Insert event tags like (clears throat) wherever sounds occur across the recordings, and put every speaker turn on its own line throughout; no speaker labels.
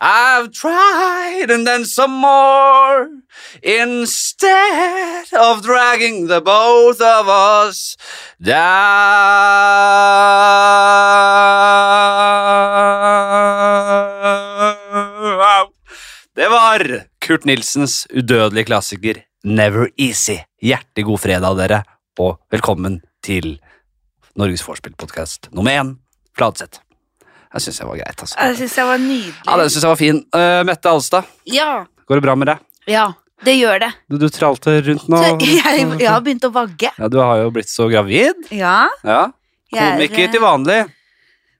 I've tried and then some more. Instead of dragging the both of us down. Det var Kurt Nilsens udødelige klassiker Never Easy. Hjertelig god fredag, dere, og velkommen til Norges vorspiel-podkast nummer én, Fladseth. Jeg syns jeg var greit, altså.
Jeg syns jeg var
Ja,
nydelig.
den syns jeg var fin. Eh, Mette Alstad,
Ja,
går det bra med deg?
ja, det gjør det.
Du, du tralte rundt nå. Mm.
Så (laughs) jeg, jeg har begynt å vagge.
Ja, du har jo blitt så gravid.
Ja,
Ja.
jeg er
Komiker til
eh,
vanlig.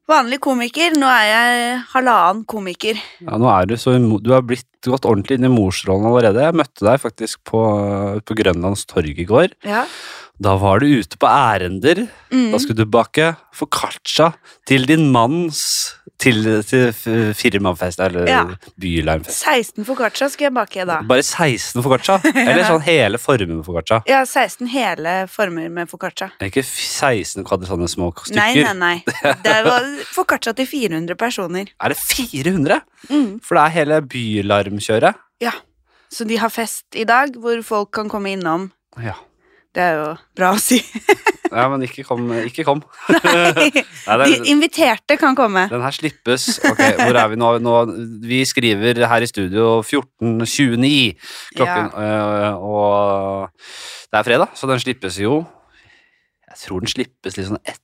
vanlig komiker. Nå er jeg halvannen komiker.
Ja, nå er du så imo- Du har blitt gått ordentlig inn i morsrollen allerede. Jeg møtte deg faktisk på, på Grønlands torg i går.
Ja.
Da var du ute på ærender. Da
Mm.
skulle du bake foccaccia til din manns til, til f- firmafest, eller
Ja.
bylarmfest.
16 foccaccia skal jeg bake da.
Bare 16 foccaccia?
(laughs)
Eller sånn hele formen med foccaccia?
Ja, 16 hele former med foccaccia.
Det er ikke f- 16 kvadrat sånne små stykker.
Nei, nei,
(laughs)
nei. Det var foccaccia til 400 personer.
Er det 400?
Mm.
For det er hele bylarmkjøret.
Så de har fest i dag hvor folk kan komme innom.
Ja.
Det er jo bra å si.
(laughs) ja, men ikke kom. Ikke kom.
De
Nei, det,
inviterte kan komme.
den her slippes. Ok, hvor er vi nå? nå? Vi skriver her i studio 14.29 klokken, øh, og det er fredag, så den slippes jo. Jeg tror den slippes litt sånn etter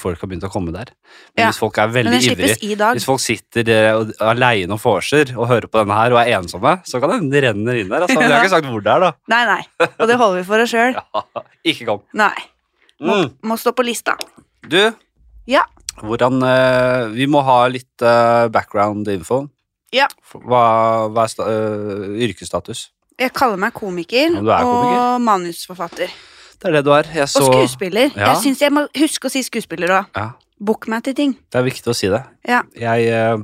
folk har begynt å komme der. Men
Ja,
hvis folk er
Men
veldig
den
ivrige
slippes i dag.
Hvis folk sitter eh, og- alene og vorser og hører på denne her og er ensomme, så kan det hende de renner inn der. Altså. Men jeg har ikke sagt hvor det er, da.
Nei, nei. Og det holder vi for oss sjøl.
Ja, ikke kom.
Nei. Må,
Mm.
må stå på lista.
Du,
Ja.
hvordan eh, Vi må ha litt eh, background info.
Ja.
Hva, hva er sta, eh, yrkesstatus?
Jeg kaller meg komiker,
Ja, du er komiker.
og manusforfatter.
Det er det du er. Jeg så
Og skuespiller.
Ja.
Jeg syns jeg må huske å si skuespiller òg.
Ja,
Book meg til ting.
det er viktig å si det.
Ja.
Jeg eh,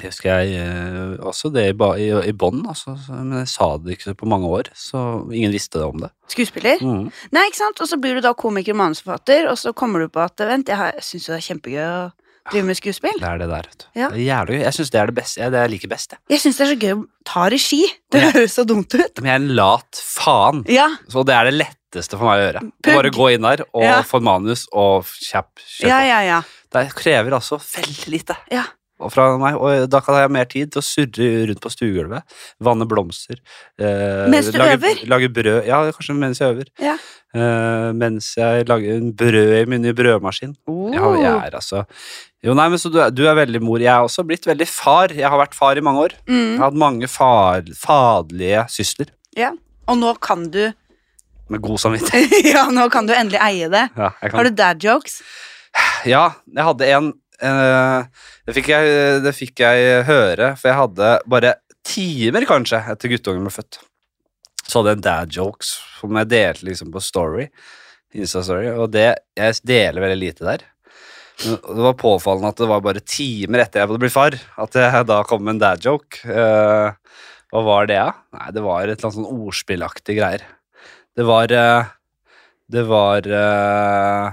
jeg husker jeg eh, også det i, ba- i, i bånn, altså, så- men jeg sa det ikke på mange år, så ingen visste om det.
Skuespiller?
Mm.
Nei, ikke sant? Og så blir du da komiker og manusforfatter, og så kommer du på at vent, jeg, har- jeg syns jo det er kjempegøy å drive med skuespill.
Det er det der, vet du.
Ja.
Det er jævlig gøy. Jeg syns det er det beste. Jeg, det jeg liker best, jeg.
Jeg syns det er så gøy å ta regi. Det
Ja.
høres så dumt ut.
Men jeg er en lat faen,
Ja.
så det er det letteste for meg å gjøre. Å
Pugg.
bare gå inn der og
Ja.
få manus og kjapp kjør på.
Ja, ja, ja.
Det krever altså veldig lite
Ja.
og fra meg, og da kan jeg ha mer tid til å surre rundt på stuegulvet, vanne blomster eh,
Mens du
lage,
øver?
Lage brød. Ja, kanskje mens jeg øver.
Ja.
Eh, mens jeg lager en brød i min nye brødmaskin. Ja, jeg
Oh.
er altså Jo, nei, men så du er, du er veldig mor. Jeg er også blitt veldig far. Jeg har vært far i mange år. Jeg
Mm.
har hatt mange far, faderlige sysler
Og nå kan du (laughs)
med god samvittighet.
Ja, nå kan du endelig eie det.
Ja, jeg,
Har
kan.
du dad jokes?
ja, jeg hadde en eh, det, fikk jeg, det fikk jeg høre, for jeg hadde bare timer kanskje etter guttungen ble født. Så hadde jeg en dad jokes som jeg delte liksom på story, Insta-story, og det, jeg deler veldig lite der. Men Det var påfallende at det var bare timer etter jeg hadde blitt far, at jeg da kom med en dad joke. Eh, hva var det, da? Nei, det var et eller annet sånn ordspillaktig greier. Det var eh, Det var eh,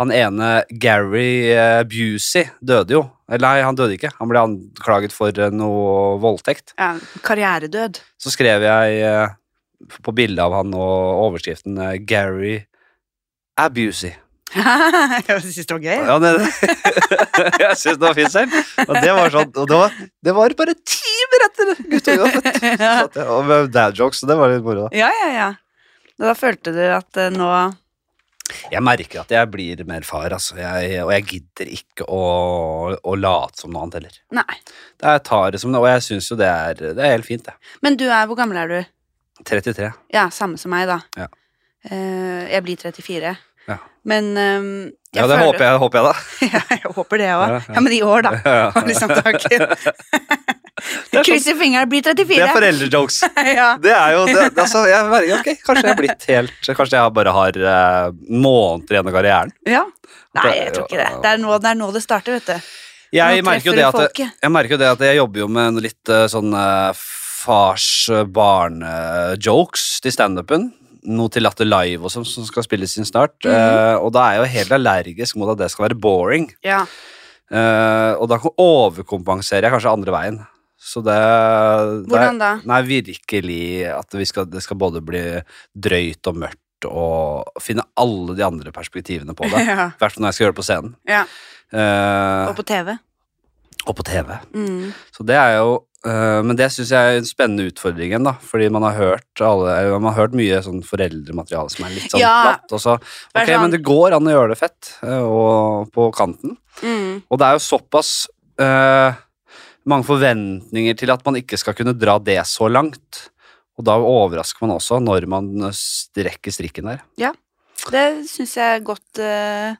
Han ene Gary eh, Busey døde jo. Eller nei, han døde ikke. Han ble anklaget for eh, noe voldtekt.
Ja, karrieredød. (laughs)
Så skrev jeg eh, på bildet av han og overskriften eh, Gary Abusey.
jeg syns det var gøy.
Ja, det, (laughs) jeg syns det var fint selv. Eh. Og det var sånn Og det var, det var bare timer etter (laughs) guttungen var født.
(laughs)
Så at jeg- Og med dad jokes, så det var litt moro. da.
Ja, ja, ja. Da følte du at eh, nå
Jeg merker at jeg blir mer far, altså. Jeg, og jeg gidder ikke å, å late som noe annet heller.
Nei.
Det er, jeg tar det som det, og jeg syns jo det er, det er helt fint, det.
Men du er Hvor gammel er du?
33.
Ja, samme som meg, da.
Ja.
Eh, jeg blir 34.
Ja.
Men ehm, jeg
Ja, det håper jeg, håper jeg da.
jeg. (laughs) jeg håper det òg.
Ja,
Ja,
ja.
men i år, (laughs) da.
Ja.
Var liksom
(laughs)
tanken.
Det er sånn-
Krysser fingrene, blir
Det er
34.
foreldrejokes.
(laughs) ja.
Det er jo det, det- altså, jeg, merker- ok, Kanskje jeg har blitt helt Kanskje jeg bare har eh, måneder igjen av karrieren.
ja. Nei, jeg tror ikke det. Det er nå det, er nå det starter, vet du.
Jeg
nå
merker jo det
treffer du
at det,
folket.
Jeg merker jo det at jeg jobber jo med noe litt eh, sånn eh, fars eh, barne-jokes til standupen. Noe til Latter Live og sånn som skal spilles inn snart.
Mhm.
Eh, og da er jeg jo helt allergisk mot at det skal være boring.
Ja.
Eh, og da overkompenserer jeg kanskje andre veien. Så det, det er
Hvordan da?
Nei, virkelig at vi skal, det skal både bli drøyt og mørkt og finne alle de andre perspektivene på det.
(laughs) ja.
I hvert fall når jeg skal gjøre det på scenen.
ja.
Eh,
Og på TV.
og på TV.
Mm.
Så det er jo eh, Men det syns jeg er en spennende utfordring igjen, da. Fordi man har hørt, alle, eller man har hørt mye sånn foreldremateriale som er litt sånn
Ja.
flatt. Og så
Det er
Ok,
sånn-
men det går an å gjøre det fett. eh, Og på kanten.
Mm.
Og det er jo såpass eh, mange forventninger til at man ikke skal kunne dra det så langt. Og da overrasker man også når man eh, strekker strikken der.
Det syns jeg er godt eh,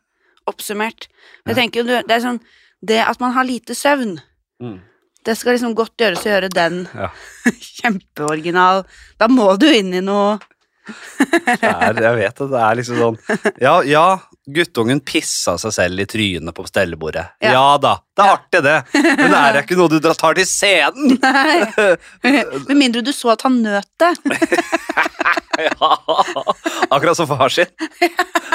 oppsummert. Jeg
Ja.
tenker jo, du- det er sånn Det at man har lite søvn,
Mm.
det skal liksom godt gjøres å gjøre den
Ja.
(laughs) kjempeoriginal. Da må du inn i
(laughs)
noe
Det er, jeg vet at det er liksom (laughs) sånn Ja, ja, guttungen pissa seg selv i trynet på stellebordet.
Ja.
Ja, da, det er artig, det. Men det er ikke noe du drar- tar til (laughs) scenen.
Nei. Med mindre du så at han nøt det.
Ja. Akkurat som far sin.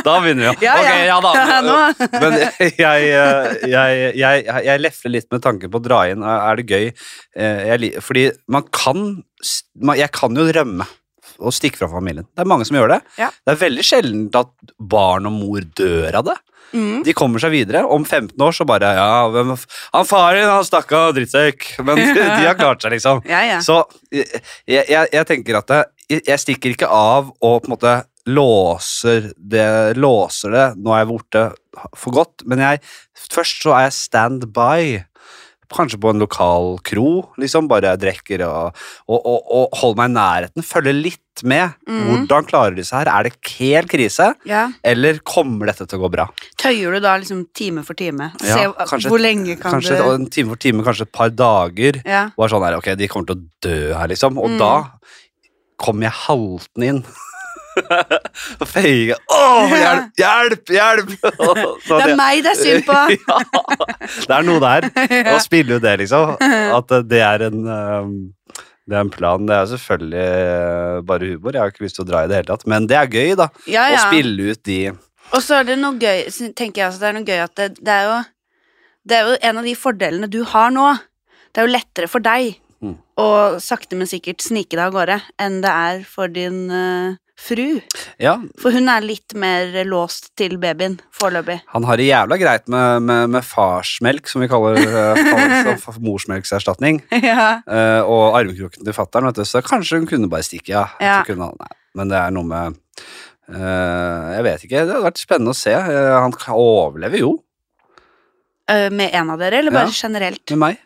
Da begynner vi.
Ja,
ok,
ja.
ja da.
(laughs)
(laughs)
Ja, nå.
Men jeg, jeg, jeg, jeg, jeg lefler litt med tanken på å dra inn. Er det gøy? Eh, Jeg, li- fordi man kan s- man- Jeg kan jo rømme og stikke fra familien. Det er mange som gjør det.
Ja.
Det er veldig sjelden at barn og mor dør av det.
Mm.
De kommer seg videre. Om 15 år så bare Ja, hvem, han faren, han stakk av drittsekk. Men (laughs) de har klart seg, liksom.
Ja, ja.
Så jeg, jeg, jeg- jeg tenker at jeg, jeg stikker ikke av og på en måte låser det, låser det. Nå er jeg borte for godt, men jeg, først så er jeg standby. Kanskje på en lokal kro, liksom. Bare jeg drikker og, og, og, og holder meg i nærheten. Følger litt med.
Mhm.
Hvordan klarer de seg her? Er det helt krise,
ja.
eller kommer dette til å gå bra?
Tøyer du da liksom time for time?
Ja,
Se
kanskje-
hvor lenge kan
kanskje
du
en time for time, kanskje et par dager.
ja.
var sånn her, ok, de kommer til å dø her, liksom. Og
Mm.
da kom jeg halten inn. (laughs) Og feiga. Åh, hjelp, hjelp, hjelp! (laughs) Så
Det er
det-
meg det er synd på!
(laughs) ja, det er noe der.
(laughs)
Å spille ut det, liksom. At eh, det er en ehm, det er en plan. Det er selvfølgelig eh, bare humor. Jeg har ikke lyst til å dra i det hele tatt. Men det er gøy, da.
Ja,
Å
ja.
spille ut de
Og så er det noe gøy, så tenker jeg altså, det er noe gøy at det, det er jo Det er jo en av de fordelene du har nå. Det er jo lettere for deg
Mm.
å sakte, men sikkert snike deg av gårde enn det er for din eh, fru.
Ja,
For hun er litt mer låst til babyen foreløpig.
Han har det jævla greit med, med, med farsmelk, som vi kaller
(laughs)
eh, far- som morsmelkserstatning.
ja.
eh, og armkroken til fattern, vet du. Så kanskje hun kunne bare stikke, ja.
Ja.
Så Kunne, han- nei. Men det er noe med eh, Jeg vet ikke. Det hadde vært spennende å se. Eh, han kan- overlever jo,
Eh, med en av dere, eller bare
Ja.
generelt?
med meg.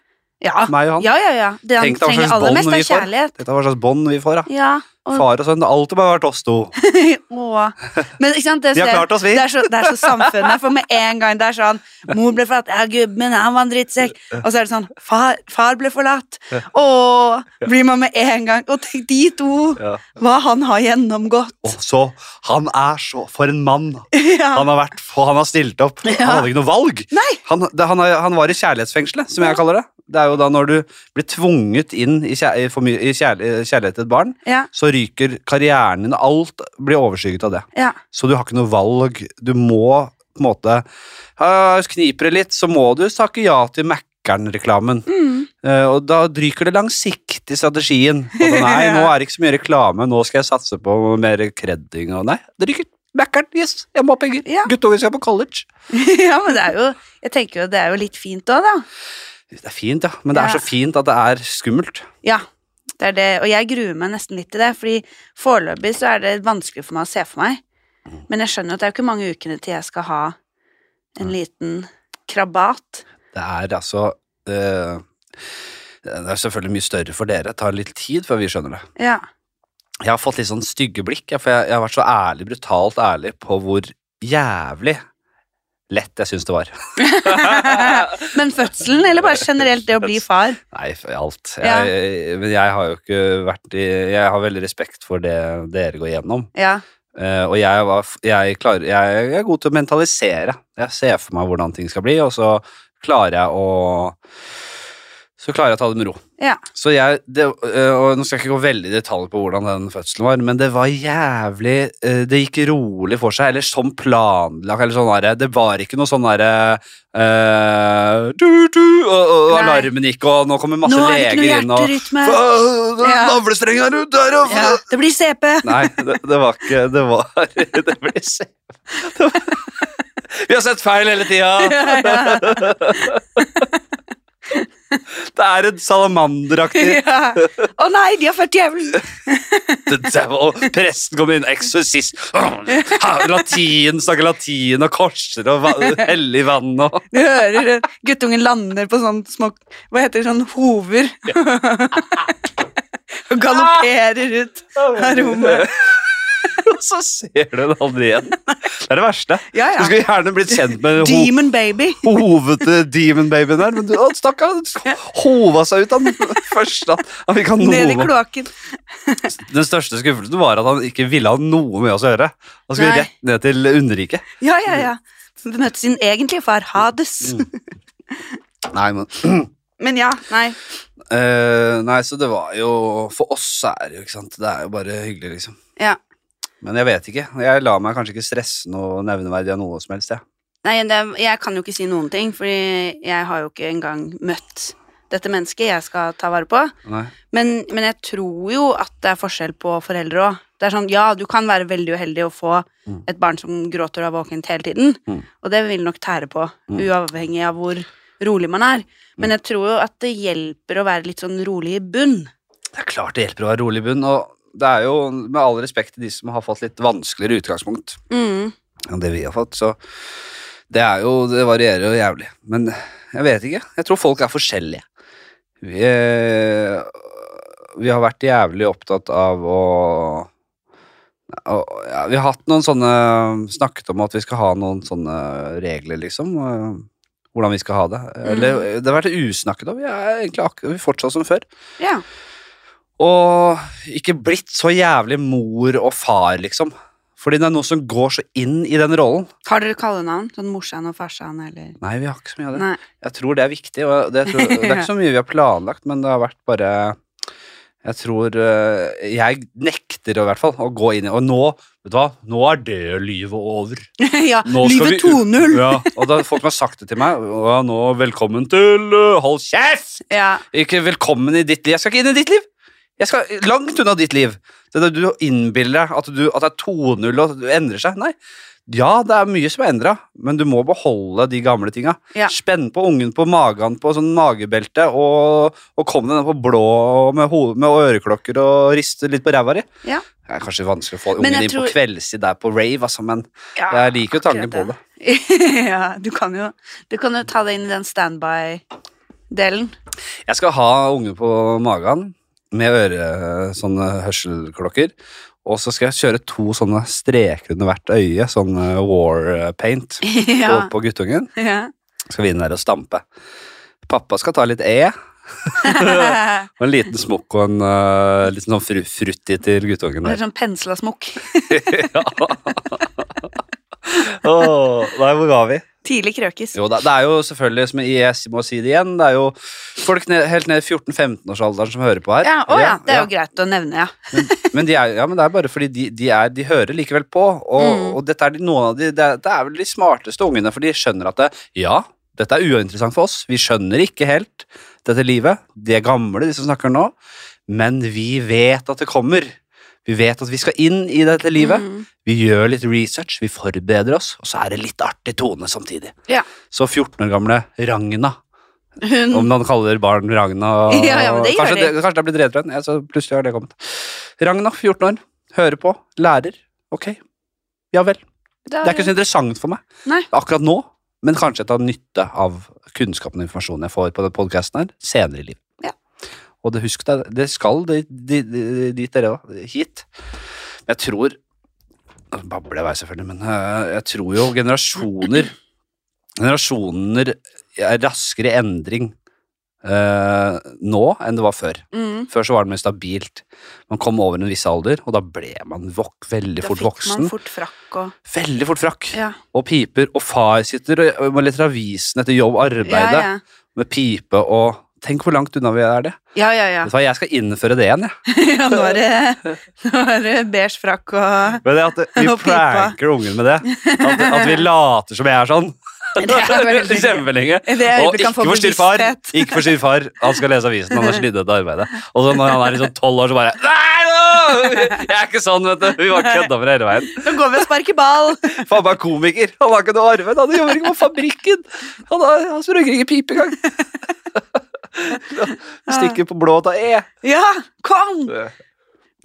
Ja.
Meg og han.
Ah, ja, ja, ja. Det han
Tenk deg hva
trenger
slags
aller
bånd
mest,
vi
er
får.
kjærlighet.
Dette er hva slags bånd vi får, da.
Ja, og, (laughs)
Far og sønn. Det har alltid bare vært oss to.
og. Men ikke sant, det,
De har
ser-
klart oss, vi.
Det er så, det er så samfunnet er, for med en gang det er sånn Mor ble forlatt, ja, gud, men han var en drittsekk. Og så er det sånn Far, far ble forlatt. Åh, blir man med en gang Og tenk de to,
Ja.
hva han har
Og
gjennomgått.
så, Han er så For en mann
(laughs) Ja.
han har vært. for Han har stilt opp. Han hadde ikke noe valg.
Nei!
Han, det, han, er- han var i kjærlighetsfengselet, som jeg kaller det. Det er jo da når du blir tvunget inn i, kjær, i, for mye- i kjær, i kjærlighet til et barn,
Ja,
så ryker karrieren din, og alt blir overskygget av det.
ja. (laughs)
Så du har ikke noe valg. Du må på en måte «Ah, Kniper det litt, så må du takke ja til Mækkern-reklamen.
Mm.
Eh, og da ryker det langsiktig strategien. Og da, nei, nå er det ikke så mye reklame, nå skal jeg satse på mer kredding. Og nei, det ryker. Mækkern, yes, jeg må ha penger.
Ja.
Guttungen skal på college.
ja, men det er jo Jeg tenker jo det er jo litt fint òg, da.
Det er fint, ja, men det er
Ja.
så fint at det er skummelt.
Ja, det er det. Og jeg gruer meg nesten litt til det, fordi foreløpig så er det vanskelig for meg å se for meg.
Mm.
Men jeg skjønner jo at det er jo ikke mange ukene til jeg skal ha en liten krabat.
Det er altså eh, Det er selvfølgelig mye større for dere. Det tar litt tid før vi skjønner det.
Ja. (laughs)
Jeg har fått litt sånn stygge blikk, jeg, for jeg, jeg har vært så ærlig, brutalt ærlig på hvor jævlig lett jeg syns det var. (laughs)
Men fødselen, eller bare generelt det å bli far?
Nei, for alt.
Ja.
Jeg, Men jeg har jo ikke vært i Jeg har veldig respekt for det dere går gjennom.
Ja.
Eh, og jeg, var, f- jeg, klarer, jeg, jeg er god til å mentalisere. Jeg ser for meg hvordan ting skal bli, og så klarer jeg å så klarer jeg å ta det med ro.
Ja.
Så jeg, det, øh, og Nå skal jeg ikke gå veldig i detalj på hvordan den fødselen var, men det var jævlig øh, Det gikk rolig for seg, eller som planlagt. eller sånn der, Det var ikke noe sånn derre øh, du, du, og, og
Nei.
alarmen gikk, og nå kommer masse
Nå er det ikke noe
leger inn og
hjerterytme!
«Hva?
Ja.
Navlestreng er ut der, og
Ja. Det blir CP!
Nei, det, det var ikke Det var (laughs) Det ble se. det var-
(laughs)
Vi har sett feil hele tida!
Ja.
Det er en salamanderaktig
(laughs) Ja. Å nei, de har født djevelen!
The devil. Presten kommer inn, eksorsist. Latin, snakker latin og korser og va- hellig vann og
Du hører eh, guttungen lander på sånne små Hva heter det? Sånne hover. Og galopperer ut av rommet.
Og (laughs) så ser du den aldri igjen. Det er det verste.
Ja,
Du
ja.
skulle gjerne blitt kjent med ho
Demon baby.
hovete demon-babyen der, men du, å, stakkar, han hova seg ut han (laughs) først. Han, han fikk han
Ned i
noe-
kloakken.
Den største skuffelsen var at han ikke ville ha noe med oss å gjøre. Han skulle
Nei.
rett ned til underriket.
Ja, ja, ja. Møtte sin egentlige far, Hades.
Nei, men
(laughs) Men ja, nei.
Eh, Nei, så det var jo For oss er det jo, ikke sant. Det er jo bare hyggelig, liksom.
Ja.
Men jeg vet ikke. Jeg lar meg kanskje ikke stresse noe nevneverdig av noe som helst, jeg.
Nei, det, jeg kan jo ikke si noen ting, fordi jeg har jo ikke engang møtt dette mennesket jeg skal ta vare på.
Nei.
Men, men jeg tror jo at det er forskjell på foreldre òg. Det er sånn, ja, du kan være veldig uheldig å få
Mm.
et barn som gråter og er våkent hele tiden,
Mm.
og det vil nok tære på,
Mm.
uavhengig av hvor rolig man er. Men jeg tror jo at det hjelper å være litt sånn rolig i bunn.
Det er klart det hjelper å være rolig i bunn, og det er jo med all respekt til de som har fått litt vanskeligere utgangspunkt.
Mm.
enn det vi har fått, så det er jo, det varierer jo jævlig. Men jeg vet ikke, jeg tror folk er forskjellige. Vi, eh, vi har vært jævlig opptatt av å, å ja, Vi har hatt noen sånne Snakket om at vi skal ha noen sånne regler, liksom. og Hvordan vi skal ha det. Eller, det har vært usnakket om. Vi er egentlig akkurat, vi fortsatt som før.
Ja.
Og ikke blitt så jævlig mor og far, liksom. Fordi det er noe som går så inn i den rollen.
Har dere kallenavn? Sånn morsan og farsan eller (laughs)
Nei, vi har ikke så mye av det.
Nei.
Jeg tror det er viktig, og det, jeg
(laughs)
tror, det er ikke så mye vi har planlagt, men det har vært bare Jeg tror eh, Jeg nekter i hvert fall å gå inn i Og nå, vet du hva, nå er det livet over.
ja,
Nå skal
livet
vi-
2.0!
Ja, og da folk som har sagt det til meg og ja, nå, Velkommen til eh, Hold kjeft!
Ja.
Ikke velkommen i ditt liv. Jeg skal ikke inn i ditt liv! Jeg skal langt unna ditt liv. Det der Du innbiller deg at, du, at det er 2-0 og at du endrer seg. Nei. Ja, det er mye som er endra, men du må beholde de gamle tinga.
Ja.
Spenn på ungen på magen på sånn magebelte, og, og kom deg ned på blå og med, ho- med øreklokker og riste litt på ræva di.
Ja.
Det er kanskje vanskelig å få
Men
ungen
jeg
inn på
tror-
kveldstid der på rave, altså, men
ja.
jeg liker jo tanken
akkurat
på det.
(laughs) ja, du kan jo Du kan jo ta det inn i den standby-delen. (laughs)
Jeg skal ha ungen på magen med øre, sånne hørselklokker. Og så skal jeg kjøre to sånne streker under hvert øye, sånn eh, war eh, paint,
ja,
på, på guttungen.
ja.
Skal vi inn der og stampe. Pappa skal ta litt E, (laughs)
(laughs)
og en liten smokk og en eh, liten sånn fru, frutti til guttungen
Eller
der.
sånn pensla smokk.
ja. Åh, nei, hvor var vi?
(laughs) Tidlig krøkis.
Jo da, det er jo selvfølgelig, som jeg må si det igjen, det er jo folk ned, helt ned i 14-15-årsalderen som hører på her.
Ja, å ja, det er
ja.
jo greit å nevne, ja.
Men, men, de er, ja, men det er bare fordi de, de, er, de hører likevel på, og,
Mm.
og dette er de, noen av de, det, er, det er vel de smarteste ungene, for de skjønner at det, ja, dette er uinteressant for oss, vi skjønner ikke helt dette livet, de er gamle, de som snakker nå, men vi vet at det kommer. Vi vet at vi skal inn i dette livet,
Mm.
vi gjør litt research, vi forbereder oss, og så er det litt artig tone samtidig.
Ja.
Så 14 år gamle Ragna,
Hun
om man kaller barn
(laughs)
Ragna
Ja, ja, men det gjør
kanskje,
de.
det, kanskje det er blitt drevet fra en, ja, så plutselig har det kommet. Ragna, 14 år, hører på, lærer. Ok, ja vel. Det
da,
er ikke så interessant for meg
Nei.
akkurat nå, men kanskje jeg tar nytte av kunnskapen og informasjonen jeg får på den podkasten her, senere i livet.
Ja.
Og det, husk deg, det skal det, de, de, dit dere da, hit. Men jeg tror Nå babler jeg i vei, selvfølgelig, men øh, jeg tror jo generasjoner Generasjoner er raskere i endring øh, nå enn det var før.
mm.
Før så var det mer stabilt. Man kom over en viss alder, og da ble man vok veldig
Da
fort
fikk man
voksen.
fort frakk og
Veldig fort frakk
Ja,
og piper, og far sitter og og leter avisen etter jobb,
ja.
arbeidet,
ja.
med pipe og Tenk hvor langt unna vi er det.
Ja, ja, ja. (laughs)
Vet du hva, Jeg skal innføre det igjen, jeg.
ja nå, er det, nå er det beige frakk og
Men det
(laughs)
at vi
Og pipa.
pranker ungen med det. At, at vi later som jeg er sånn.
(laughs) Det er veldig
Kjempelenge.
I det
Og
øyeblikket
ikke
han får
forstyrr far.
bevissthet.
Ikke forstyrr far. Han skal lese avisen. Han har slitt av arbeidet. Og så når han er liksom tolv år, så bare Nei, nå! Jeg er ikke sånn, vet du. Vi var kødda for hele veien.
Nå går vi og sparker ball!
Faen meg komiker. Han har ikke noe arbeid. Han jobber ikke på fabrikken. Han, har, han røyker ikke pipe (laughs) engang. Stikker på blå og tar E.
Ja, kom!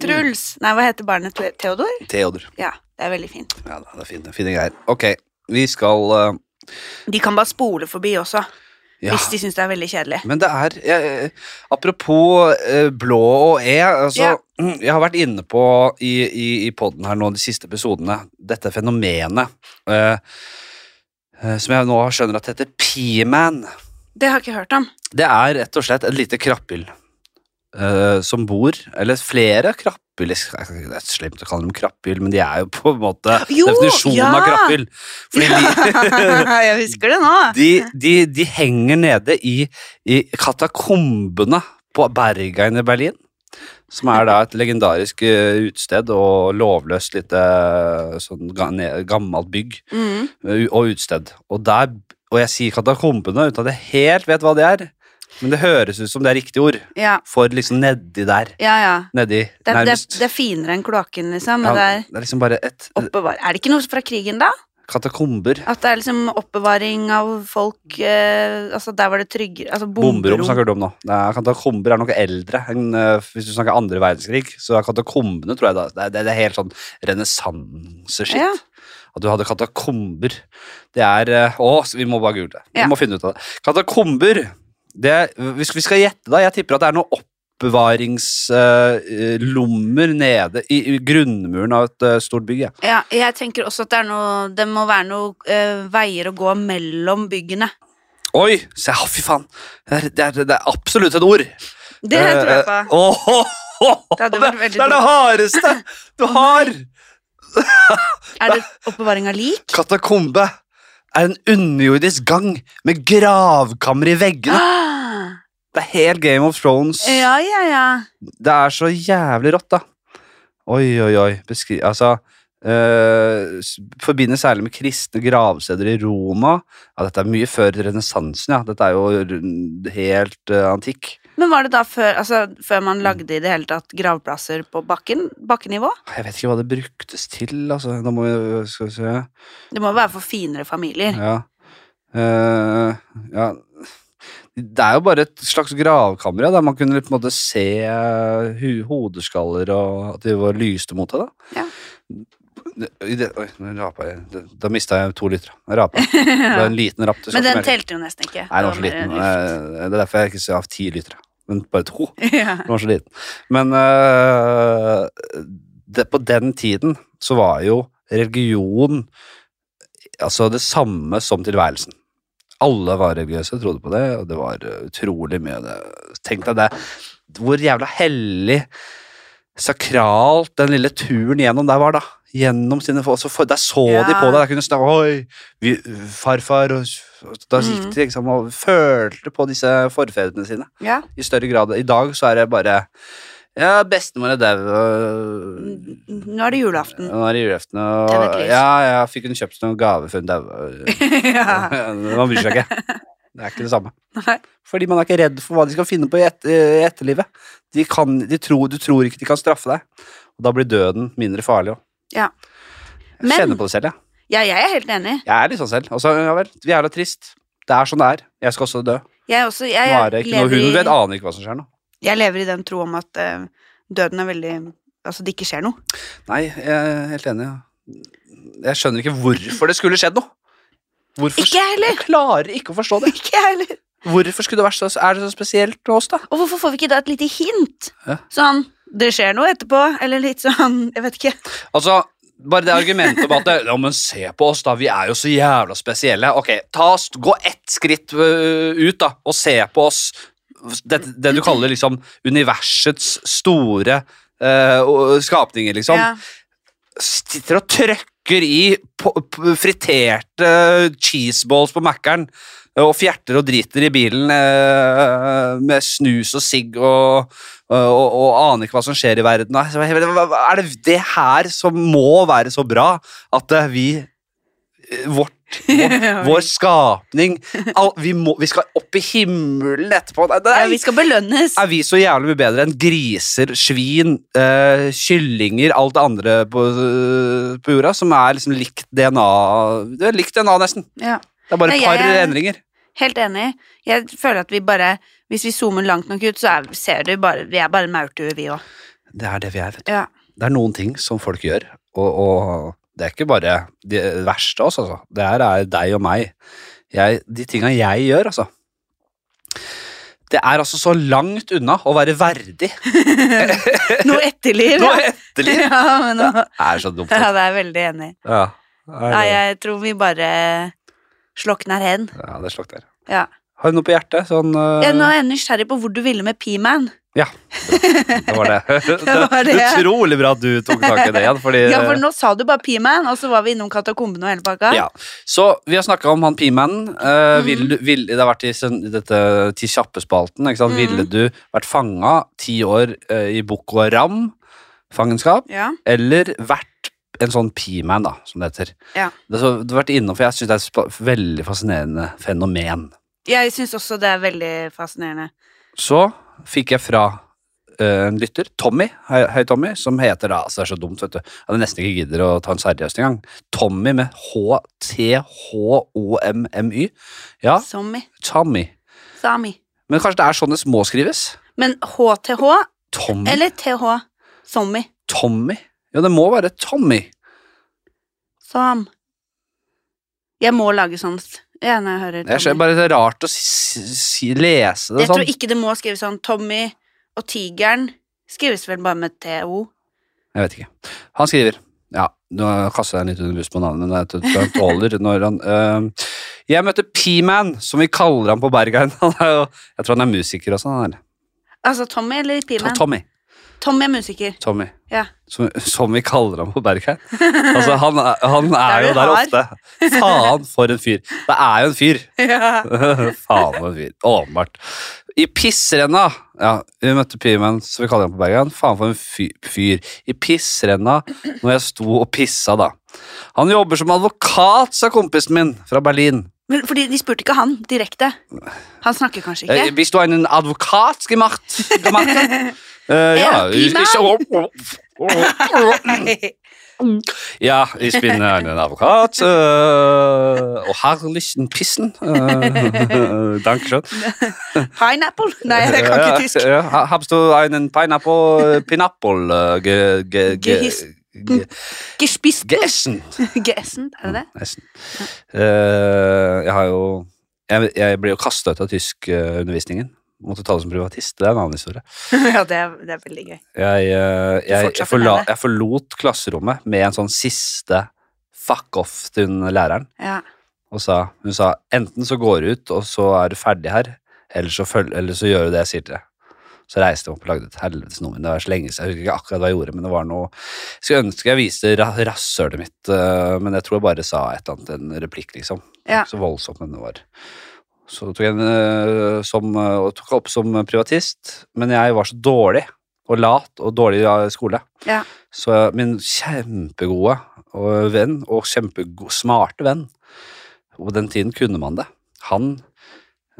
Truls. Nei, hva heter barnet? Te- Theodor?
Theodor.
Ja, det er veldig fint.
Ja, da, det er fine, fine greier. Ok, vi skal eh,
De kan bare spole forbi også,
ja.
hvis de syns det er veldig kjedelig.
Men det er eh, Apropos eh, blå og E. Altså,
Ja.
mm, (clears throat) Jeg har vært inne på i, i, i poden her nå de siste episodene dette fenomenet eh, eh, som jeg nå skjønner at heter P-man.
Det har jeg ikke
(laughs)
hørt om. (laughs)
Det er rett og slett et lite krabbel eh, som bor Eller flere krabbel jeg skal- Det er slemt å kalle dem krabbel, men de er jo på en måte
Jo,
definisjonen av
ja.
krabbel. Fordi de,
jeg husker det nå.
(laughs) de, de, de henger nede i, i katakombene på Bergein i Berlin. Som er da et legendarisk eh, utested og lovløst lite eh, sånn ga- ne- gammelt bygg
Mm.
eh, og utested. Og der, og jeg sier katakombene uten at jeg helt vet hva det er, men det høres ut som det er riktig ord.
Ja,
For liksom nedi der.
ja. ja.
Nedi,
Det, er- det, er-
nærmest.
det er finere enn kloakken, liksom.
Ja,
Men det er
det er liksom bare et
oppbevar... Er det ikke noe fra krigen, da?
katakomber.
At det er liksom oppbevaring av folk eh, Altså, der var det tryggere Altså,
Bomberom
bomberom.
snakker du om nå. Nei, katakomber er noe eldre. enn, eh, hvis du snakker andre verdenskrig, så er katakombene tror jeg da, det, er- det er helt sånn renessanse-shit.
Ja.
At du hadde katakomber. Det er eh, Å, så vi må bare google det. Vi
Ja.
må finne ut av det. Katakomber det, Hvis vi skal gjette, da Jeg tipper at det er noe oppbevaringslommer nede i, i grunnmuren av et eh, stort bygg. jeg.
Ja, jeg tenker også at det er noe Det må være noe eh, veier å gå mellom byggene.
Oi! Se, å, fy faen! Det er, det, er, det er absolutt et ord.
Det tror jeg på.
Eh, åh, (laughs)
Det hadde
det,
vært veldig
det er det hardeste du har!
Er det oppbevaring av lik?
Katakombe er en underjordisk gang med gravkammer i veggene.
Ah,
Det er helt Game of Thrones.
(gasps) ja, ja, ja.
Det er så jævlig rått, da. Oi, oi, oi. Beskri altså øh, s- Forbinder særlig med kristne gravsteder i Roma. Ja, dette er mye før renessansen, ja. Dette er jo rund- helt øh, antikk.
Men var det da før, altså, før man lagde i det hele tatt gravplasser på bakken? Bakkenivå?
Jeg vet ikke hva det bruktes til, altså. Nå må vi Skal vi se.
Det må være for finere (laughs) familier.
Ja. Eh, ja. Det er jo bare et slags gravkammer ja, der man kunne på en måte se eh, hu hodeskaller og at de var lyste mot det. da.
Ja.
I det, oi, nå rapa jeg. Det- Da mista jeg to liter. Jeg rapa.
(laughs)
Det var en liten rapp. til
Men den
sjokomelk.
telte jo nesten ikke.
Nei, den var så
Det
liten.
mer
Eh, Det er derfor jeg ikke har hatt ti liter. Men bare to.
luft. (laughs) Ja.
(laughs) Den var så liten. Men øh, det, på den tiden så var jo religion altså det samme som tilværelsen. Alle var religiøse, trodde på det, og det var øh, utrolig mye av det. Tenk deg det. Hvor jævla hellig, sakralt, den lille turen gjennom der var, da. Gjennom sine folk. Så for, der så
Ja.
de på deg, der kunne du snakke Oi, vi, farfar og, og Da gikk de liksom og følte på disse forfedrene sine
ja.
i større grad. I dag så er det bare Ja, bestemor er dau, og
N- Nå er det julaften.
nå er det julaften, og
Tenn Mm. et lys.
Ja, ja, fikk hun kjøpt noen gave for hun daua?
(laughs) ja.
(laughs) Man bryr
(laughs)
seg ikke. Det er ikke det samme.
Nei.
Fordi man er ikke redd for hva de skal finne på i, et, eh, i etterlivet. De kan, de tror, du tror ikke de kan straffe deg. Og da blir døden mindre farlig òg.
Ja.
Jeg
Men-
kjenner på det selv, jeg.
ja, jeg er helt enig.
Jeg er litt sånn selv. Og så, ja vel, vi er da trist. Det er sånn det er. Jeg skal også dø.
Jeg, er også, jeg,
Nå er det ikke noe
lever
Hun
i-
vet, aner ikke hva som skjer nå.
Jeg lever i den tro om at eh, døden er veldig Altså, det ikke skjer noe. (laughs)
Nei, jeg er helt enig. Ja. Jeg skjønner ikke hvorfor det skulle skjedd noe. Hvorfor
Ikke jeg heller!
Jeg klarer ikke å forstå det.
Ikke jeg heller!
Hvorfor skulle det være så, er det så spesielt med oss, da?
Og hvorfor får vi ikke da et lite hint?
Ja.
Sånn Det skjer noe etterpå, eller litt sånn (laughs) Jeg vet ikke.
Altså, bare det argumentet om at det, Ja, men se på oss, da. Vi er jo så jævla spesielle. Ok, ta, oss- gå ett skritt øh, ut, da, og se på oss. Det, det du kaller liksom universets store øh, og- skapninger, liksom.
Ja.
sitter og trøkker i po- p- friterte cheeseballs på Mækkern og fjerter og driter i bilen eh, med snus og sigg og, og, og, aner ikke hva som skjer i verden. Og så jeg bare, hva- Er det det her som må være så bra at eh, vi eh, vårt
(laughs)
vår, vår skapning all, vi, må, vi skal opp i himmelen etterpå. Nei,
Ja,
nei,
vi skal belønnes.
er vi så jævlig mye bedre enn griser, svin, eh, kyllinger, alt det andre på, eh, på jorda, som er liksom likt DNA Det er likt DNA, nesten.
Ja.
Det er bare
Nei,
et
jeg
par
er-
endringer.
Helt enig. Jeg føler at vi bare Hvis vi zoomer langt nok ut, så er, ser du bare Vi er bare maurtuer, vi òg.
Det er det vi er, vet du.
Ja.
Det er noen ting som folk gjør, og, og det er ikke bare det verste av oss, altså. Det her er deg og meg. Jeg, de tinga jeg gjør, altså. Det er altså så langt unna å være verdig.
(laughs) Noe etterliv.
Nå
ja.
etterlig!
(laughs) Ja, men nå,
Det er så dumt.
ja,
altså.
det er jeg veldig enig i.
Ja, det
Nei,
er-
jeg tror vi bare slokner hen.
ja, det er slakt der.
Ja.
Har du noe på hjertet? Sånn, eh,
Jeg, nå er jeg nysgjerrig på hvor du ville med P-man.
Det var det.
(laughs) Det var det.
Utrolig bra at du tok tak i det igjen. Fordi,
Ja, for nå sa du bare P-man, og så var vi innom katakombene og hele pakka.
Eh. Ja. Så vi har snakka om han P-mannen. Eh,
Mhm.
vil du- vil- det har vært i sen- dette Ti kjappe-spalten. ikke sant?
Mhm.
Ville du vært fanga ti år eh, i Boko Haram-fangenskap,
Ja.
eller vært en sånn P-man, da, som det heter.
Ja.
Det, har så- du har vært innom, for jeg syns det er et spa- veldig fascinerende fenomen.
Jeg syns også det er veldig fascinerende.
Så fikk jeg fra eh, en lytter, Tommy, hei, hei Tommy, som heter da, altså det er så dumt, vet du, at jeg nesten ikke gidder å ta en seriøst engang. Tommy med H-T-H-O-M-M-Y. Ja,
Sommi.
Tommy.
Sami.
Men kanskje det er sånn det må skrives?
Men HTH
Tommy?
eller TH? Sommi.
Tommy? Ja, det må være Tommy.
Sam. Jeg må lage sånn s- ja, når jeg hører
Jeg ser
Tommy.
bare det er rart å si, si, lese det
Jeg tror
sånn.
ikke det må skrives sånn. Tommy og Tigeren skrives vel bare med TO.
Jeg vet ikke. Han skriver Ja, nå kaster jeg den litt under bussen på navnet, men jeg tror han tåler når han øh, Jeg møtte P-Man, som vi kaller ham på Bergheim. (laughs) Han er jo, jeg tror han er musiker også, han der.
Altså Tommy eller Pimen.
To- Tommy.
Tommy er musiker.
Tommy.
Ja. (laughs)
Som, som vi kaller ham på Bergheim. Altså, han, er- han
er
(laughs) er jo
du
der
hard.
ofte. Faen, for en fyr. Det er jo en fyr. (laughs) Faen for en fyr. Åpenbart. I pissrenna Ja, vi møtte Pyman, som vi kaller ham på Bergen. Faen for en fy- fyr. I pissrenna når jeg sto og pissa, da. Han jobber som advokat, sa kompisen min fra Berlin.
Men fordi de spurte ikke han direkte. Han snakker kanskje
Eh,
ikke.
Bist du en advokat gemacht? gemacht? Eh, ja,
Ja,
ich, ich, ja, ich bin ein Advokat. eh, og herrlichen Pissen. Uh, (laughs) Dankeschön.
(laughs) Pineapple? Nei, jeg kan ikke tysk.
Ja, ha- Habst du einen pineapple, pineapple eh, ge, ge, ge,
Gehis-
ge,
Gespist
geessen?
Gessen, er det det?
Nesten. Eh, jeg har jo Jeg, jeg ble jo kasta ut av tyskundervisningen. Måtte ta det som privatist. Det er en annen historie.
(laughs) Ja, det er, det er veldig gøy.
Jeg, eh, jeg, jeg,
fortsatte
forla,
med det.
jeg forlot klasserommet med en sånn siste fuck off til den læreren.
Ja. (gasps)
Og sa, hun sa enten så går du ut, og så er du ferdig her, eller så, følg, eller så gjør du det jeg sier til deg. Så reiste jeg opp og lagde et helvetes nummer. Det var så lenge siden, Jeg husker ikke akkurat hva jeg gjorde, men det var noe Jeg skulle ønske jeg viste ra- rasshølet mitt, øh, men jeg tror jeg bare sa et eller annet, en replikk, liksom. Det var
Ja.
ikke Så voldsomt, men det var Så tok jeg en, øh, som, øh, og tok opp som privatist, men jeg var så dårlig og lat og dårlig av skole.
Ja.
Så min kjempegode øh, venn, og kjempesmarte venn, og på den tiden kunne man det. Han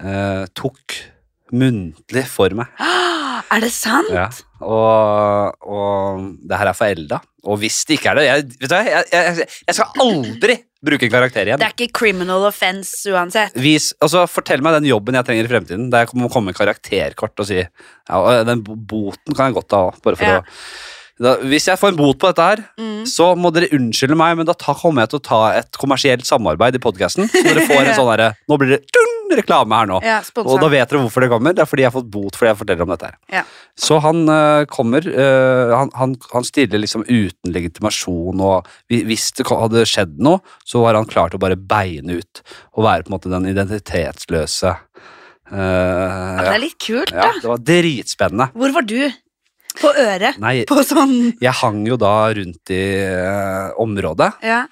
eh, tok muntlig for meg.
Ah, Er det sant?
Ja. Og, og det her er forelda. Og hvis det ikke er det jeg, Vet du hva, jeg, jeg, jeg skal aldri bruke en karakter igjen.
Det er ikke criminal offense uansett.
Vis, altså, fortell meg den jobben jeg trenger i fremtiden, der jeg må komme med karakterkort og si ja, og Den bo- boten kan jeg godt ha. Bare for
Ja.
å, da, hvis jeg får en bot på dette her,
Mm.
så må dere unnskylde meg, men da ta, kommer jeg til å ta et kommersielt samarbeid i podkasten. Så dere får
(laughs)
en sånn herre Nå blir det dun, reklame her nå.
Ja,
Og da
sponsa.
vet dere hvorfor det kommer. Det er fordi jeg har fått bot fordi jeg forteller om dette. her.
Ja.
Så han eh, kommer eh, han, han, han stiller liksom uten legitimasjon, og vi- hvis det ko- hadde skjedd noe, så var han klar til å bare beine ut og være på en måte den identitetsløse. eh,
Ja, det er litt kult,
ja,
da.
det var dritspennende.
Hvor var du? På øret?
Nei,
På sånn
jeg hang jo da rundt i eh, området,
Ja.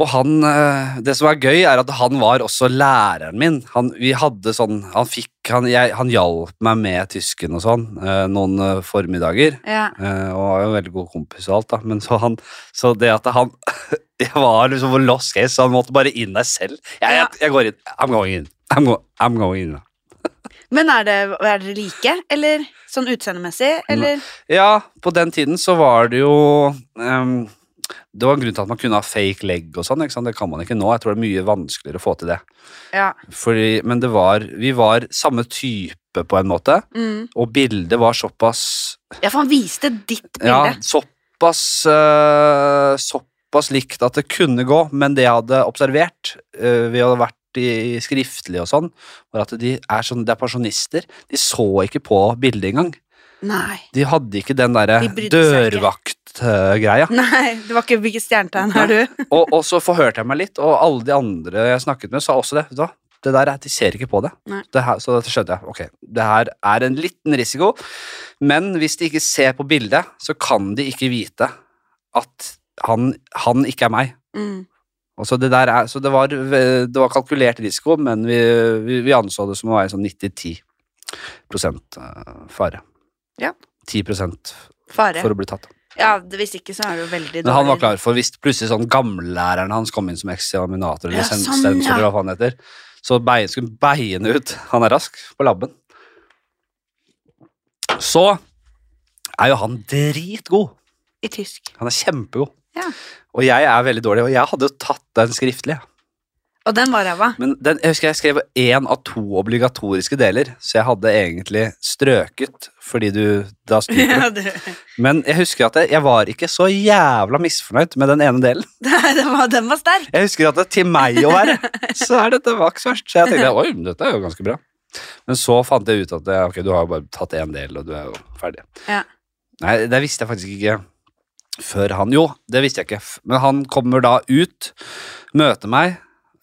Og han, eh, det som er gøy, er at han var også læreren min. Han, vi hadde sånn, han, fikk, han, jeg, han hjalp meg med tysken og sånn eh, noen eh, formiddager.
Ja.
Eh, og var jo en veldig god kompis og alt, da. Men så, han, så det at han (laughs) Jeg var liksom for lost case, så han måtte bare inn der selv. Jeg, jeg, jeg går inn. I'm going in. I'm, go, I'm going in.
Men er, det, er dere like, eller sånn utseendemessig, eller
Ja, på den tiden så var det jo ehm, Det var en grunn til at man kunne ha fake leg og sånn. ikke sant? Det kan man ikke nå. Jeg tror det er mye vanskeligere å få til det.
Ja.
Fordi, men det var, vi var samme type på en måte,
Mm.
og bildet var såpass
ja, for han viste ditt
Ja,
bilde.
såpass eh, Såpass likt at det kunne gå, men det jeg hadde observert eh, ved å ha vært i, i skriftlig og sånn, var at de er sånn, det er pensjonister. De så ikke på bildet engang.
Nei.
De hadde ikke den derre eh,
De brydde seg ikke.
dørvaktgreia.
Nei, det var ikke hvilket stjernetegn er du?
Og, og så forhørte jeg meg litt, og alle de andre jeg snakket med, sa også det. Vet du hva? Det der, er- De ser ikke på det.
Nei.
det her, så dette skjønte jeg. Ok, det her er en liten risiko, men hvis de ikke ser på bildet, så kan de ikke vite at han, han ikke er meg.
Mm.
Og så det, der er, så det, var, det var kalkulert risiko, men vi, vi, vi anså det som å være sånn 90-10 prosent eh, fare.
Ja.
10 prosent
Fare.
for å bli tatt.
Ja, det- hvis ikke så er det jo veldig dårlig.
Men han var klar for hvis plutselig sånn gamlelæreren hans kom inn som eksaminator eller
Ja,
sen-
sånn,
sensor,
ja.
eller hva faen det heter, så bein, skulle beiene ut. Han er rask på labben. Så er jo han dritgod.
I tysk.
Han er kjempegod.
Ja.
Og jeg er veldig dårlig, og jeg hadde jo tatt den skriftlig.
Og den var ræva.
(laughs) Men den, jeg husker jeg skrev én av to obligatoriske deler, så jeg hadde egentlig strøket fordi du da stryker.
(laughs) Ja,
du.
du.
Men jeg husker at jeg, jeg var ikke så jævla misfornøyd med den ene delen.
Nei, den var, den var sterk.
Jeg husker at det er til meg å være, så er dette var ikke så verst. Så jeg tenkte oi, men dette er jo ganske bra. Men så fant jeg ut at det- ok, du har jo bare tatt én del, og du er jo ferdig.
Ja.
Nei, det visste jeg faktisk ikke før han Jo, det visste jeg ikke. F- Men han kommer da ut, møter meg,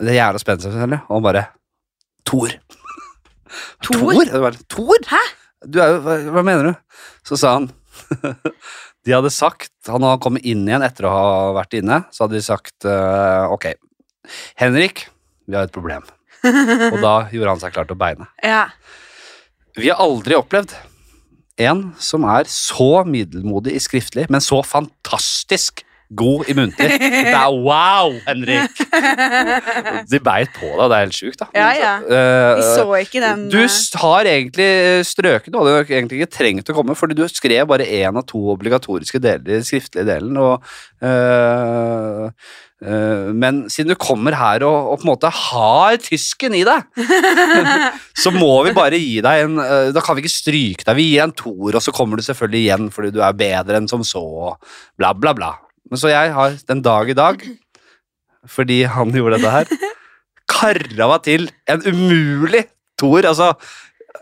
det er jævla spent selvfølgelig, og han bare (laughs) Tor.
Tor?
Jeg bare, Tor?
Hæ?
Du er jo, hva, hva mener du? Så sa han (laughs) De hadde sagt Han hadde kommet inn igjen etter å ha vært inne. Så hadde de sagt eh, Ok, Henrik, vi har et
(laughs)
problem. Og da gjorde han seg klar til å beine.
Ja.
Vi har aldri opplevd en som er så middelmodig i skriftlig, men så fantastisk god i muntlig. Det er wow,
(laughs)
Henrik! De beit på deg, og det er helt sjukt, da.
Ja, ja.
Eh,
Vi så ikke den
du
eh,
s- har egentlig eh, strøket noe, du har egentlig ikke trengt å komme, fordi du skrev bare én av to obligatoriske deler i den skriftlige delen, og øh, øh, Men siden du kommer her og, og på en måte har tysken i deg, (laughs) så må vi bare gi deg en øh, Da kan vi ikke stryke deg. Vi gir deg en toer, og så kommer du selvfølgelig igjen fordi du er bedre enn som så, og bla, bla, bla. Men så jeg har den dag i dag, fordi han gjorde dette
(laughs)
her, karra meg til en umulig toer. Altså,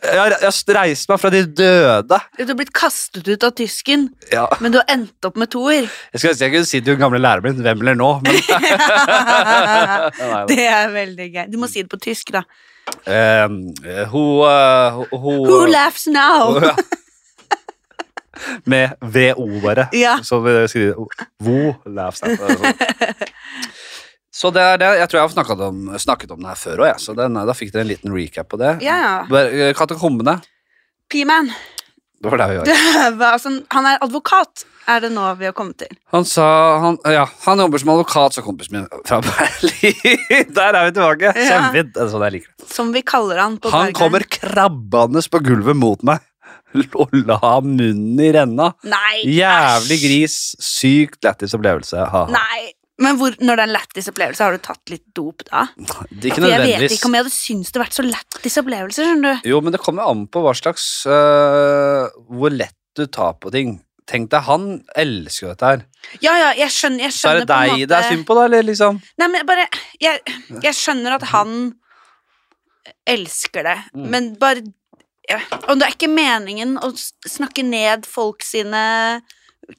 jeg har jeg har reist meg fra de døde.
Du har blitt kastet ut av tysken,
Ja.
men du har endt opp med
(laughs)
toer. (laughs)
Jeg skulle ønske jeg kunne si til den gamle læreren min hvem eller nå, men (laughs) Nei, da.
Det er veldig gøy. Du må si det på tysk, da.
Eh, Hun eh, hun-
Who
hun-
laughs
(laughs)
now?
Ja. Med VO, bare.
Ja.
Så vi skriver Wo laughs at. altså. Så det er det. Jeg tror jeg har snakket om, snakket om det her før òg, jeg. Så den, da fikk dere en liten recap på det.
Ja, ja.
Bare, eh, Katakombene.
P-man.
Det var der vi var.
Hva, altså, han er advokat, er det nå vi har kommet til.
Han sa han, Ja, han jobber som advokat, sa kompisen min fra (laughs) Berlin. Der er vi tilbake.
Ja.
Kjempefint. Det er sånn jeg liker det.
Som vi kaller han på
Han
Bergen.
kommer krabbende på gulvet mot meg (laughs) og la munnen i renna.
Nei,
Jævlig
æsj.
gris. Sykt lættis opplevelse. Ha, ha.
Nei. Men hvor, når det er en lættis opplevelse, har du tatt litt dop da?
Det er Ikke
For jeg vet
nødvendigvis.
ikke om jeg hadde syntes det vært så lættis opplevelse, skjønner du.
Jo, men det kommer an på hva slags øh, Hvor lett du tar på ting. Tenk deg, han elsker jo dette her.
Ja, ja, jeg skjønner, jeg
Så er
skjønner
det deg
på en måte
det er synd på, da? Eller liksom
Nei, men bare jeg, jeg skjønner at han elsker det,
Mm.
men bare ja. Og det er ikke meningen å s- snakke ned folk sine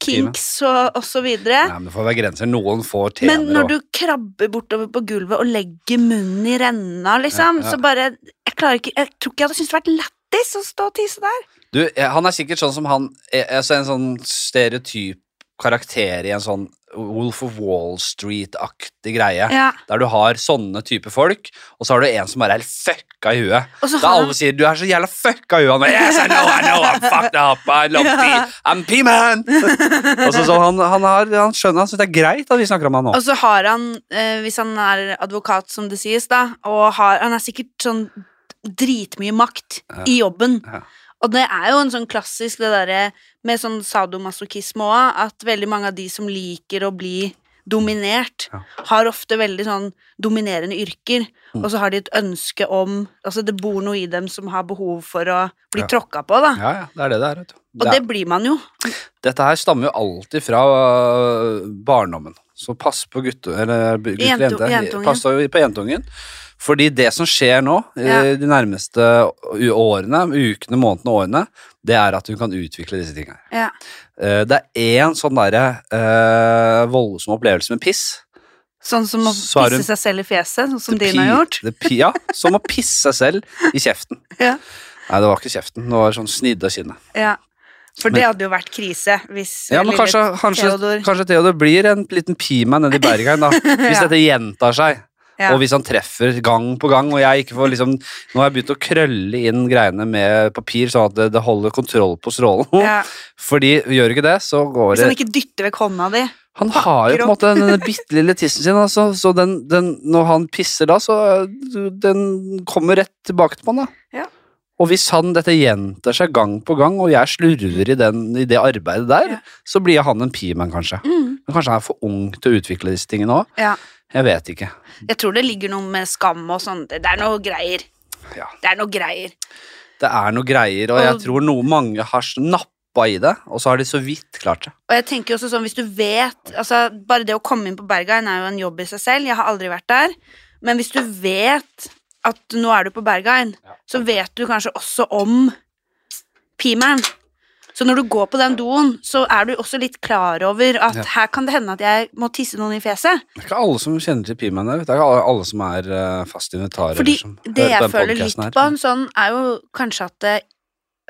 kinks og, og så videre.
Nei, men det får være grenser. Noen får tjener
Men når
og-
du krabber bortover på gulvet og legger munnen i renna, liksom,
Ja, ja.
så bare Jeg klarer ikke Jeg tror ikke jeg hadde syntes det vært lættis å stå og tisse der.
Du, eh, han er sikkert sånn som han eh, altså En sånn stereotyp karakter i en sånn Wolf of Wall Street-aktig greie.
Ja.
Der du har sånne type folk, og så har du en som bare er helt fucka i huet.
Og så
Da
har
alle sier 'du er så jævla fucka i huet', han bare 'yes, I know, I know, I'm fucked up, I love
Ja.
pee, I'm P-man'.
(laughs)
og så sånn, han, han, har, han skjønner, han syns det er greit at vi snakker om han nå.
Og så har han, eh, hvis han er advokat, som det sies, da, og har, han er sikkert sånn dritmye makt i jobben.
Ja.
Og det er jo en sånn klassisk det derre med sånn sadomasochisme òg, at veldig mange av de som liker å bli dominert,
Ja.
har ofte veldig sånn dominerende yrker,
Mm.
og så har de et ønske om Altså det bor noe i dem som har behov for å bli
Ja.
tråkka på, da.
Ja, ja, det er det det er. Vet du.
Og
Det
det
er-
blir man jo.
Dette her stammer jo alltid fra øh, barndommen. Så pass på gutte, eller, gutter og
Jento-
jenter.
jentungen.
Pass deg på jentungen. Fordi det som skjer nå, i
Ja.
de nærmeste u- årene, ukene, månedene og årene, det er at hun kan utvikle disse tingene.
Ja.
Eh, Det er én sånn derre eh, voldsom opplevelse med piss.
Sånn som å
Så er
pisse
hun-
seg selv i fjeset, sånn som
Det
din har
pi-
gjort.
det pi- ja, som å pisse seg selv i kjeften.
Ja.
Nei, det var ikke kjeften. Det var sånn snidde kinnet.
Ja, for
Men-
det hadde jo vært krise hvis
Ja, men
lille
kanskje, kanskje,
Theodor
kanskje Theodor blir en liten pima nedi Bergheim,
(laughs)
da. Hvis
Ja.
dette gjentar seg,
Ja.
og hvis han treffer gang på gang, og jeg ikke får liksom Nå har jeg begynt å krølle inn greiene med papir, sånn at det, det holder kontroll på strålen.
ja.
(laughs) Fordi gjør du ikke det, så går
Hvis
det
han ikke dytter vekk hånda di.
Han har jo på en måte den bitte lille tissen sin, altså, så den, den Når han pisser da, så øh, Den kommer rett tilbake til han, da.
Ja.
Og hvis han, dette gjentar seg gang på gang, og jeg slurver i, den, i det arbeidet der,
Ja. Mm.
så blir han en p-man, kanskje. Men kanskje han er for ung til å utvikle disse tingene òg?
Ja.
Jeg vet ikke.
Jeg tror det ligger noe med skam og sånn. Det er noe greier.
Ja.
Det er noe greier.
Det er noe greier, og jeg
Og-
tror noe mange har nappa i det, og så har de så vidt klart det.
Og jeg tenker også sånn, hvis du vet altså Bare det å komme inn på Bergheim er jo en jobb i seg selv. Jeg har aldri vært der. Men hvis du vet at nå er du på Bergheim, så vet du kanskje også om P-man. Så når du går på den doen, så er du også litt klar over at
Ja.
her kan det hende at jeg må tisse noen i fjeset.
Det er ikke alle som kjenner til P-man der. vet du. Det er ikke alle- alle som er eh, fast inventarer.
Fordi
eller som
det
liksom, hører på
jeg
den
føler
podcasten
litt
her.
på han sånn, er jo kanskje at det,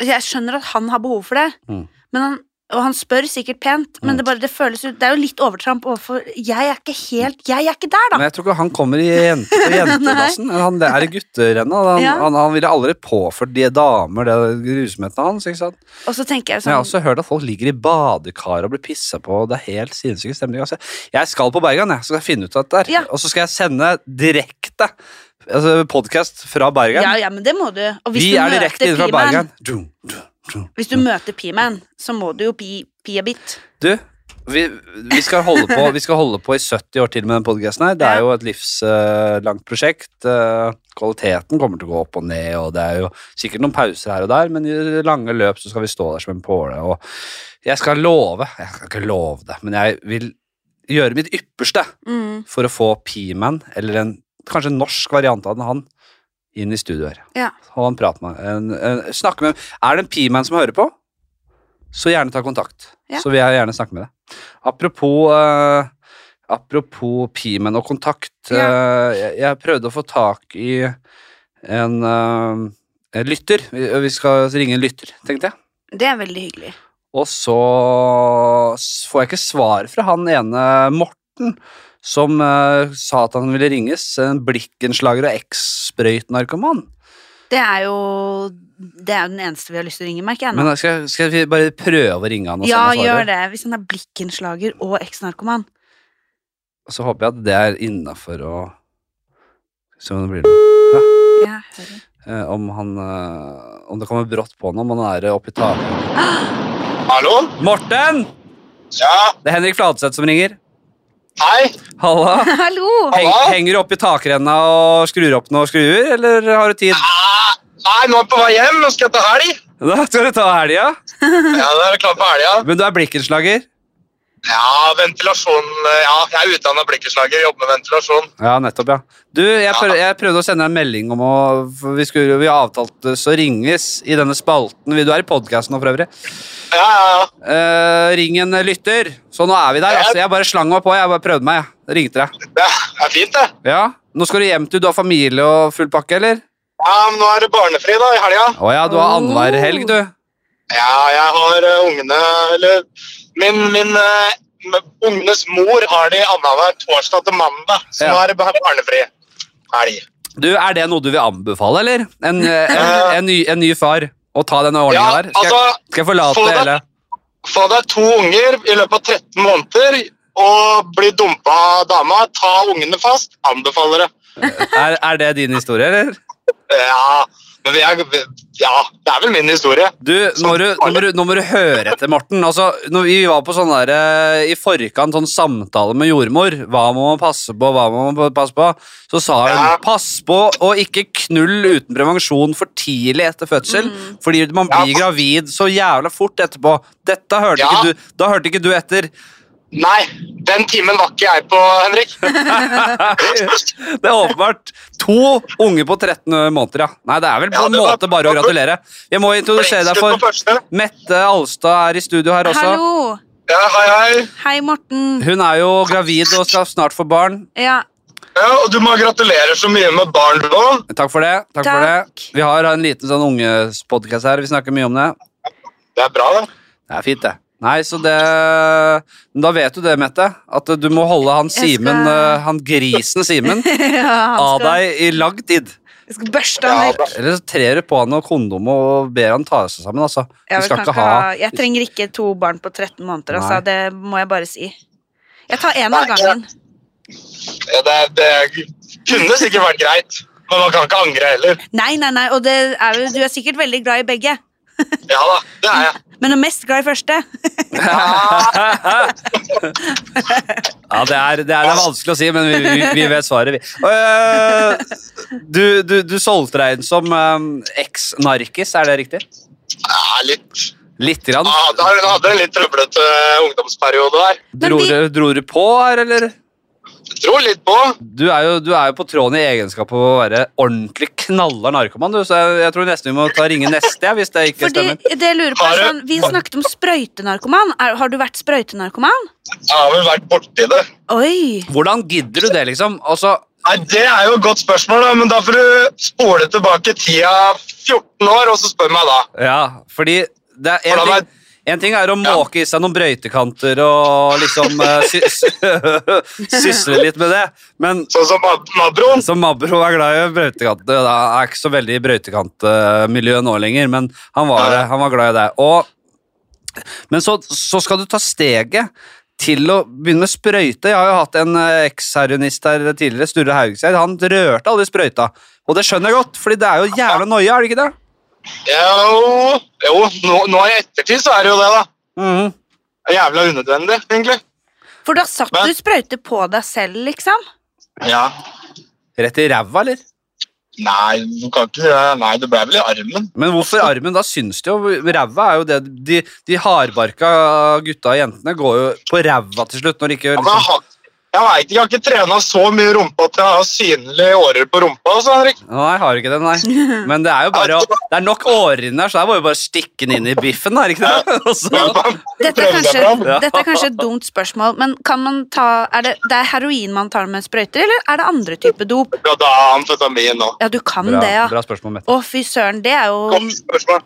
Jeg skjønner at han har behov for det,
Mm.
men han, og han spør sikkert pent,
Mm.
men det, bare, det føles jo Det er jo litt overtramp overfor Jeg er ikke helt Jeg er ikke der, da!
Men jeg tror ikke han kommer i jente
(laughs)
på jentedassen. Han, det er i gutterennet. Han,
Ja.
han, han ville aldri påført de damer det rusomheten hans. ikke sant?
Og så tenker jeg
Men jeg
sånn
har også hørt at folk ligger i badekar og blir pissa på. og Det er helt sinnssyk stemning. Altså, jeg skal på Bergan, jeg. Så skal jeg finne ut av dette. her.
Ja.
Og så skal jeg sende direkte altså podkast fra Bergan.
Ja, ja, men det må du. Og hvis
Vi
du
er direkte
møter
inne fra Mm.
P-man,
Bergan. Dum, dum, dum.
hvis du møter P-man, så må du jo pi, pi a bit.
Du, vi, vi, skal holde på, vi skal holde på i 70 år til med den podcasten her. Det
Ja.
er jo et livslangt prosjekt. Eh, Kvaliteten kommer til å gå opp og ned, og det er jo sikkert noen pauser her og der, men i det lange løp så skal vi stå der som en påle. Og jeg skal love, jeg skal ikke love det, men jeg vil gjøre mitt ypperste
Mm,
for å få P-man, eller en kanskje en norsk variant av den, han, inn i studio her.
Ja.
Og han prater med en, en, snakke med Er det en P-man som hører på, så gjerne ta kontakt.
Ja.
Så vil jeg gjerne snakke med deg. Apropos eh, Apropos P-man og kontakt. eh, jeg, jeg prøvde å få tak i en, eh, en lytter. Vi, vi skal ringe en lytter, tenkte jeg.
det er veldig hyggelig.
Og så s- får jeg ikke svar fra han ene Morten, som eh, sa at han ville ringes. En blikkenslager og eks-sprøytnarkoman.
Det er jo Det er jo den eneste vi har lyst til å ringe, merker jeg nå.
Men da skal, jeg- skal vi bare prøve å ringe han? Og
Ja,
se om han svarer?
gjør det. Hvis han er blikkenslager og eks-narkoman.
Så håper jeg at det er innafor å Se om det blir noe.
Ja, hører.
Eh, om han eh, Om det kommer brått på han, om han er oppi taket.
Hallo?
Morten!
Ja,
Det er Henrik Fladseth som ringer.
hei.
Halla.
(laughs) Hallo!
Heng,
Halla.
henger du oppi takrenna og skrur opp noen skruer, eller har du tid?
Ah, Nei, nå er jeg på vei hjem. Nå skal jeg ta helg.
Da skal du ta helga.
Ja, da er det klart for helga.
Men du er blikkenslager?
Ja, ventilasjon eh, Ja, jeg er utdanna blikkenslager, jobber med ventilasjon.
Ja, nettopp, ja. Du, jeg,
Ja.
prøv, jeg prøvde å sende deg en melding om å for Vi skulle vi avtalte så ringes i denne spalten. Du er i podkasten nå, for øvrig.
Ja, ja, ja.
Eh, ring en lytter. Så nå er vi der.
Ja.
altså. Jeg bare slang meg på. Jeg bare prøvde meg. jeg. Ringte deg.
Det er fint, det.
Ja, Nå skal du hjem til Du har familie og full pakke, eller?
Ja, men nå er det barnefri da, i helga.
Å ja, du har
Oh.
annenhver helg, du.
Ja, jeg har eh, ungene Eller min, min eh, m- Ungenes mor har de annenhver torsdag til mandag, så
Ja.
nå er det bare barnefri helg.
Du, Er det noe du vil anbefale, eller? En, (laughs) eh, en, en, ny, en ny far? Å ta denne
Ja,
ordninga der? Skal,
altså,
jeg- skal jeg forlate
få det.
hele
få deg to unger i løpet av 13 måneder og bli dumpa av dama. Ta ungene fast. Anbefaler det.
er, er det din historie, eller?
Ja, men vi er, ja, det er vel min historie.
Du, nå må du, nå må du, nå må du høre etter, Morten. Altså, når vi var på sånn der, eh, I forkant sånn samtale med jordmor Hva må man passe på, hva må man passe på? Så sa hun
Ja.
pass på å ikke knull uten prevensjon for tidlig etter fødsel. Fordi man
Ja.
blir gravid så jævla fort etterpå. Dette hørte
Ja.
ikke du, da hørte ikke du etter. (laughs)
Nei, den timen var ikke jeg på, Henrik.
Det er åpenbart to unge på 13 måneder, ja. Nei, det er vel på
Ja,
en
det var-
måte bare å gratulere. Jeg må introdusere deg
Blekkskudd på
for
første.
Mette Alstad er i studio her også.
Hallo!
Ja, hei, hei.
Hei, Morten.
Hun er jo gravid og skal snart få barn.
Ja, (laughs)
Ja, og du må gratulere så mye med barn du òg.
Takk for det. takk, for det.
Takk.
Vi har en liten sånn ungespodkast her. Vi snakker mye om det.
Det er bra, det.
Det er fint, det. Nei, så det Men da vet du det, Mette. At du må holde han
Jeg skal-
Simen, eh, han grisen Simen,
(laughs) ja han
av
skal,
deg i lang tid.
jeg skal børste
Ja,
han
bra.
vekk.
Eller så trer du på han og kondom og ber han ta seg sammen, altså.
Jeg,
Du
vil
skal
kan
ikke
ikke
ha
ha- jeg trenger ikke to barn på 13 måneder, altså.
Nei.
Det må jeg bare si. Jeg tar én av
Nei,
gangen.
Ja, det, det kunne sikkert vært greit, men man kan ikke angre heller.
Nei, nei, nei, og det er, jo- du er sikkert veldig glad i begge.
Ja da, det er jeg.
Men du er mest glad i første. (laughs)
Ja, det er, det er, det er vanskelig å si, men vi, vi, vi vet svaret, vi. Øh, du, du, du solgte deg inn som øh, eks-narkis, er det riktig?
Ja, litt.
Litt grann.
Ja, da hun hadde en litt trøblete ungdomsperiode der.
Dro,
Men vi-
du- dro du på her, eller?
Dro litt på.
Du er, jo, du er jo på tråden i egenskap av å være ordentlig knalla narkoman, du, så jeg, jeg tror nesten vi må ta ringe neste, ja, hvis det ikke
Fordi
stemmer.
det jeg lurer på
Har
er
du-
sånn, Vi snakket om sprøytenarkoman. Er, har du vært sprøytenarkoman?
Jeg har vel vært borti det.
Oi!
Hvordan gidder du det, liksom? Altså,
Nei, Det er jo et godt spørsmål, da, men da får du spole tilbake tida 14 år, og så spør meg da.
Ja, fordi det er en
Hvordan
ting, en ting er å måke i seg noen brøytekanter og liksom eh, sy sy- (laughs) sysle litt med det, men
Sånn som Mab- Mabroen.
som Mabro er glad i brøytekanter og Han er ikke så veldig i brøytekantmiljøet nå lenger, men han var, det, han var glad i det. Og, men så, så skal du ta steget til å begynne med sprøyte. Jeg har jo hatt en eh, eksheroinist her tidligere, Sturre Haugseid. Han rørte aldri sprøyta. Og det skjønner jeg godt, fordi det er jo jævla noia, er det ikke det?
Jo, jo nå, nå i ettertid så er det jo det, da.
Mhm.
Det er Jævla unødvendig, egentlig.
For da satt
Men-
du sprøyte på deg selv, liksom?
Ja.
Rett i ræva, eller?
Nei, du kan ikke gjøre- Nei, det ble vel i armen.
Men hvorfor armen? Da syns det jo Ræva er jo det De, de hardbarka gutta og jentene går jo på ræva til slutt når de ikke
Ja, men Jeg,
liksom,
har- jeg veit ikke, jeg har ikke trena så mye rumpe at jeg har synlige årer på rumpa. Altså, Henrik.
Nei, jeg har ikke det, nei. Men det er jo bare å Det er nok årer inni der, så der må jo bare stikke den inn i biffen, er det ikke det? (laughs) Og så,
Dette er,
Prøv deg
kanskje,
fram.
Ja.
dette er kanskje et dumt spørsmål, men kan man ta er det, det er heroin man tar med sprøyter, eller er det andre typer dop?
Ja, da er amfetamin nå.
Ja, du kan
bra,
det, ja.
bra spørsmål, Mette.
Å, fy søren, det er jo
Godt spørsmål.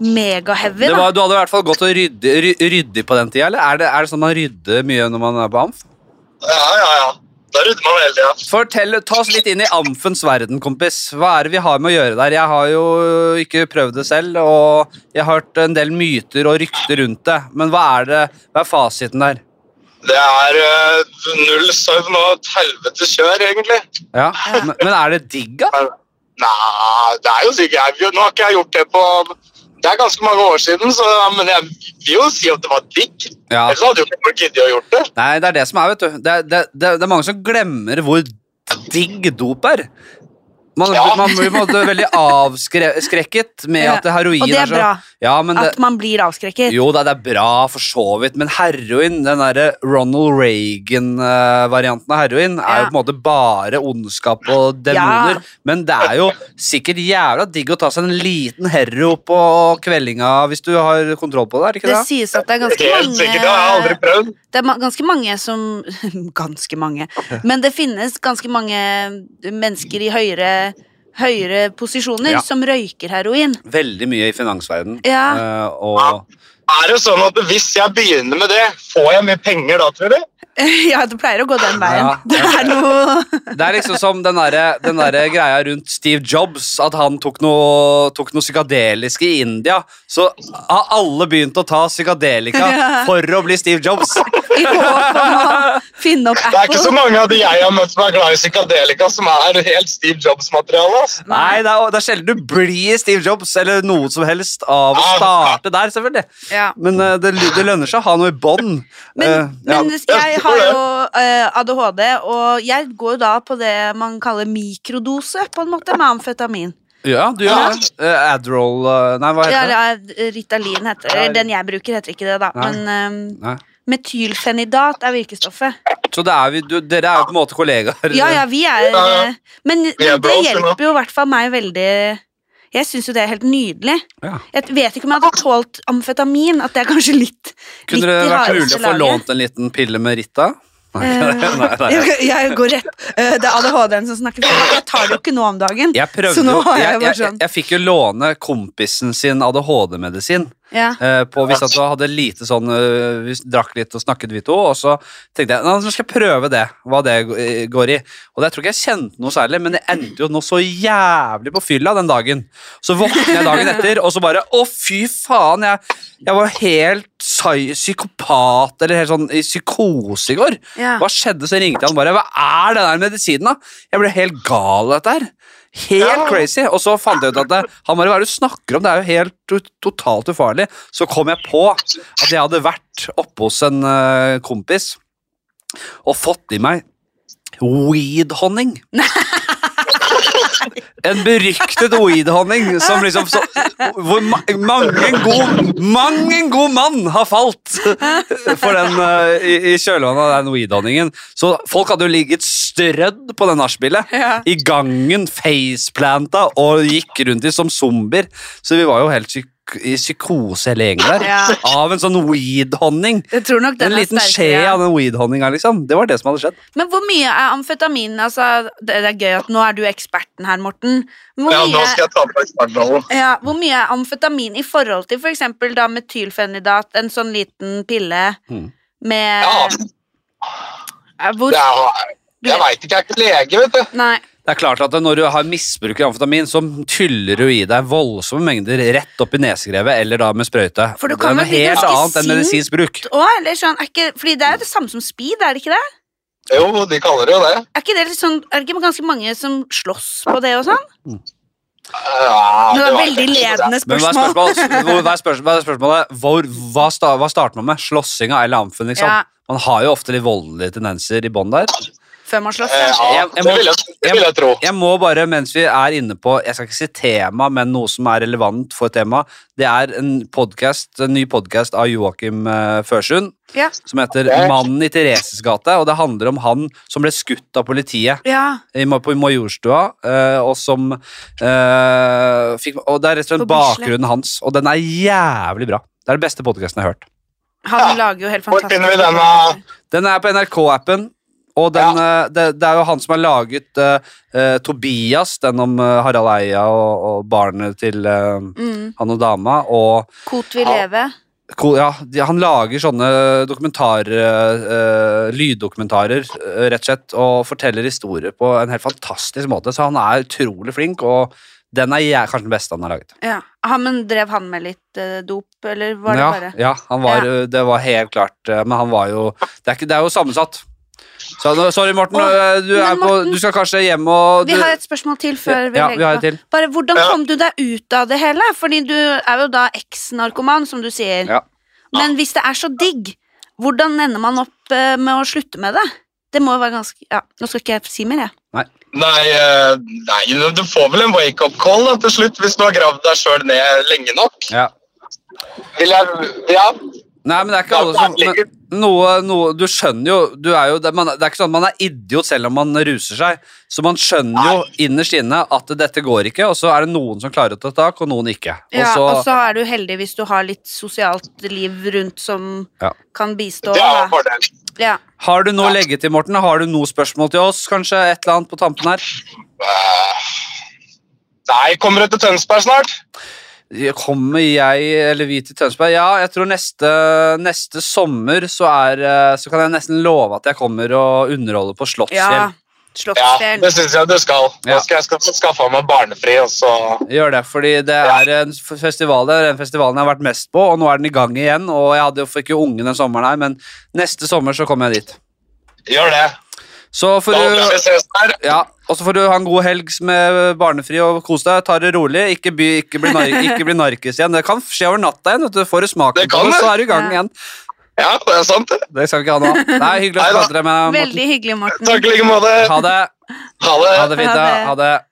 megaheavy,
Det
da.
var, du hadde i hvert fall gått og ryddig, ry- ryddig på den tida, eller? Er det, er det sånn man rydder mye når man er på amf?
Ja, ja, ja. Da rydder man veldig, ja.
Fortell, Ta oss litt inn i amfens verden, kompis. Hva er det vi har med å gjøre der? Jeg har jo ikke prøvd det selv, og jeg har hørt en del myter og rykter rundt det. Men hva er, det, hva er fasiten der?
Det er eh, null søvn og et helvetes kjør, egentlig.
Ja, Men men er det digg, da?
Nei, det er jo sikkert jeg, Nå har ikke jeg gjort det på Det er ganske mange år siden, så, men jeg vil jo si at det var digg.
Ja.
Ellers hadde jo ikke folk giddet å gjort det.
Nei, det er det som er, vet du. Det, er- det, det, det er mange som glemmer hvor digg dop er. Man,
Ja.
man blir på en måte veldig avskrekket med
Ja,
at heroin
og det er
så-
bra.
Ja, men det,
At man blir
(laughs)
avskrekket.
Jo da, det er bra for så vidt, men heroin, den derre Ronald Reagan-varianten av heroin, er
Ja.
jo på en måte bare ondskap og demoner.
Ja.
Men det er jo sikkert jævla digg å ta seg en liten hero på kveldinga hvis du har kontroll på det, er det ikke
Det
det?
sies at det er ganske
Helt
mange
sikkert, det har jeg aldri prøvd.
Det er ma- ganske mange som (laughs) Ganske mange. Men det finnes ganske mange mennesker i høyere høyere posisjoner
Ja.
som røyker heroin. (laughs)
Veldig mye i finansverdenen.
Ja.
eh, og
Er det sånn at hvis jeg begynner med det, får jeg mye penger da, tror du?
ja, det pleier å gå den veien.
Ja.
Det er noe
det er liksom som den derre den derre greia rundt Steve Jobs, at han tok noe, tok noe psykadelisk i India. Så har alle begynt å ta psykadelika
(laughs) Ja.
for å bli Steve Jobs.
i håp om å finne opp
Det er ikke
Apple.
så mange av de jeg har møtt som er glad i psykadelika, som er helt Steve Jobs-materiale. ass.
Nei, det er, det er sjelden du blir Steve Jobs eller noe som helst av å
Ah.
starte der, selvfølgelig.
Ja.
Men eh, det, det lønner seg å ha noe i bånn.
Men,
Eh, ja.
men jeg har jo eh, ADHD, og jeg går jo da på det man kaller mikrodose, på en måte, med amfetamin.
Ja, du
Ja.
gjør det. Eh, Adderall eh, Nei, hva heter det?
Ja, ja, Ritalin heter det.
Ja,
Den jeg bruker, heter ikke det, da.
Nei.
Men eh,
Nei.
metylfenidat er virkestoffet.
Så det er vi, du, dere er jo på en måte kollegaer.
Ja, ja, vi er
Ja, ja.
eh, Men men
Vi er
det
bros, vi nå.
hjelper jo i hvert fall meg veldig. Jeg syns jo det er helt nydelig.
Ja.
Jeg vet ikke om jeg hadde tålt amfetamin. At det er kanskje litt litt
Kunne det
i Eh,
vært mulig
hardeste
å få
laget.
lånt en liten pille med Rita? (laughs) Nei, nei,
(laughs)
nei, nei.
Jeg, jeg går rett Eh, Det er ADHD-en som snakker for meg. Jeg tar det jo ikke nå om dagen.
Jeg prøvde
Så nå
jo
har jeg
jeg,
bare
jeg, jeg,
sånn-
fikk jo låne kompisen sin ADHD-medisin.
Ja.
eh, på Hvis at du hadde lite sånn eh, Vi drakk litt og snakket, vi to. Og så tenkte jeg "Nei, nå skal jeg prøve det, hva det g- eh, går i. Og det, jeg tror ikke jeg kjente noe særlig, men det endte jo nå så jævlig på fylla den dagen. Så våkner jeg dagen etter, og så bare Å, fy faen! Jeg, jeg var helt psy psykopat, eller helt sånn i psykose i går.
Ja.
Hva skjedde? Så ringte han bare. Hva er det der medisinen, da? Jeg ble helt gal av dette her. Helt
Ja.
crazy. Og så fant jeg ut at det, han bare, hva er det du snakker om? Det er jo helt to- totalt ufarlig. Så kom jeg på at jeg hadde vært oppe hos en eh, kompis og fått i meg weed-honning. En beryktet weed-honning som liksom så, Hvor ma mange en god Mange en god mann har falt for den eh, i, i kjølvannet av den weed-honningen. Så folk hadde jo ligget strødd på den nachspielet.
Ja.
I gangen, faceplanta og gikk rundt i som zombier. Så vi var jo helt psyk i psykose hele gjengen der.
Ja.
Av en sånn weed-honning.
Jeg tror nok den
En
er
liten skje
sterkere.
av den weed-honninga, liksom. Det var det som hadde skjedd.
Men hvor mye er amfetamin? Altså, det, det er gøy at nå er du eksperten her, Morten. Hvor
Ja, nå
mye,
skal jeg ta på ekspertrollen.
ja, hvor mye er amfetamin i forhold til f.eks. eksempel da metylfenidat, en sånn liten pille
Mm.
med
Ja.
Eh, Hvor
Det er- Jeg veit ikke, jeg er ikke lege, vet du.
Nei.
Det er klart at når du har misbruker amfetamin, så tyller du i deg voldsomme mengder rett opp i nesegrevet eller da med sprøyte.
For du
det
kan
er noe
vel bli
helt
ganske
annet enn
sint.
medisinsk bruk.
Å, eller sånn, er ikke, fordi det er jo det samme som speed, er det ikke det?
Jo, de kaller det jo det.
Er ikke det litt sånn, er det ikke ganske mange som slåss på det og sånn?
Ja,
Det
Eh, det
var
var
veldig ledende
Men hva er
spørsmål.
spørsmålet? Hvor- Hva er spørsmålet? Hva, er spørsmålet? Hvor, hva, sta, hva starter man med? Slåssinga eller amfen, liksom?
Ja.
Man har jo ofte litt voldelige tendenser i bånn der.
Før man slåss,
Eh,
kanskje.
Ja,
Jeg- jeg
det
må-
vil jeg, det vil jeg tro.
Jeg må bare, mens vi er inne på Jeg skal ikke si tema, men noe som er relevant for temaet. Det er en, podcast, en ny podkast av Joakim eh, Førsund
Ja.
som heter
Ok.
'Mannen i Thereses gate'. Og det handler om han som ble skutt av politiet
Ja.
i, Ma- på Majorstua, eh, og som eh, fikk, Og det er rett og slett
På Bislett.
bakgrunnen hans, og den er jævlig bra. Det er den beste podkasten jeg har hørt.
Han
Ja.
lager jo helt
Hvor
fantastisk.
finner vi denne?
Den er på NRK-appen, og den, eh, det, det er jo han som har laget eh, eh, Tobias, den om eh, Harald Eia og, og barnet til eh,
Mm.
han og dama, og
Kot vil
Ja.
leve.
ko- ja, de, han lager sånne dokumentarer, eh, lyddokumentarer, eh, rett og slett, og forteller historier på en helt fantastisk måte, så han er utrolig flink, og den er jeg, kanskje den beste han har laget.
Ja. Han, men drev han med litt eh, dop, eller var det
ja,
bare
Ja, han var, det var helt klart eh, Men han var jo Det er, ikke, det er jo sammensatt. Så, nå- sorry, Morten.
Åh,
eh, du,
men
er på,
Morten-
du skal kanskje hjem og du,
Vi har et spørsmål til før vi
ja, vi har
legger
et
på.
til.
Bare hvordan
Ja.
kom du deg ut av det hele? Fordi du er jo da eks-narkoman, som du sier.
Ja.
Men hvis det er så digg, hvordan ender man opp eh, med å slutte med det? Det må jo være ganske Ja, nå skal ikke jeg si mer, jeg.
Nei, eh, nei, du får vel en wake-up call da, til slutt hvis du har gravd deg sjøl ned lenge nok.
Ja.
Vil jeg, ja,
Nei, men det er ikke alle som men, noe, noe, Du skjønner jo, du er jo det, man, det er ikke sånn at man er idiot selv om man ruser seg. Så man skjønner jo innerst inne at dette går ikke, og så er det noen som klarer å ta tak, og noen ikke. Og
Ja,
så,
og så er du heldig hvis du har litt sosialt liv rundt som
Ja.
kan bistå.
det er en
Da.
fordel.
Ja.
har du noe å legge til, Morten? Har du noe spørsmål til oss, kanskje? Et eller annet på tampen her?
Eh, Nei, kommer du til Tønsberg snart?
Kommer jeg eller vi til Tønsberg? Ja, jeg tror neste, neste sommer så, er, eh, så kan jeg nesten love at jeg kommer og underholder på
Ja.
Slottsfjell.
Ja,
Slottsfjell.
det syns jeg du skal.
Ja.
Nå skal jeg ska- skaffe meg barnefri, og så
Gjør det, fordi det er en f- festival det er den festivalen jeg har vært mest på, og nå er den i gang igjen. Og jeg hadde, fikk jo unge den sommeren her, men neste sommer så kommer jeg dit.
gjør det.
Så får
Da håper jeg
du
vi ses der.
ja, og så får du ha en god helg med barnefri og kos deg. Ta det rolig. Ikke, by, ikke, bli, nar ikke bli narkis igjen. Det kan skje over natta igjen. Vet du. Får du smaken
Det
på
kan
det,
det.
så er du i gang
Ja.
igjen.
Ja, det er sant, det.
Det skal vi ikke ha
(laughs)
nå. Nei, hyggelig å
Neida.
prate med deg, Morten.
Veldig hyggelig, Morten.
Takk i like måte.
Ha det.
Ha
Ha
det.
det fint. da.
Ha det.
Ha det.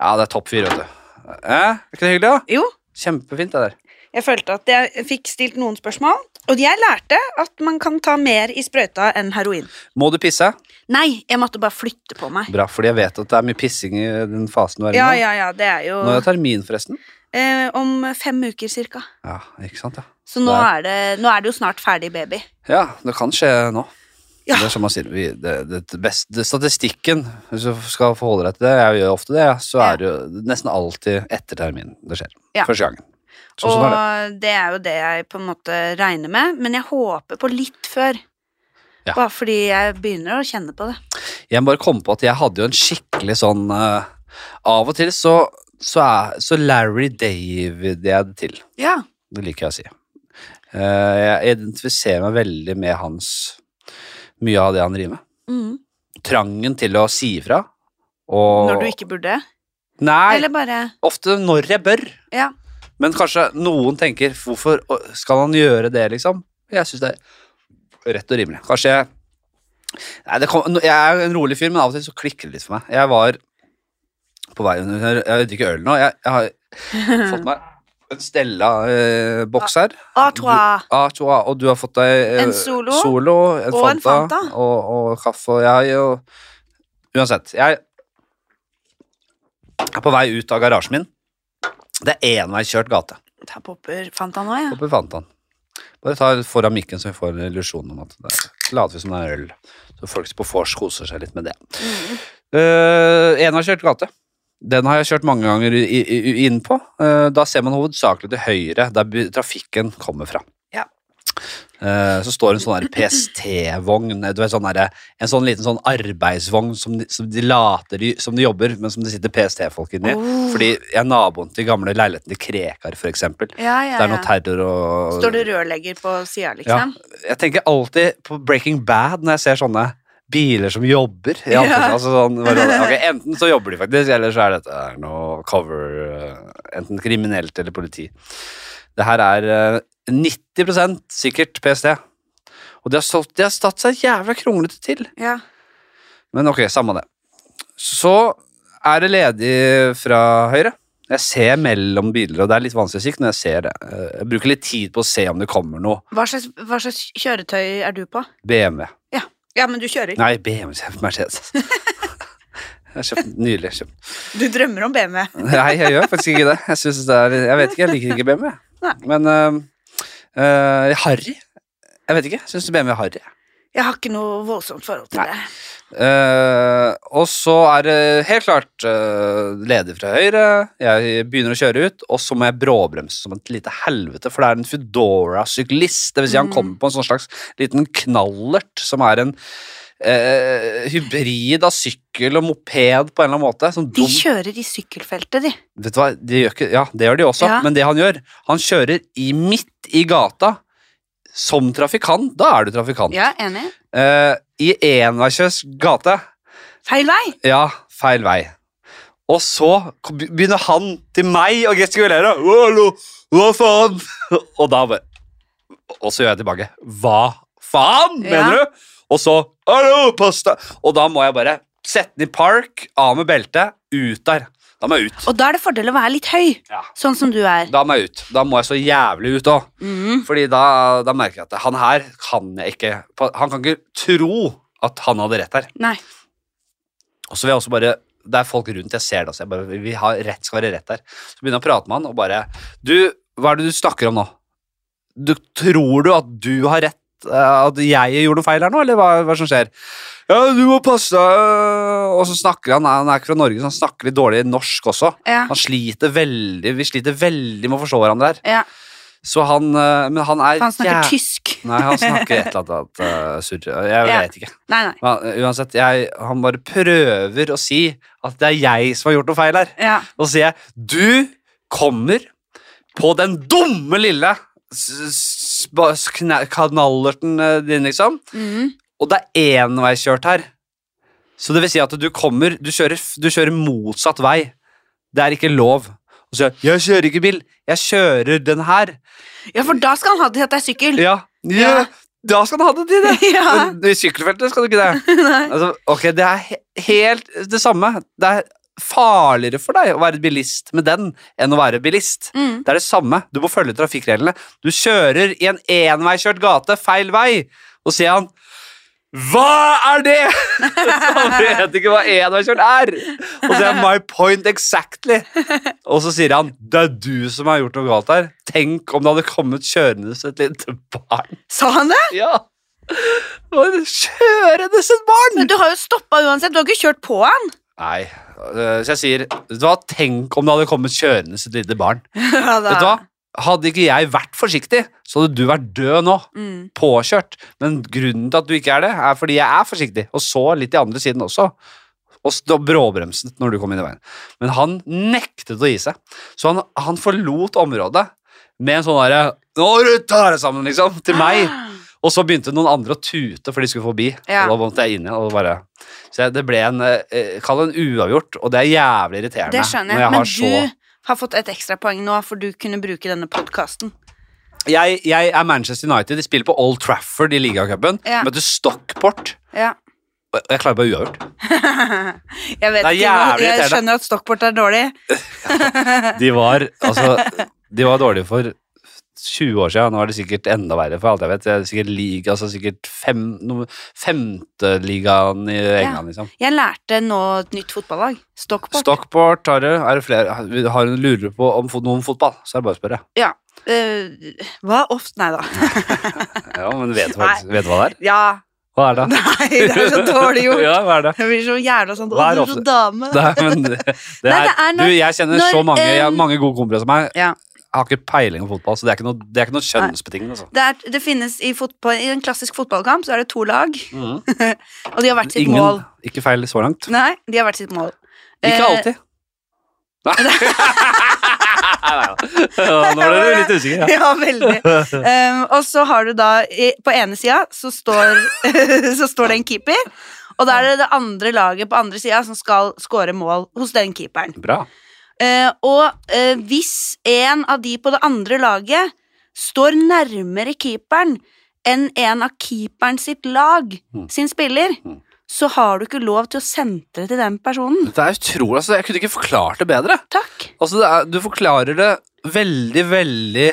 Ja, det er topp fyr, vet du. Eh, er ikke det hyggelig, da?
Jo,
Kjempefint, det der.
jeg følte at jeg fikk stilt noen spørsmål, og jeg lærte at man kan ta mer i sprøyta enn heroin.
Må du pisse?
Nei, jeg måtte bare flytte på meg.
Bra, fordi jeg vet at det er mye pissing i den fasen du er i
Ja,
nå.
ja, ja, det er jo
Nå er det termin, forresten.
eh, om fem uker cirka.
Ja, ikke sant, ja.
Så nå
Der.
er, det, nå er det jo snart ferdig baby.
Ja, det kan skje nå.
Ja.
Det er som man sier, vi, det, det beste, statistikken, hvis du skal forholde deg til det, jeg gjør ofte det, ja, så
Ja.
er det jo nesten alltid etter terminen det skjer.
Ja.
Første gangen. Så,
og
sånn er det.
det er jo det jeg på en måte regner med, men jeg håper på litt før.
Ja.
Bare fordi jeg begynner å kjenne på det.
Jeg bare kom på at jeg hadde jo en skikkelig sånn eh, Av og til så, så, er, så Larry David jeg det til.
Ja.
Det liker jeg å si. Eh, jeg identifiserer meg veldig med hans Mye av det han driver med.
Mm.
Trangen til å si ifra. Og
Når du ikke burde.
Nei,
Eller bare
ofte når jeg bør.
Ja.
Men kanskje noen tenker hvorfor skal han gjøre det, liksom? Jeg syns det er rett og rimelig. Kanskje jeg Nei, det kom, Jeg er en rolig fyr, men av og til så klikker det litt for meg. Jeg var på vei under Jeg drikker øl nå. Jeg, jeg har fått meg en Stella-boks her.
A trois.
Ah, Joa, og du har fått deg eh,
En Solo,
solo en
og en
Fanta,
Fanta.
Og, og kaffe. Og jeg og Uansett. Jeg er på vei ut av garasjen min. Det er enveiskjørt gate.
Ta popper Fanta nå, ja.
Oppe i Fantaen. Bare ta litt foran mikken, så vi får en illusjon om at det er, later vi som det er øl. Så folk på vors koser seg litt med det.
Mm.
Uh, en har kjørt gate. Den har jeg kjørt mange ganger i, i, i- inn på. Eh, da ser man hovedsakelig til høyre, der by- trafikken kommer fra.
Ja.
Eh, så står en sånn der PST-vogn, du vet, sånn derre- en sånn liten sånn arbeidsvogn som de, som de later de, som de jobber, men som det sitter PST-folk inni.
Oh.
Fordi jeg er naboen til gamle leiligheten til Krekar, for eksempel.
Ja, ja,
Det er noe
ja.
terror og
Står det rørlegger på sida, liksom?
jeg tenker alltid på Breaking Bad når jeg ser sånne biler som jobber. i
Ja.
anførsel. Altså sånn, bare, sånn,
(laughs)
ok, enten så jobber de faktisk, eller så er dette her noe cover eh, Enten kriminelt eller politi. Det her er eh, 90 sikkert PST. Og de har, solgt, de har tatt seg jævla kronglete til.
Ja.
Men ok, samme det. Så er det ledig fra høyre. Jeg ser mellom biler, og det er litt vanskelig å sikte, men jeg ser det. Eh, Jeg bruker litt tid på å se om det kommer noe.
Hva, slags, hva slags kjøretøy er du på?
BMW.
Ja, men du kjører.
Nei, BMW kjøpt Mercedes. Jeg kjøpt nylig kjøpt.
Du drømmer om BMW.
Nei, jeg gjør faktisk ikke det. Jeg, synes det er, jeg vet ikke, jeg liker ikke BMW.
Nei.
Men øhm, øh, Harry Jeg vet ikke. Jeg syns BMW er harry.
Jeg har ikke noe voldsomt forhold til
Nei.
det.
Eh, og så er det helt klart eh, ledig fra høyre. Jeg begynner å kjøre ut, og så må jeg bråbremse som et lite helvete, for det er en Foodora-syklist. Det vil si han
Mm.
kommer på en sånn slags liten knallert, som er en eh, hybrid av sykkel og moped på en eller annen måte. Sånn
De
dum
kjører i sykkelfeltet, de.
Vet du hva, de gjør ikke, ja, det gjør de også,
Ja.
men det han gjør, han kjører i midt i gata som trafikant, da er du trafikant.
Ja, enig.
Eh, I enveiskjøs gate,
Feil vei!
ja, feil vei. Og så kom- begynner han til meg å gestikulere. Hallo, hva faen? (laughs) Og da bare Og så gjør jeg tilbake. Hva faen,
Ja.
mener du? Og så Hallo, pass deg! Og da må jeg bare sette den i park, av med beltet, ut der. Da må jeg ut.
Og da er det fordel å være litt høy,
Ja.
sånn som du er.
Da må jeg ut. Da må jeg så jævlig ut òg.
Mm.
Fordi da, da merker jeg at han her kan jeg ikke Han kan ikke tro at han hadde rett her.
Nei.
Og så vil jeg også bare Det er folk rundt, jeg ser det også. Jeg bare, vi har rett skal være rett her. Så begynner jeg å prate med han og bare Du, hva er det du snakker om nå? Du, tror du at du har rett? eh, At jeg gjorde noe feil her nå, eller hva, hva som skjer? Ja, du må passe deg eh, Og så snakker han, han er ikke fra Norge, så han snakker litt dårlig norsk også.
Ja.
Han sliter veldig, Vi sliter veldig med å forstå hverandre her.
ja.
Så han eh, Men han er
For han snakker
jæv-
tysk.
Nei, han snakker et eller annet uh, surr. Jeg
Ja.
vet ikke.
Nei, nei.
Men, eh, uansett, jeg, han bare prøver å si at det er jeg som har gjort noe feil her.
Ja.
Og så sier jeg Du kommer på den dumme lille s- s- ba- s- kna- kanallerten eh, din, liksom.
Mhm.
Og det er enveiskjørt her. Så det vil si at du kommer Du kjører, f- du kjører motsatt vei. Det er ikke lov. Og så sier jeg, jeg kjører ikke bil. Jeg kjører den her.
ja, for da skal han ha det til at det er sykkel.
Ja, ja.
Ja.
da skal du ha det til det.
Ja.
Men i sykkelfeltet skal du ikke det.
(laughs) Nei.
Altså, ok, det er he helt det samme. Det er farligere for deg å være bilist med den enn å være bilist.
Mm.
Det er det samme. Du må følge trafikkreglene. Du kjører i en enveiskjørt gate feil vei, og sier han Hva er det?! (laughs) Han vet ikke hva enveiskjørt er! Og det er my point exactly. Og så sier han det er du som har gjort noe galt her. Tenk om det hadde kommet kjørende et lite barn. (laughs)
Sa han det?
Ja! Det var Kjørende et barn!
Men du har jo stoppa uansett. Du har ikke kjørt på han. (laughs)
Nei. øh, Så jeg sier hva, tenk om det hadde kommet kjørende et lite barn.
Ja, da.
Vet du hva? Hadde ikke jeg vært forsiktig, så hadde du vært død nå.
Mm.
Påkjørt. Men grunnen til at du ikke er det, er fordi jeg er forsiktig, og så litt i andre siden også. Og så bråbremset når du kom inn i veien. Men han nektet å gi seg. Så han, han forlot området med en sånn derre Nå må du ta deg sammen, liksom! Til meg.
Ah!
Og så begynte noen andre å tute for de skulle forbi.
Ja.
Og da måtte jeg inn igjen. og bare... Så jeg, det ble en eh, eh, Kall det en uavgjort, og det er jævlig irriterende.
Det skjønner
når
jeg.
jeg
Men
har så
du har fått et ekstrapoeng nå, for du kunne bruke denne podkasten.
jeg, jeg er Manchester United. De spiller på Old Trafford i ligacupen.
Ja.
Møter Stockport.
Ja.
Og Jeg klarer bare uavgjort.
Jeg vet
Det er
ikke, nå-
jævlig irriterende.
jeg skjønner at Stockport er dårlig.
De var, altså,
(laughs)
de var dårlige for 20 år siden. Nå er det sikkert enda verre, for alt jeg vet. Det er sikkert liga, altså sikkert fem, nummer- femteligaen i England, liksom.
Jeg lærte nå et nytt fotballag. Stockport.
Stockport har det. Er det flere Har hun lurer på om fot- noe om fotball, så er det bare å spørre.
Eh, hva ofte Nei da.
Ja, men vet du hva, vet du hva det er?
Ja.
Hva er det? da?
Nei, det er så dårlig gjort.
(laughs) ja, hva er det?
Jeg blir så jævla sånn Å,
Hva er
du er så
ofte-
dame.
Nei, men det, det,
Nei, det
er,
er når-
du, jeg kjenner så
når,
mange jeg har
em,
mange gode kompiser som meg.
Ja.
Jeg har ikke peiling på fotball, så det er ikke noe, det er ikke noe kjønnsbetingende. Altså.
Det, er, det finnes i, fotball, I en klassisk fotballkamp så er det to lag,
Mhm.
og de har hvert sitt mål.
Ingen, ikke feil så langt.
Nei, de har hvert sitt mål.
Ikke
Eh, (laughs)
alltid. Nei. Nei, Nå ble du litt usikker. Ja.
(laughs) Ja, veldig. Um, og så har du da i, På ene sida så står, (laughs) så står det en keeper, og da er det det andre laget på andre sida som skal score mål hos den keeperen.
Bra.
Eh, og eh, hvis en av de på det andre laget står nærmere keeperen enn en av keeperen sitt lag
Mm.
sin spiller,
Mm.
så har du ikke lov til å sentre til den personen.
Det er utrolig, altså. Jeg kunne ikke forklart det bedre.
Takk.
Altså, det er, du forklarer det veldig, veldig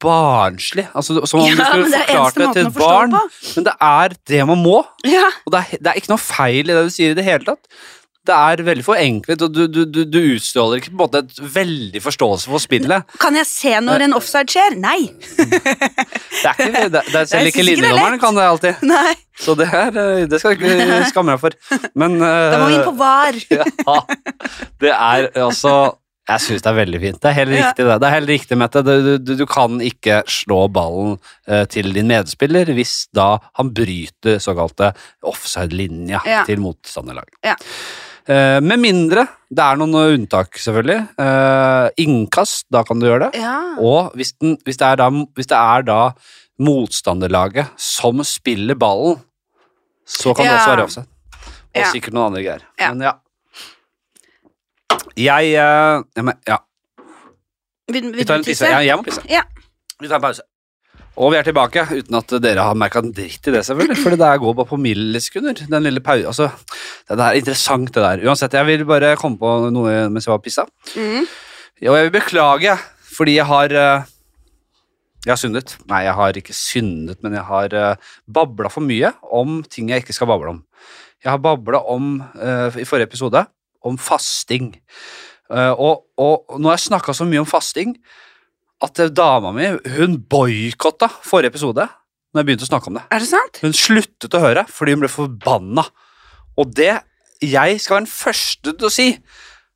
barnslig. Altså, som om du
Ja, men
skulle
det er
forklart
eneste
det til
måten å
et
forstå det
barn.
på.
Men det er det man må.
Ja.
Og det er, he- det er ikke noe feil i det du sier i det hele tatt. Det er veldig forenklet, og du, du, du, du utstråler ikke på en måte et veldig forståelse for spillet.
Kan jeg se når en offside skjer? Nei. (laughs)
Det er ikke, det, det, selv ikke
Jeg synes ikke det er
linjedommeren kan det alltid.
Nei.
Så det, er, eh, det skal du ikke skamme deg for. Men
Da må vi inn på VAR.
(laughs) ja, Det er altså Jeg syns det er veldig fint. Det er helt
Ja.
riktig, det. Det er helt riktig, Mette. Du, du- du, du kan ikke slå ballen eh, til din medspiller hvis da han bryter såkalte offside-linja
Ja.
til motstanderlaget.
Ja.
Eh, med mindre Det er noen eh, unntak, selvfølgelig. Eh, innkast, da kan du gjøre det.
Ja.
Og hvis, den, hvis, det er da, hvis det er da motstanderlaget som spiller ballen, så kan det
Ja.
også være offside. Og
Ja.
sikkert noen andre greier.
Ja.
Men ja. Jeg, eh, jeg men, Ja,
Vil, vil
vi tar
du
en tisse.
tisse?
Jeg, jeg må pisse.
Ja.
Vi tar en pause. Og vi er tilbake, uten at dere har merka en dritt i det, selvfølgelig. For det der går bare på millisekunder. Den lille pau... Altså, det der er interessant, det der. Uansett, jeg vil bare komme på noe mens jeg var og pissa.
Mm.
Ja, Og jeg vil beklage, fordi jeg har eh, Jeg har syndet. Nei, jeg har ikke syndet, men jeg har uh, babla for mye om ting jeg ikke skal bable om. Jeg har babla om, eh, i forrige episode, om fasting. Eh, og, og nå har jeg snakka så mye om fasting at eh, dama mi hun boikotta forrige episode når jeg begynte å snakke om det.
Er det sant? (laughs)
Hun sluttet å høre fordi hun ble forbanna. Og det Jeg skal være den første til å si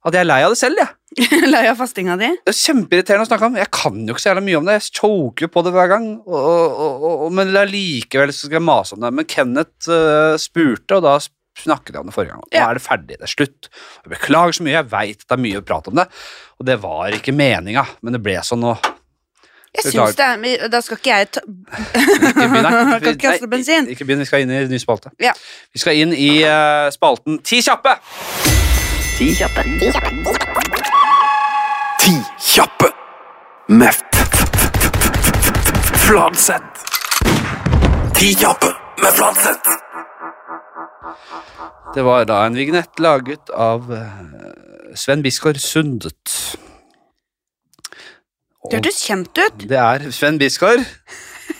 at jeg er lei av det selv, jeg.
Lei av fastinga di?
Det er kjempeirriterende å snakke om. Jeg kan jo ikke så jævla mye om det. Jeg choker jo på det hver gang. Og, og, og, og- men likevel så skal jeg mase om det. Men Kenneth øh, spurte, og da sp- snakket jeg om det forrige gang. Nå
Ja.
er det ferdig. Det er slutt. Jeg beklager så mye. Jeg veit det er mye å prate om det. Og det var ikke meninga, men det ble sånn. Og
Jeg
Beklager.
syns det er men Da skal ikke jeg ta
ikke begynn, nei.
(laughs) Kan ikke kaste
Nei,
bensin.
Ikke begynn. Vi skal inn i ny spalte.
Ja.
Vi skal inn i øh, spalten Ti kjappe.
Ti kjappe med f- f- f- f- f- Fladseth. Ti kjappe med Fladseth.
Det var da en vignett laget av eh, Sven Biskår Sundet.
Det hørtes kjent ut.
Det er Sven Biskår.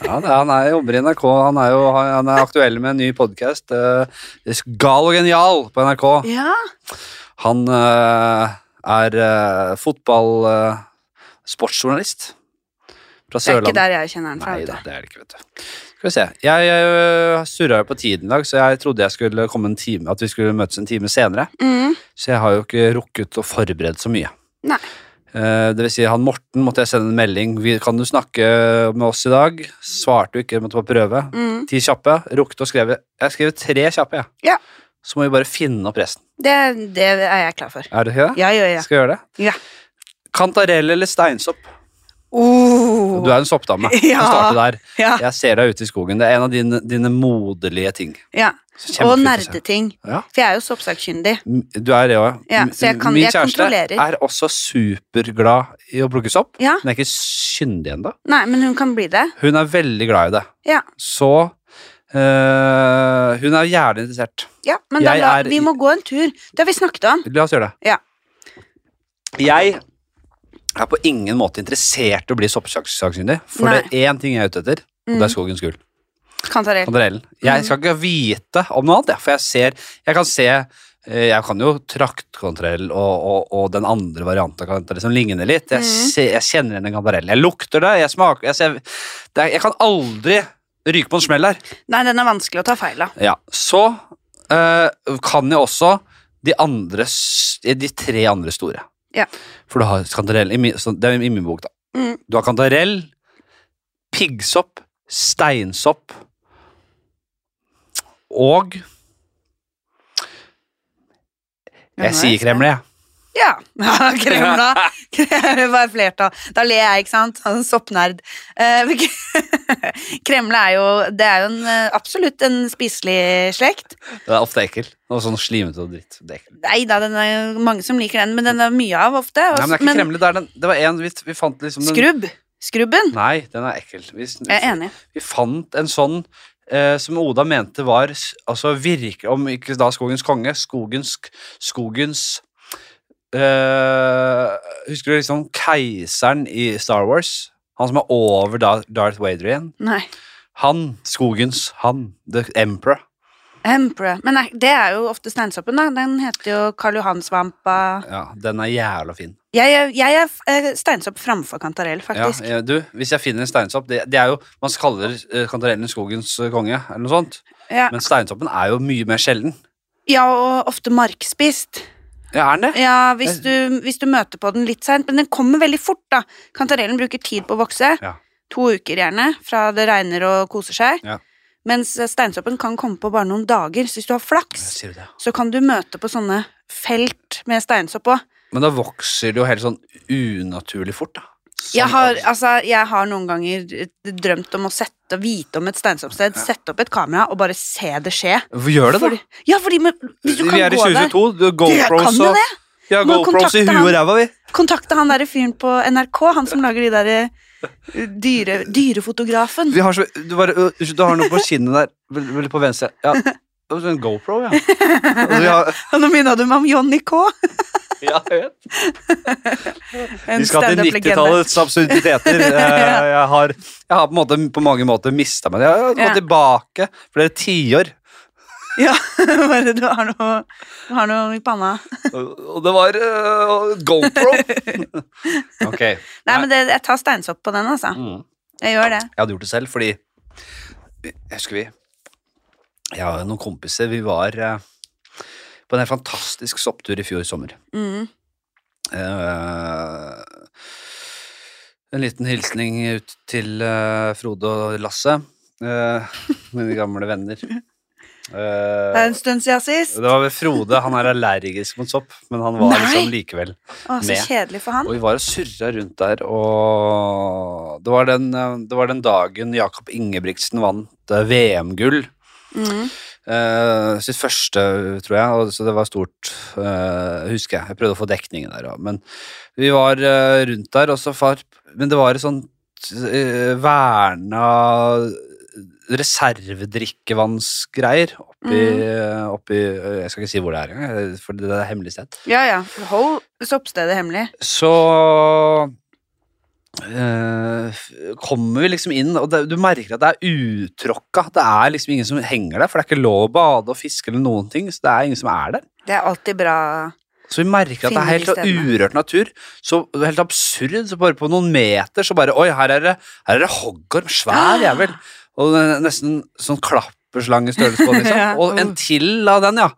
Ja, det er, han er, jobber i NRK. Han er, jo, han er aktuell med en ny podkast. Gal og genial på NRK.
Ja.
Han eh, er eh, fotball... eh, sportsjournalist fra
Det er ikke
Sørlandet.
der jeg kjenner den fra.
Nei da,
vet du.
det er det ikke, vet du. Skal vi se. Jeg, jeg surra jo på tiden i dag, så jeg trodde jeg skulle komme en time, at vi skulle møtes en time senere.
Mm.
Så jeg har jo ikke rukket å forberede så mye.
Nei.
Eh, Det vil si, han Morten måtte jeg sende en melding. Vi- Kan du snakke med oss i dag? Svarte jo ikke, måtte bare prøve.
Mm.
Ti kjappe. Rukket å skrive. Jeg skrev tre kjappe, jeg.
Ja.
Så må vi bare finne opp resten.
Det, det er jeg klar for.
Er du ikke det?
Ja, ja, ja.
Skal jeg gjøre det?
Ja.
Kantarell eller steinsopp?
Oh.
Du er en
(laughs)
soppdame. Vi
Ja.
kan starte der.
ja,
Jeg ser deg ute i skogen. Det er en av dine, dine moderlige ting.
ja.
Så
Og
kjempefint å se.
nerdeting.
Ja.
For jeg er jo soppsakkyndig.
M- Du er det òg.
Ja, så jeg kan-
Min
jeg
kjæreste
kontrollerer.
er også superglad i å plukke sopp.
Ja.
Hun er ikke kyndig ennå.
Nei, men hun kan bli det.
Hun er veldig glad i det.
Ja.
Så øh, Hun er gjerne interessert.
Ja, men da,
Jeg
la,
er-
vi må gå en tur. Det har vi snakket om.
La oss gjøre det.
Ja.
Jeg er på ingen måte interessert i å bli soppsakkyndig, for
Nei.
det er én ting jeg er ute etter, og det
Mm.
er skogens gull.
Kantarell.
Kantarellen. Jeg skal ikke vite om noe annet, jeg, for jeg ser Jeg kan se eh, jeg kan jo traktkantarell og, og, og den andre varianten av kantarell som ligner litt. Jeg,
Mm.
ser, jeg kjenner igjen en kantarell. Jeg lukter det, jeg smaker Jeg, ser, det er, jeg kan aldri ryke på en smell her.
Nei, den er vanskelig å ta feil av.
Ja, så eh, kan jeg også de, andre, s- eh, de tre andre store.
Ja.
For du har kantarell i min, så Det er i min bok, da.
Mm.
Du har kantarell, piggsopp, steinsopp og
Ja, nå er
Jeg sier
jeg
kremle, jeg.
Ja. (laughs) Kremla. (laughs) Det var flertall. Da ler jeg, ikke sant? Han er en soppnerd. Eh, (laughs) men k- Kremla er jo Det er jo en, eh, absolutt en spiselig slekt.
Det er ofte ekkel. Og sånn slimete og dritt. Det er ekkelt.
Nei da, den er jo mange som liker den, men den er mye av ofte.
Nei, men det er ikke kremle. Det, er den, det var en vi, vi fant liksom den,
skrubb. Skrubben.
Nei, den er ekkel. Vi,
Jeg er enig.
Vi fant en sånn eh, som Oda mente var s- altså virke, Om ikke da skogens konge, skogens skogens eh, Husker du liksom keiseren i Star Wars? Han som er over da, Darth Vader igjen?
Nei.
Han, skogens, han, the emperor.
Emperor. Men nei, det er jo ofte steinsoppen, da. Den heter jo Karl Johansvampa.
Ja, Den er jævla fin.
Jeg, er- jeg er eh, steinsopp framfor kantarell,
Ja,
faktisk.
eh, du, Hvis jeg finner en steinsopp det, det er jo, Man kaller eh, kantarellen skogens eh, konge, eller noe sånt.
Ja,
Men steinsoppen er jo mye mer sjelden.
ja og ofte markspist.
Ja, er den det?
Ja, hvis du, hvis du møter på den litt seint, men den kommer veldig fort, da. Kantarellen bruker tid på å vokse.
Ja.
To uker, gjerne, fra det regner og koser seg.
Ja.
Mens eh, steinsoppen kan komme på bare noen dager. Så hvis du har flaks,
Sier du det?
så kan du møte på sånne felt med steinsopp òg.
Men da vokser det jo helt sånn unaturlig fort, da. Sånn
Jeg har,
at-
altså, jeg har noen ganger drømt om å sette, vite om et steinsoppsted, sette opp et kamera og bare se det skje.
Hvor Gjør det, da?
Fordi, ja, fordi men, hvis du kan
vi er i
gå der
2022. Du har
Jeg kan
GoPros
jo
og
det!
Vi har
Må
GoPros i
kontakte
huet og ræva, vi.
Kontakte han derre fyren på NRK, han som lager de derre eh, dyre, dyrefotografen.
vi har så, du, bare, øh, unnskyld, du har noe på kinnet der. Vel, vel på venstre.
(laughs)
Ja. Det var sånn GoPro, ja. Altså, vi har,
Og (laughs) nå minna du meg om Johnny K.
ja jeg vet.
En
Vi skal til
standup-legende.
90-tallets (laughs) absurditeter. Eh, Jeg har, jeg har på, en måte, på mange måter mista meg. Jeg har gått
Ja.
tilbake flere tiår.
(laughs) Ja, bare du har noe, du har noe i panna.
Og det var eh, GoPro.
(laughs)
(laughs) Ok.
Nei, men det, jeg tar steinsopp på den, altså.
Mm.
Jeg gjør det.
Jeg hadde gjort det selv, fordi Jeg husker vi Jeg og noen kompiser, vi var eh, på en helt fantastisk sopptur i fjor sommer.
Mm.
Eh, en liten hilsning ut til eh, Frode og Lasse, eh, mine gamle venner. Eh,
(laughs) Det er en stund siden sist.
det var vel Frode. Han er allergisk mot sopp, men han var
Nei!
liksom likevel.
Å, så
med.
kjedelig for
Og
han.
vi var og surra rundt der, og det var den, eh, det var den dagen Jakob Ingebrigtsen vant eh, VM-gull.
Mm.
Eh, sitt første, tror jeg, og, så det var stort, eh, husker jeg. Jeg prøvde å få dekningen der òg, men vi var eh, rundt der, og så far Men det var et sånt eh, verna reservedrikkevannsgreier oppi, eh, oppi eh, Jeg skal ikke si hvor det er engang, eh, for det er hemmelig sted.
Ja, ja. Hold soppstedet hemmelig.
Så eh, f- kommer vi liksom inn, og det, du merker at det er utråkka. Det er liksom ingen som henger der, for det er ikke lov å bade og fiske eller noen ting. Så det er ingen som er der.
Det er alltid bra. (laughs)
Så vi merker at det er
Finner de
helt sånn
stedene.
urørt natur. Så det er helt absurd. Så bare på noen meter så bare Oi, her er det, her er det hoggorm. Svær jævel. Og den er nesten sånn klapperslangestørrelse på den, liksom.
(laughs) Ja.
Og en til av den, ja.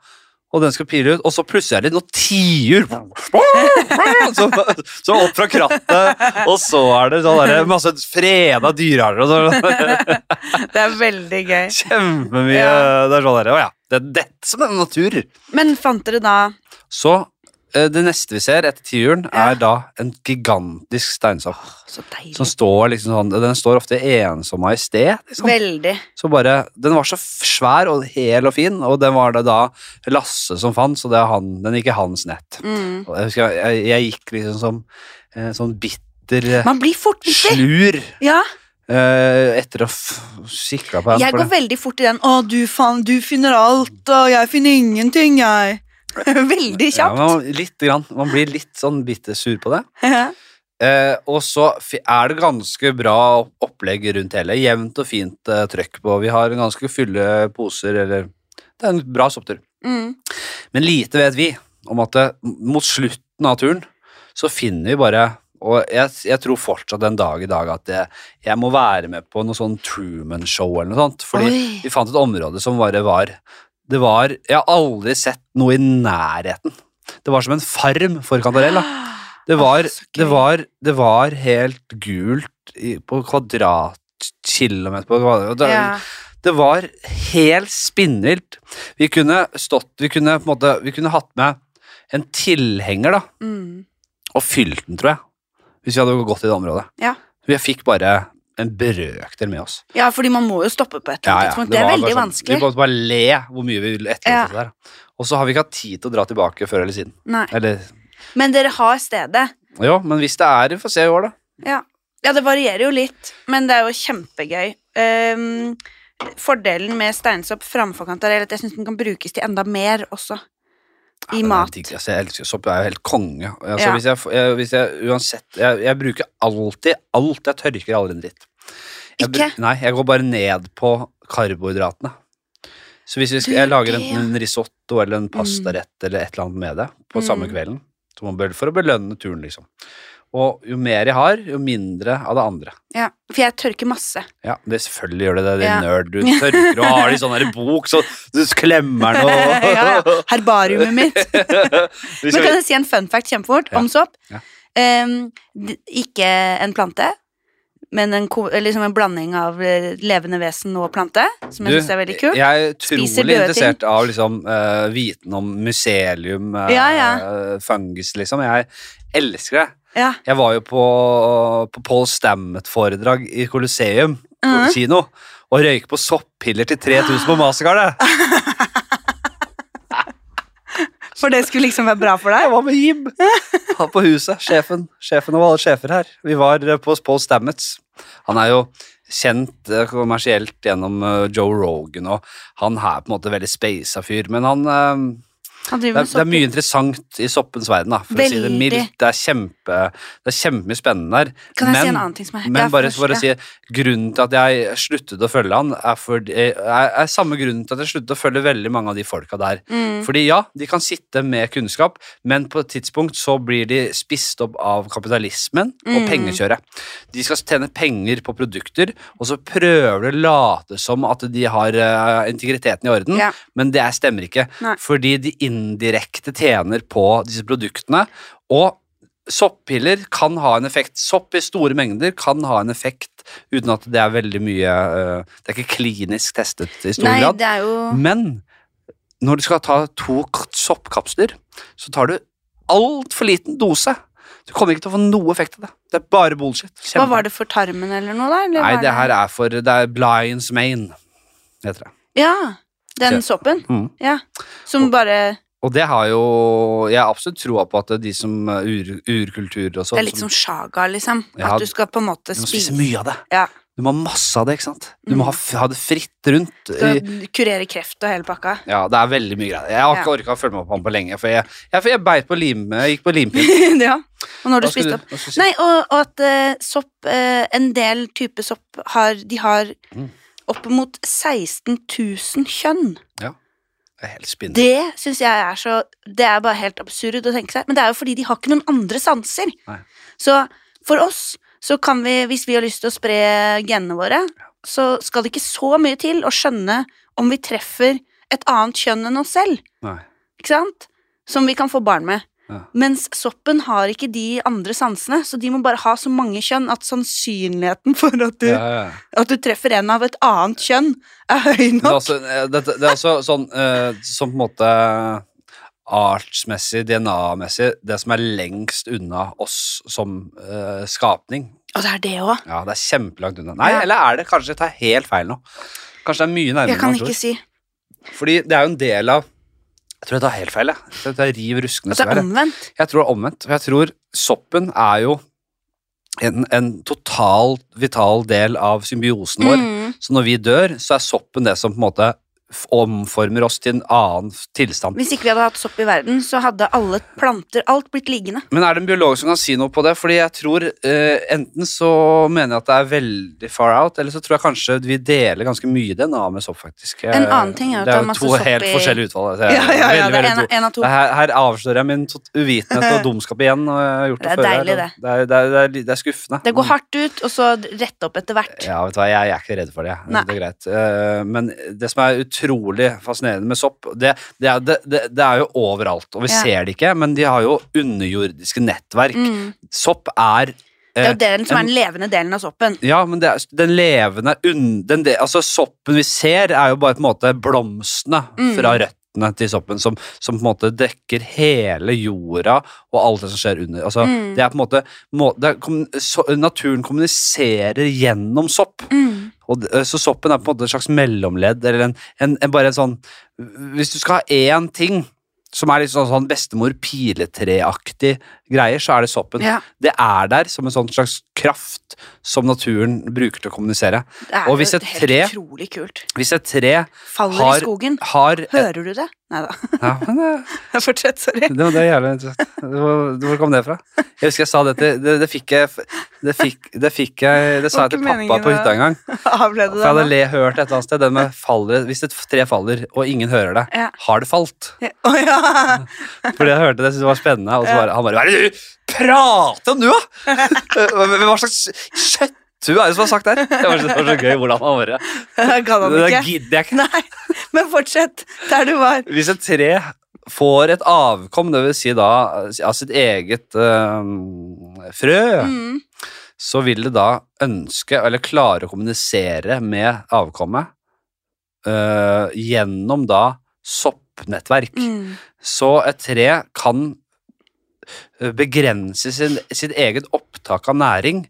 Og den skal pile ut, og så plutselig er det noen tiur (laughs) så, så opp fra krattet, og så er det sånn derre masse freda dyrearter og sånn.
Det er veldig gøy.
Kjempemye
Ja.
Det er sånn derre Å ja, det er dette som er natur.
Men fant dere da
Så eh, det neste vi ser etter tiuren,
Ja.
er da en gigantisk steinsopp.
Så deilig.
Som står liksom sånn Den står ofte ensom majestet. Liksom.
Veldig.
Så bare Den var så f- svær og hel og fin, og den var det da Lasse som fant, så det er han, den gikk i hans nett.
Mm.
Og Jeg, husker, jeg, jeg gikk liksom som eh, sånn bitter eh,
Man blir fort bitter.
slur
Ja,
eh, etter å sikre på den.
jeg
for
går
det.
veldig fort i den 'Å, du faen, du finner alt, og jeg finner ingenting', jeg. (laughs) Veldig
Ja,
kjapt.
man, litt grann, man blir litt sånn bitter sur på det.
(laughs) Ja,
Eh, og så fi- er det ganske bra opplegg rundt hele. Jevnt og fint eh, trøkk på. Vi har ganske fulle poser, eller Det er en bra sopptur.
mm.
Men lite vet vi om at det, mot slutten av turen så finner vi bare og jeg, jeg tror fortsatt en dag i dag at jeg, jeg må være med på noe sånn Truman-show eller noe sånt. Fordi
Oi.
vi fant et område som bare var Det var Jeg har aldri sett noe i nærheten. Det var som en farm for kantarell. da. Det var,
Ah, så gøy.
det var, det var helt gult i, på kvadratkilometer på kvadrat. Det,
Ja.
det var helt spinnvilt. Vi kunne stått Vi kunne på en måte Vi kunne hatt med en tilhenger, da,
Mm.
og fylt den, tror jeg. Hvis vi hadde gått i det området.
Ja.
Vi fikk bare en brøkdel med oss.
ja, fordi man må jo stoppe på et eller
Ja,
annet
ja,
tidspunkt. Det er
var
veldig
bare sånn- Vi
vanskelig.
måtte bare le hvor mye vi ville
Ja.
etterlate det der. Og så har vi ikke hatt tid til å dra tilbake før eller siden.
Nei.
Eller
Men dere har stedet.
Jo, men hvis det er, vi får se i år, da.
Ja. ja, det varierer jo litt, men det er jo kjempegøy. Ehm, fordelen med steinsopp framfor kantarell er at jeg syns den kan brukes til enda mer også. I
Ja,
mat.
den er digg, altså, jeg elsker jo sopp. Jeg er jo helt konge. Altså,
Ja.
hvis, jeg, f- jeg, hvis jeg uansett Jeg, jeg bruker alltid alt. Jeg tørker aldri en dritt. Jeg, bru-
Ikke?
Nei, jeg går bare ned på karbohydratene. Så hvis vi skal,
Du,
jeg lager
det,
enten en risotto eller en pastarett eller et eller annet med det på samme
Mm.
kvelden så man bør, for å belønne turen, liksom. Og jo mer jeg har, jo mindre av det andre.
Ja, for jeg tørker masse.
Ja, det selvfølgelig gjør det det, din
Ja.
nerd. Du tørker og har det i sånn her bok, så du
(laughs)
klemmer den og
ja, ja. Herbariumet mitt.
(laughs) Vi
Men
skal-
kan jeg si en fun fact kjempefort
Ja.
om sopp?
Ja.
Ehm, d- ikke en plante, men en, ko- liksom en blanding av eh, levende vesen og plante, som jeg
Du,
syns er veldig kult.
Jeg er
Spiser
utrolig
døde
interessert av liksom, eh, viten om mycelium, eh,
Ja, ja.
eh, fungus, liksom. Jeg elsker det.
Ja.
Jeg var jo på, på Paul Stammet-foredrag i Colosseum
Mhm.
kino og røyk på soppiller til 3000 på Mastercard. jeg.
For det skulle liksom være bra for deg?
Jeg var med
(laughs)
Jim Han på huset. Sjefen, sjefen over alle sjefer her. Vi var eh, på Paul Stamets. Han er jo kjent eh, kommersielt gjennom eh, Joe Rogan, og han er på en måte veldig speisa fyr, men han eh,
Han driver
Det er, det er
med sokker.
mye interessant i soppens verden, da, for å si det
Veldig.
mildt. Det er kjempe Det er kjempemye spennende der.
Kan jeg si
men-
en annen ting som er Det
Men
er
bare
først,
for å
ja.
si grunnen til at jeg sluttet å følge han, er, fordi, er, er samme grunnen til at jeg sluttet å følge veldig mange av de folka der.
Mm.
Fordi ja, de kan sitte med kunnskap, men på et tidspunkt så blir de spist opp av kapitalismen og
Mm.
pengekjøret. De skal tjene penger på produkter, og så prøver de å late som at de har eh, integriteten i orden,
Ja.
men det er- stemmer ikke.
Nei.
Fordi de indirekte tjener på disse produktene, og soppiller kan ha en effekt. Sopp i store mengder kan ha en effekt uten at det er veldig mye eh, Det er ikke klinisk testet i stor Mm,
Nei,
grad.
det er jo
Men når du skal ta to k- soppkapsler, så tar du altfor liten dose. Du kommer ikke til å få noe effekt av det. Det er bare bullshit.
Hva var det for tarmen eller noe, da? Eller
Nei,
var
det her er for Det er Blinds Main, heter det.
Ja. Den
Ja.
soppen?
Mm.
Ja. Som bare
Og det har jo Jeg har absolutt troa på at de som eh, ur, urkulturer og sånn
Det er litt som shaga, liksom.
Ja,
At du skal på en måte
Du må spise
spise
mye av det.
Ja.
Du må ha masse av det, ikke sant? Du må ha, f- ha det fritt rundt. i-
Mm. Skal kurere kreft og hele pakka. (laughs)
Ja, det er veldig mye greier. Jeg har ikke orka å følge med på han på lenge, for jeg, jeg, for jeg beit på lim, jeg gikk på
(laughs)
limpinn.
ja. Og når du
Hva skulle
spiste
du-
opp
hva skulle jeg si?
Nei, og, og at eh, sopp eh, En del type sopp har De har
Mm.
opp mot 16 000 kjønn.
Det er helt spinnende.
Det syns jeg er så Det er bare helt absurd å tenke seg. Men det er jo fordi de har ikke noen andre sanser.
Nei.
Så for oss, så kan vi, hvis vi har lyst til å spre genene våre, så skal det ikke så mye til å skjønne om vi treffer et annet kjønn enn oss selv,
Nei.
ikke sant? Som vi kan få barn med.
Ja.
Mens soppen har ikke de andre sansene, så de må bare ha så mange kjønn at sannsynligheten for at du,
Ja, ja, ja.
at du treffer en av et annet kjønn, er høy
Men
nok.
altså, eh, dette- det er også sånn eh, som på en måte artsmessig, DNA-messig, det som er lengst unna oss som eh, skapning.
Og det er det òg.
Ja, det er kjempelangt unna. Nei,
Ja.
eller er det kanskje jeg tar helt feil nå? Kanskje det er mye nærmere
Jeg
enn
kan
man tror.
ikke si
Fordi det er jo en del av Jeg tror jeg tar helt feil, jeg. jeg. tror Jeg river ruskende
at det
sverd.
er
jeg.
omvendt.
Jeg tror det er omvendt. for Jeg tror soppen er jo en, en total vital del av symbiosen vår.
Mm.
Så når vi dør, så er soppen det som på en måte f- omformer oss til en annen f- tilstand.
Hvis ikke vi hadde hatt sopp i verden, så hadde alle planter, alt blitt liggende.
Men er det en biolog som kan si noe på det? Fordi jeg tror eh, enten så mener jeg at det er veldig far out, eller så tror jeg kanskje vi deler ganske mye DNA med sopp, faktisk. Jeg,
En annen ting er at det er
jo
masse
to
sopp
helt
i-
forskjellige utvalg.
Ja,
Jeg,
ja, ja,
veldig,
det er
veldig
en,
to.
en av to.
Det Her, her avslører jeg min tot-
(laughs)
uvitenhet og dumskap igjen. Og jeg har gjort det,
Det er
før,
deilig,
og Det er, det, er, det, er, li- det er skuffende.
Det går hardt ut, og så rette opp etter hvert.
Ja, vet du hva, jeg, jeg er ikke redd for det.
Nei.
Det er greit. Eh, Men det som er utrolig fascinerende med sopp, det, det, er, det, det, det er jo overalt, og vi
Ja.
ser det ikke, men de har jo underjordiske nettverk.
Mm.
Sopp er
Det er
eh,
jo delen som er den levende delen av soppen.
ja, men det er, den levende un- den, de- Altså, soppen vi ser, er jo bare på en måte blomstene
Mm.
fra røttene til soppen, som, som på en måte dekker hele jorda og alt det som skjer under. Altså,
Mm.
Det er på en måte, må, det er, kommun- så, Naturen kommuniserer gjennom sopp.
Mm.
Og, d- så soppen er på en måte et slags mellomledd, eller en, en, en, bare en sånn Hvis du skal ha én ting som er litt sånn, sånn bestemor piletreaktig greier, så er det soppen.
Ja,
Det er der som en sånn slags kraft som naturen bruker til å kommunisere.
det er
Og hvis
jo
et
helt
tre-
utrolig kult.
Hvis et tre
Faller
Har-
i skogen.
har
(laughs) Hører du det? Nei da. (laughs)
ja, men det,
Fortsett,
(laughs)
sorry.
det, var- det er jævlig interessant. Hvor, hvor kom det fra? Jeg husker jeg sa det til Det, det fikk jeg Det fikk, det fikk jeg Det sa jeg til
Det var ikke meningen
pappa på
å-
hytta en gang.
Avled
For
du
jeg hadde
deg nå?
le, hørt et eller annet sted den med faller, Hvis et tre faller, og ingen hører det,
Ja.
har det falt?
Ja, Å (laughs) ja.
Fordi jeg hørte det, jeg syntes det var spennende. Og så
Ja.
bare, han bare Hva er det du prater om nå,
(laughs)
da?! Hva hva slags kjøtthue er det som har sagt det her? Det var så, det var så gøy hvordan han bare
Det kan han
Det
ikke.
gidder jeg ikke.
(laughs) Nei, men fortsett der du var.
Hvis et tre får et avkom, det vil si da av sitt eget eh, frø,
Mm.
så vil det da ønske, eller klare å kommunisere med avkommet eh, gjennom da soppnettverk.
Mm.
Så et tre kan ø, begrense sin, sitt eget opptak av næring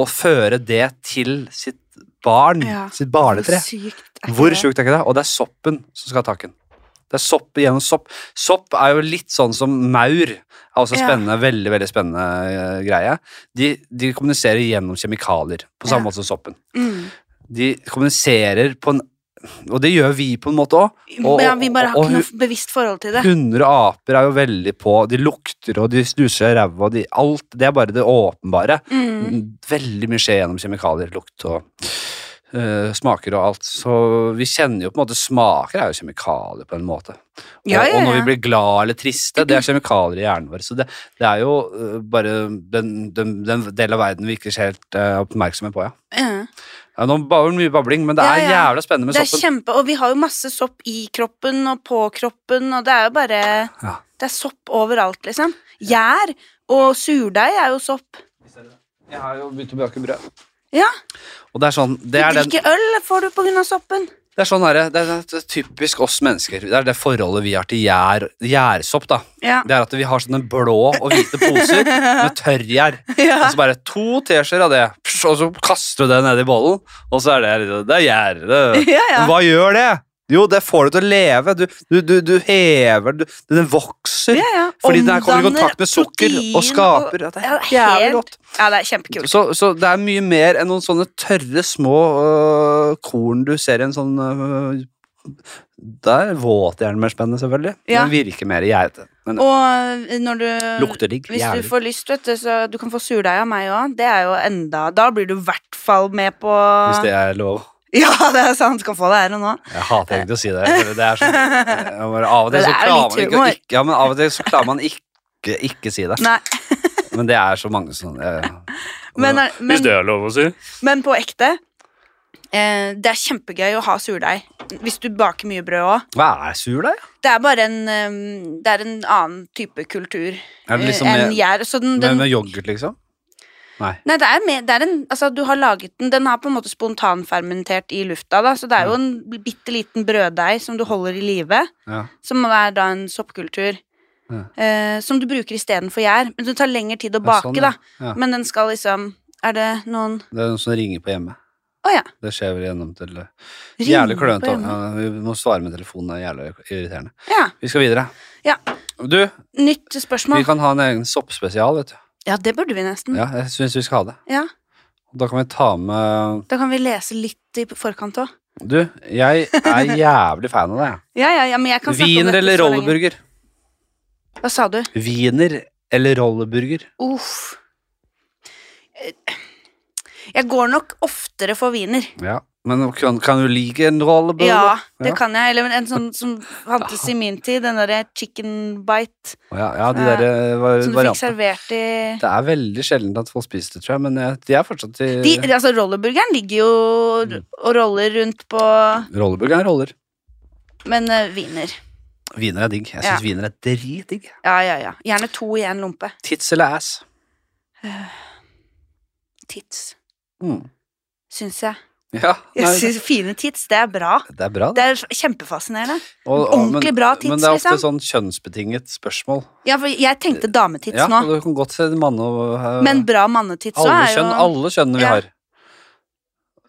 og føre det til sitt barn,
Ja.
sitt barnetre.
Sykt. er ikke
Hvor
det?
sjukt er ikke det? Og det er soppen som skal ha takken. Det er sopp gjennom sopp. Sopp er jo litt sånn som maur. er også
Ja.
spennende, veldig, veldig spennende ø, greie. De, de kommuniserer gjennom kjemikalier, på samme
Ja.
måte som soppen
Mm.
de kommuniserer på en Og det gjør vi på en måte òg. Og,
ja, vi bare har
og-
ikke
og-
noe bevisst forhold til det.
100 aper er jo veldig på. De lukter og de snuser i ræva og de, alt. Det er bare det åpenbare.
Mm.
Veldig mye skjer gjennom kjemikalier, lukt og eh, smaker og alt. Så vi kjenner jo på en måte Smaker er jo kjemikalier på en måte. Og,
Ja, ja,
og når
ja.
vi blir glad eller triste, det er kjemikalier i hjernen vår. Så det, det er jo eh, bare den, den, den delen av verden vi ikke er helt eh, oppmerksomme på, ja.
Ja.
ja nå var det mye babling, men det
Ja,
er
ja.
jævla spennende med
Det er
soppen.
kjempe, og vi har jo masse sopp i kroppen og på kroppen, og det er jo bare
Ja.
Det er sopp overalt, liksom. Gjær og surdeig er jo sopp.
Jeg har jo begynt å bake brød.
Ja.
Og det er sånn
Du
det er den,
drikker øl får du på grunn av soppen.
Det er sånn her, det er det er typisk oss mennesker. Det er det forholdet vi har til gjær, gjærsopp. da.
Ja.
Det er at vi har sånne blå og hvite poser med
(laughs)
tørrgjær. Og så bare to teskjeer av det, psh, og så kaster du det ned i bollen, og så er det liksom- Det er gjær. det-
(laughs) Ja, ja.
Men Hva gjør det? Jo, det får du til å leve. Du, du, du, du hever du, Den vokser.
Ja, ja.
Fordi den her kommer i
Omdanner
kontakt med sukker
protein
og skaper. Ja, det er jævlig
helt-
godt.
Ja, det er kjempekult.
Så, så det er mye mer enn noen sånne tørre, små øh, korn du ser i en sånn øh, Da er våtjernen mer spennende, selvfølgelig.
Ja.
Den virker mer gjærete. Men
Og eh, når du
lukter digg.
Hvis du
Jævlig.
får lyst, vet du, så du kan få surdeig av meg òg. Det er jo enda Da blir du i hvert fall med på
Hvis det er lov.
(laughs) Ja, det er sant. Du kan få det her og nå.
Jeg hater egentlig å si det. For det er
(laughs)
sånn, jeg bare, av og til
Men
så
det er jo
klarer
litt
man ikke,
humor.
ikke, ja, men av og til så klarer man ikke ikke si det.
Nei,
Men det er så mange som eh,
men, er- men,
er lov å si.
men på ekte eh, Det er kjempegøy å ha surdeig. Hvis du baker mye brød òg.
Hva er surdeig?
Det er bare en eh, Det er en annen type kultur
Er det
eh,
liksom
enn
med,
gjær. Så den,
med,
den
med yoghurt, liksom? Nei.
Nei, det er, mer- det er en, altså du har laget den, den har på en måte spontanfermentert i lufta, da, så det er jo en bitte liten brøddeig som du holder i live,
Ja.
som er da en soppkultur,
Ja.
eh, som du bruker istedenfor gjær. Men det tar lengre tid å
Ja,
bake,
sånn, ja.
da.
Ja.
Men den skal liksom Er det noen
Det er noen som ringer på hjemme.
Å ja.
Det skjer vel gjennom til eh,
Ringer
Jævlig
på
klønete.
hjemme.
Ja, vi må svare med telefonen. Det er jævlig irriterende.
Ja.
Vi skal videre.
Ja.
Du,
Nytt
vi
spørsmål.
kan ha en egen soppspesial, vet du.
Ja, det burde vi nesten.
Ja, jeg syns vi skal ha det.
Ja.
Da kan vi ta med
Da kan vi lese litt i forkant òg.
Du, jeg
(laughs)
er jævlig fan av deg.
Ja, ja, ja, men jeg kan snakke om
Wiener
dette
eller
så lenge.
rolleburger?
Hva sa du?
Wiener eller rolleburger?
Uff. Eh, Jeg går nok oftere for wiener.
Ja. Men kan, kan du like en rolleburger?
Ja, det
Ja.
kan jeg. Eller en sånn
(laughs)
som fantes i min tid. Den derre chicken bite
Å Ja, ja, de der eh, var,
som du fikk
variantene.
servert i
Det er veldig sjelden at folk spiser det, tror jeg, men eh, de er fortsatt i
de, altså Rollerburgeren ligger jo og roller rundt på
Rolleburger er roller.
Men uh, wiener.
Wiener er digg. Jeg
Ja.
syns wiener er dritdigg.
Ja, ja, ja. Gjerne to i én lompe.
Tits eller ass?
Tits,
Mm.
syns jeg.
Ja,
jeg
nei,
synes, fine tits, det er bra.
det er bra.
Det er kjempefascinerende.
Og- og-
ordentlig
men-
bra tits,
Men det er ofte
liksom.
sånn kjønnsbetinget spørsmål.
Ja, for jeg tenkte dametits
Ja,
nå.
og du kan godt se mann og eh,
Men bra mannetits òg
alle,
er jo
kjønn, alle kjønnene vi
Ja.
har.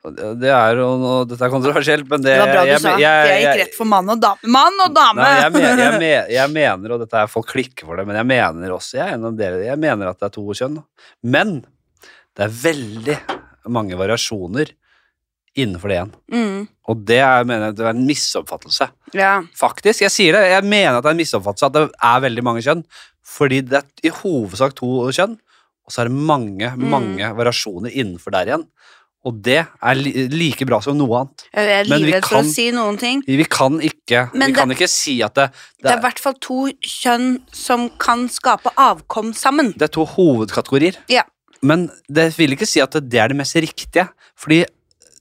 Og Det det er jo noe, Dette er kontroversielt, men det
Det var bra du
jeg,
sa.
jeg,
for jeg gikk
jeg,
rett for mann og dame. Mann og dame!
Nei, jeg, mener, jeg, mener, jeg mener, og dette er folk klikker for det, men jeg mener også jeg er en av dere, jeg mener at det er to kjønn. Men det er veldig mange variasjoner innenfor det igjen.
(laughs) mm,
Og det er, mener jeg det er en misoppfattelse.
ja.
Faktisk. Jeg sier det. Jeg mener at det er en misoppfattelse at det er veldig mange kjønn. Fordi det er i hovedsak to kjønn, og så er det mange,
Mm.
mange variasjoner innenfor der igjen. Og det er li like bra som noe annet.
Jeg er
Men vi
livredd for
kan-
å si noen ting.
Vi kan ikke, vi
Men det-
kan ikke si at det,
Det
det,
er i
er,
hvert fall to kjønn som kan skape avkom sammen.
det er to hovedkategorier.
Ja.
Men det vil ikke si at det er det mest riktige. Fordi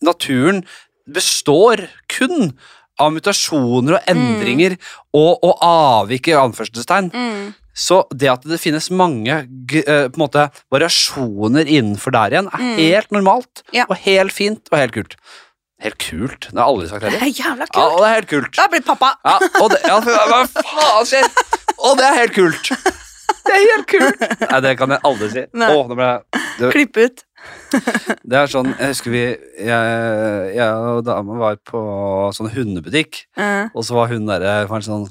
naturen består kun av mutasjoner og endringer og, og avvik i anførselstegn.
Mm.
Så det at det finnes mange g- eh, på en måte, variasjoner innenfor der igjen, er
Mm.
helt normalt
Ja.
og helt fint og helt kult. Helt kult? Det har jeg aldri sagt
Det
heller.
er jævla
Ja,
kult.
og det er helt kult.
Da blir pappa
Ja, og det, ja, for- hva faen skjer? Og det er helt kult. Det er helt kult. Nei, det kan jeg aldri si.
Nei.
Åh, nå ble jeg... Det,
Klipp ut.
det er sånn, jeg husker vi, jeg, jeg og dama var på sånn hundebutikk,
Eh,
og så var hun der eh, var en sånn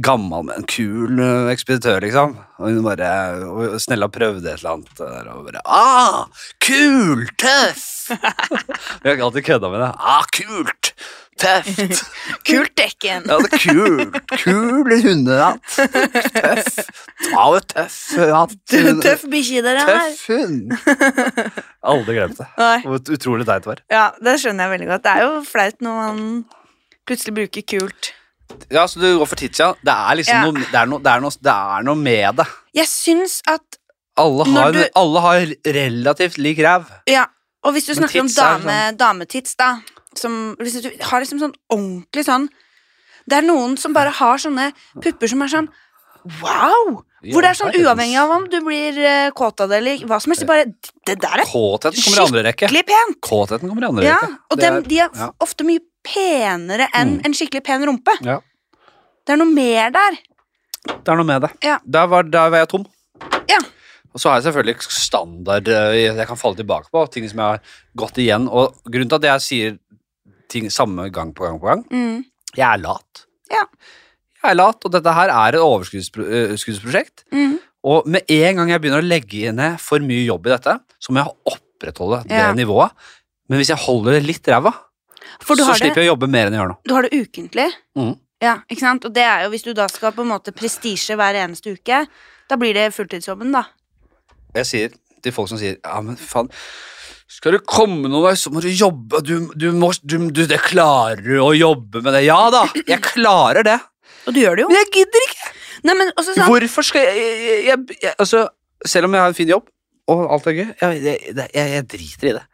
gammel, men kul eh, ekspeditør, liksom. Og hun bare og snella prøvde et eller annet der, og bare Ah, (laughs) kul! Tøff! Vi har ikke alltid kødda med det. Ah, kult! Tøft!
Kult dekken.
Ja, det er kult. Kul hundehatt. Tøff. Ja, det er tøff hatt.
(laughs) (laughs) Tøff bikkje dere har.
Tøff hund. Aldri glemt det.
Nei.
Hvor utrolig teit det var.
Ja, det skjønner jeg veldig godt. Det er jo flaut når man plutselig bruker kult.
Ja, så du går for Titja. Det er liksom
Ja.
noe, det er noe, det er noe, det er noe med det.
Jeg syns at
Alle
Når
har,
du-
alle har relativt lik ræv.
Ja, og hvis du
Men
snakker om
tits er sånn.
dame, dametits, da som, Hvis du har liksom sånn ordentlig sånn Det er noen som bare har sånne pupper som er sånn Wow! Hvor det er sånn uavhengig av om du blir eh, kåt av det eller hva som helst. det Bare, det der er
Kåtheten kommer i andre rekke.
skikkelig pent!
Kåtheten kommer i andre
Ja,
rekke.
og
Det
dem,
er-
de er
ja. Mm.
f- ofte mye penere enn en skikkelig pen rumpe.
Ja.
Det er noe mer der.
Det er noe med det.
Ja.
Der, var, der var jeg tom.
Ja.
Og så har jeg selvfølgelig standard eh, jeg kan falle tilbake på, ting som jeg har gått igjen. Og grunnen til at jeg sier ting samme gang på gang på gang,
Mm.
jeg er lat.
Ja.
Jeg er lat, og dette her er et overskuddsprosjekt.
Mm.
Og med en gang jeg begynner å legge ned for mye jobb i dette, så må jeg opprettholde
Ja.
det nivået. Men hvis jeg holder det litt ræva,
For du
så
har,
slipper
det,
jeg å jobbe mer enn jeg gjør nå.
du har det ukentlig.
Mhm.
Ja, ikke sant? Og det er jo hvis du da skal på en måte prestisje hver eneste uke, da blir det fulltidsjobben, da.
Jeg sier til folk som sier Ja, men faen Skal du komme noen vei, så må du jobbe du, du må du, du, Det klarer du å jobbe med det Ja da, jeg klarer
(clears throat)
det
Og du gjør det jo.
Men jeg gidder ikke
Nei, men også sånn
Hvorfor skal jeg, jeg, jeg, jeg Altså, selv om jeg har en fin jobb Og alt er gøy Jeg, jeg, det- jeg, jeg driter i det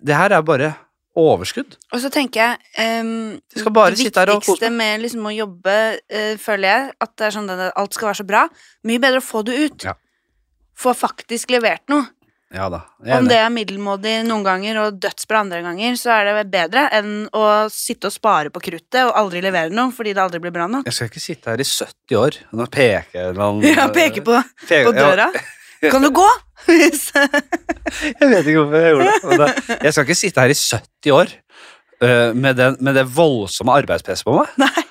Det her er bare overskudd
Og så tenker jeg ehm,
Jeg skal bare sitte her og
Det viktigste
kose
med liksom å jobbe, eh, føler jeg, at det er sånn at alt skal være så bra. Mye bedre å få det ut.
Ja.
Få faktisk levert noe.
Ja da jeg er
Om
enig.
det er middelmådig noen ganger og dødsbra andre ganger, så er det bedre enn å sitte og spare på kruttet og aldri levere noe fordi det aldri blir bra
(laughs)
nok.
Jeg skal ikke sitte her i 70 år Nå peker jeg en eller annen-
(laughs) Ja, peke på,
Peke-
på
ja, (laughs)
døra. Kan du gå? (laughs)
Jeg vet ikke hvorfor jeg gjorde det. men det jeg skal ikke sitte her i 70 år øh, med, den, med det voldsomme arbeidspresset på meg.
Nei,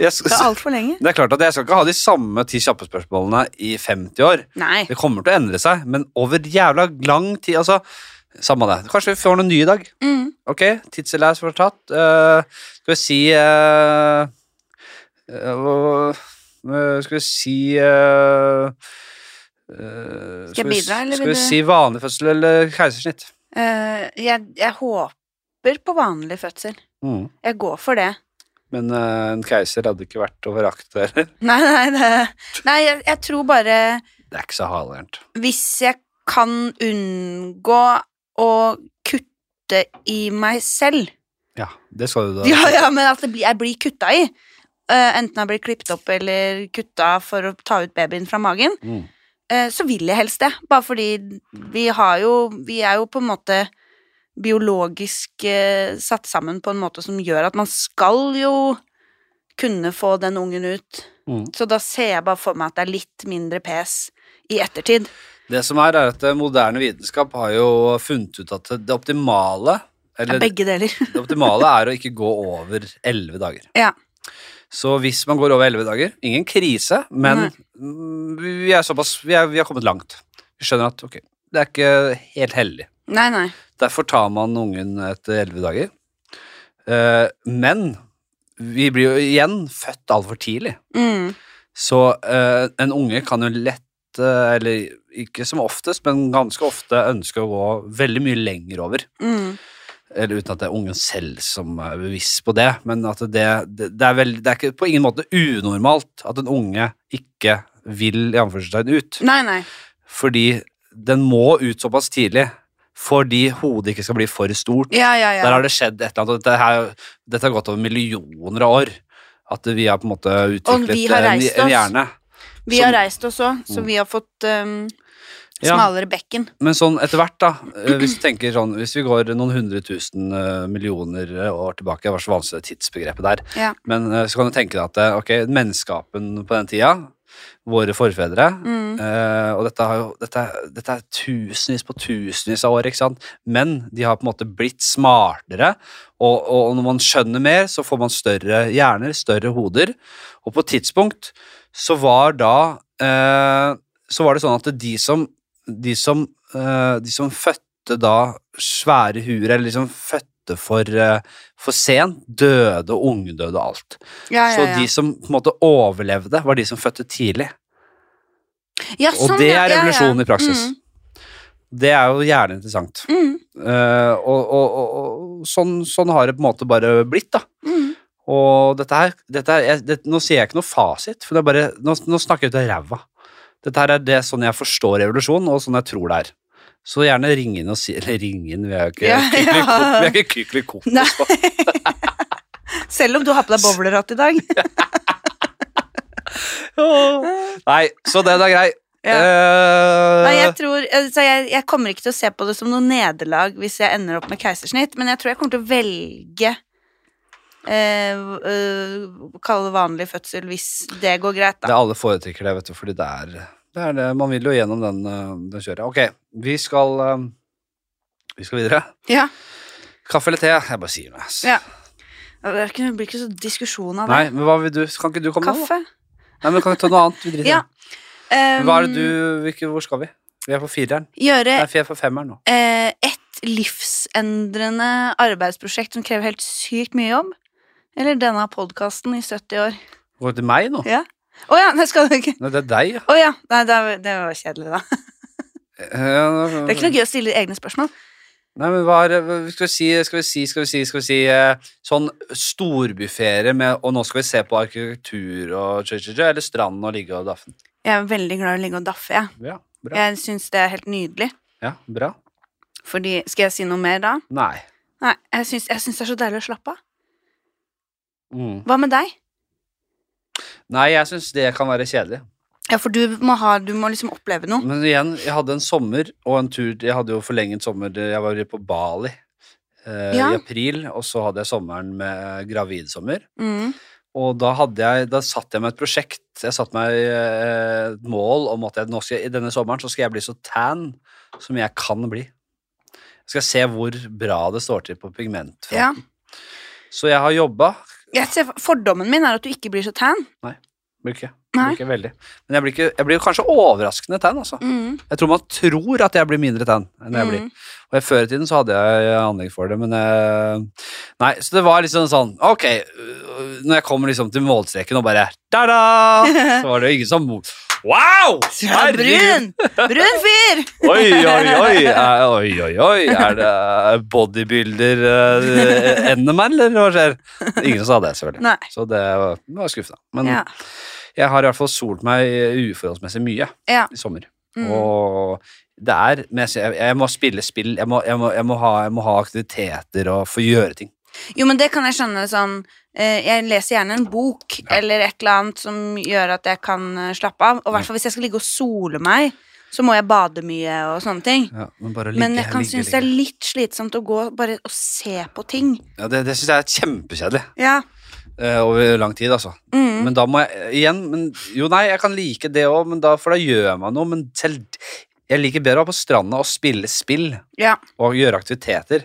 Jeg skal,
det
(laughs)
er altfor lenge.
det er klart at jeg skal ikke ha de samme ti kjappe spørsmålene i 50 år.
Nei.
Det kommer til å endre seg, men over jævla lang tid altså, Samme det. Kanskje vi får noen nye i dag.
Mm.
Ok, tidselæs var tatt. Eh, skal vi si eh, eh, hva- eh, Skal vi si eh, eh,
Skal jeg
vi-
bidra, eller
Skal vi
vil du-
si vanlig fødsel eller keisersnitt?
Eh, jeg, jeg håper på vanlig fødsel.
Mm.
Jeg går for det.
Men eh, en keiser hadde ikke vært å forakte (laughs) heller.
Nei, nei, det, nei jeg, jeg tror bare
Det er ikke så halvgærent.
Hvis jeg kan unngå å kutte i meg selv
Ja, det skal du da.
Ja, ja, men at det blir, jeg blir kutta i. eh, enten jeg blir klippet opp eller kutta for å ta ut babyen fra magen,
Mm.
eh, så vil jeg helst det. Bare fordi vi har jo Vi er jo på en måte biologisk eh, satt sammen på en måte som gjør at man skal jo kunne få den ungen ut.
Mm.
Så da ser jeg bare for meg at det er litt mindre pes i ettertid.
Det som er, er at eh, moderne vitenskap har jo funnet ut at det optimale
Det
eller
er begge deler. (laughs)
det optimale er å ikke gå over 11 dager.
Ja.
Så hvis man går over 11 dager, ingen krise, men mm, vi er såpass vi, er, vi har kommet langt. Vi skjønner at ok, det er ikke helt heldig.
Nei, nei.
Derfor tar man ungen etter elleve dager. Eh, men vi blir jo igjen født altfor tidlig.
Mm.
Så eh, en unge kan jo lett, eh, eller ikke som oftest, men ganske ofte ønske å gå veldig mye lenger over.
Mm.
Eller uten at det er ungen selv som er bevisst på det, men at det, det, det, er, vel, det er ikke på ingen måte unormalt at en unge ikke vil i anførselstegn ut.
Nei, nei.
Fordi den må ut såpass tidlig fordi hodet ikke skal bli for stort.
Ja, ja, ja.
Der har det skjedd et eller annet, og dette, her, dette har gått over millioner av år. At vi har på en måte utviklet
vi har
en,
reist
en
oss.
hjerne.
Vi
som-
har reist oss òg, så
Mm.
vi har fått um,
Ja.
smalere bekken.
Men sånn etter hvert, da, eh, hvis du tenker sånn, hvis vi går noen hundre tusen eh, millioner år tilbake, det var så vanskelig det tidsbegrepet der,
Ja.
men eh, så kan du tenke deg at eh, ok, menneskapen på den tida, våre forfedre,
Mm.
eh, og dette, har jo, dette, er- dette er tusenvis på tusenvis av år, ikke sant? Men de har på en måte blitt smartere, og, og når man skjønner mer, så får man større hjerner, større hoder, og på et tidspunkt så var da eh, så var det sånn at de som de som, eh, de som fødte da svære huer, eller de som fødte ute for, eh, for sent. Døde og ungdøde og alt.
Ja, ja,
Så de
ja.
som på en måte overlevde, var de som fødte tidlig.
ja,
Og
sånn,
det er
ja, ja, ja.
revolusjonen i praksis.
Mm,
Det er jo jævlig interessant.
mm,
Eh, og og, og, og sånn, sånn har det på en måte bare blitt, da.
mm.
Og dette her, dette her jeg, det, Nå sier jeg ikke noe fasit, for det er bare, nå, nå snakker jeg ut av ræva. Dette her er det sånn jeg forstår evolusjon, og sånn jeg tror det er. Så gjerne ring inn og si Eller ring inn, vi er jo ikke
Ja,
Kykelikokos.
ja.
Vi er ikke kykelikokos.
Nei. Selv om du har på deg bowlerhatt i dag.
Nei, så den er grei.
Ja.
Eh,
Nei, jeg, tror, altså jeg, jeg kommer ikke til å se på det som noe nederlag hvis jeg ender opp med keisersnitt, men jeg tror jeg kommer til å velge eh, v- eh, Kalle det vanlig fødsel hvis det går greit,
Det er
da.
alle foretrekker det, vet du, fordi det er det, er det. Man vil jo gjennom den, eh, den kjøret. Ok, vi skal eh, Vi skal videre.
Ja.
Kaffe eller te? Jeg bare sier noe. ass.
Ja. Det er ikke- det blir ikke så diskusjon av det.
Nei, men hva vil du? Kan ikke du komme med noe?
Kaffe.
Nei, men kan vi ta noe annet? Vi driter i
Ja.
det. Hva er det
Um,
du hvilke, Hvor skal vi? Vi er på fireren.
Eh, Gjøre
Nei, vi er på femmeren nå.
eh, et livsendrende arbeidsprosjekt som krever helt sykt mye jobb. Eller denne podkasten i 70 år.
Går det til meg nå?
Ja. Å ja, det skal du ikke
Nei, det er deg, ja.
Å ja. Nei, det er- det var kjedelig, da.
Eh,
Det er ikke noe gøy å stille egne spørsmål.
Nei, men hva er hva Skal vi si, skal vi si, skal vi si, skal vi si eh, Sånn storbyferie med Og nå skal vi se på arkitektur og tjø, tjø, tjø, eller stranden og ligge og daffen.
Jeg er veldig glad i å ligge og daffe, jeg.
Ja, bra.
Jeg syns det er helt nydelig.
Ja, bra.
Fordi, skal jeg si noe mer da?
Nei.
Nei, jeg syns, jeg syns det er så deilig å slappe av.
Mm.
Hva med deg?
Nei, jeg syns det kan være kjedelig.
Ja, for du må, ha, du må liksom oppleve noe.
Men igjen, jeg hadde en sommer og en tur Jeg hadde jo forlenget sommer Jeg var jo på Bali eh,
Ja.
i april, og så hadde jeg sommeren med gravidsommer.
Mm.
Og da, hadde jeg, da satt jeg med et prosjekt. Jeg satte meg eh, et mål om at jeg, nå skal, i denne sommeren så skal jeg bli så tan som jeg kan bli. Jeg skal se hvor bra det står til på pigmentfronten.
Ja.
Så jeg har jobba.
Jeg ser, fordommen min er at du ikke blir så tan.
Blir ikke,
Nei.
blir ikke veldig. Men jeg blir, ikke, jeg blir kanskje overraskende tan. Altså.
Mm.
Jeg tror man tror at jeg blir mindre tan enn jeg blir.
Mm.
Og jeg, Før i tiden så hadde jeg anlegg for det, men eh, Nei, så det var liksom sånn Ok, øh, når jeg kommer liksom til målstreken og bare da-da,
(laughs)
så var det jo ingen som Wow!
Ja, brun! Brun fyr!
Oi, oi, oi! Eh, Oi, oi, oi! Er det bodybuilder-NM, eller hva skjer? Ingen som sa det, selvfølgelig.
Nei.
Så det var, det var skuffende. (laughs) Men
Ja.
jeg har i hvert fall solt meg uforholdsmessig mye
Ja.
i sommer.
Mm.
Og det er men jeg- Jeg, jeg må spille spill, jeg må, jeg, må, jeg, må ha, jeg må ha aktiviteter og få gjøre ting.
Jo, men det kan jeg skjønne sånn eh, Jeg leser gjerne en bok eller et eller annet som gjør at jeg kan eh, slappe av. Og i hvert fall hvis jeg skal ligge og sole meg, så må jeg bade mye og sånne ting.
Ja, men bare ligge,
Men jeg kan
ligge,
synes det
ligge.
er litt slitsomt å gå bare og se på ting.
Ja, det, det syns jeg er kjempekjedelig
Ja.
eh, over lang tid, altså.
Mm.
Men da må jeg igjen men, Jo, nei, jeg kan like det òg, for da gjør man noe. Men selv jeg liker bedre å være på stranda og spille spill
ja.
og gjøre aktiviteter.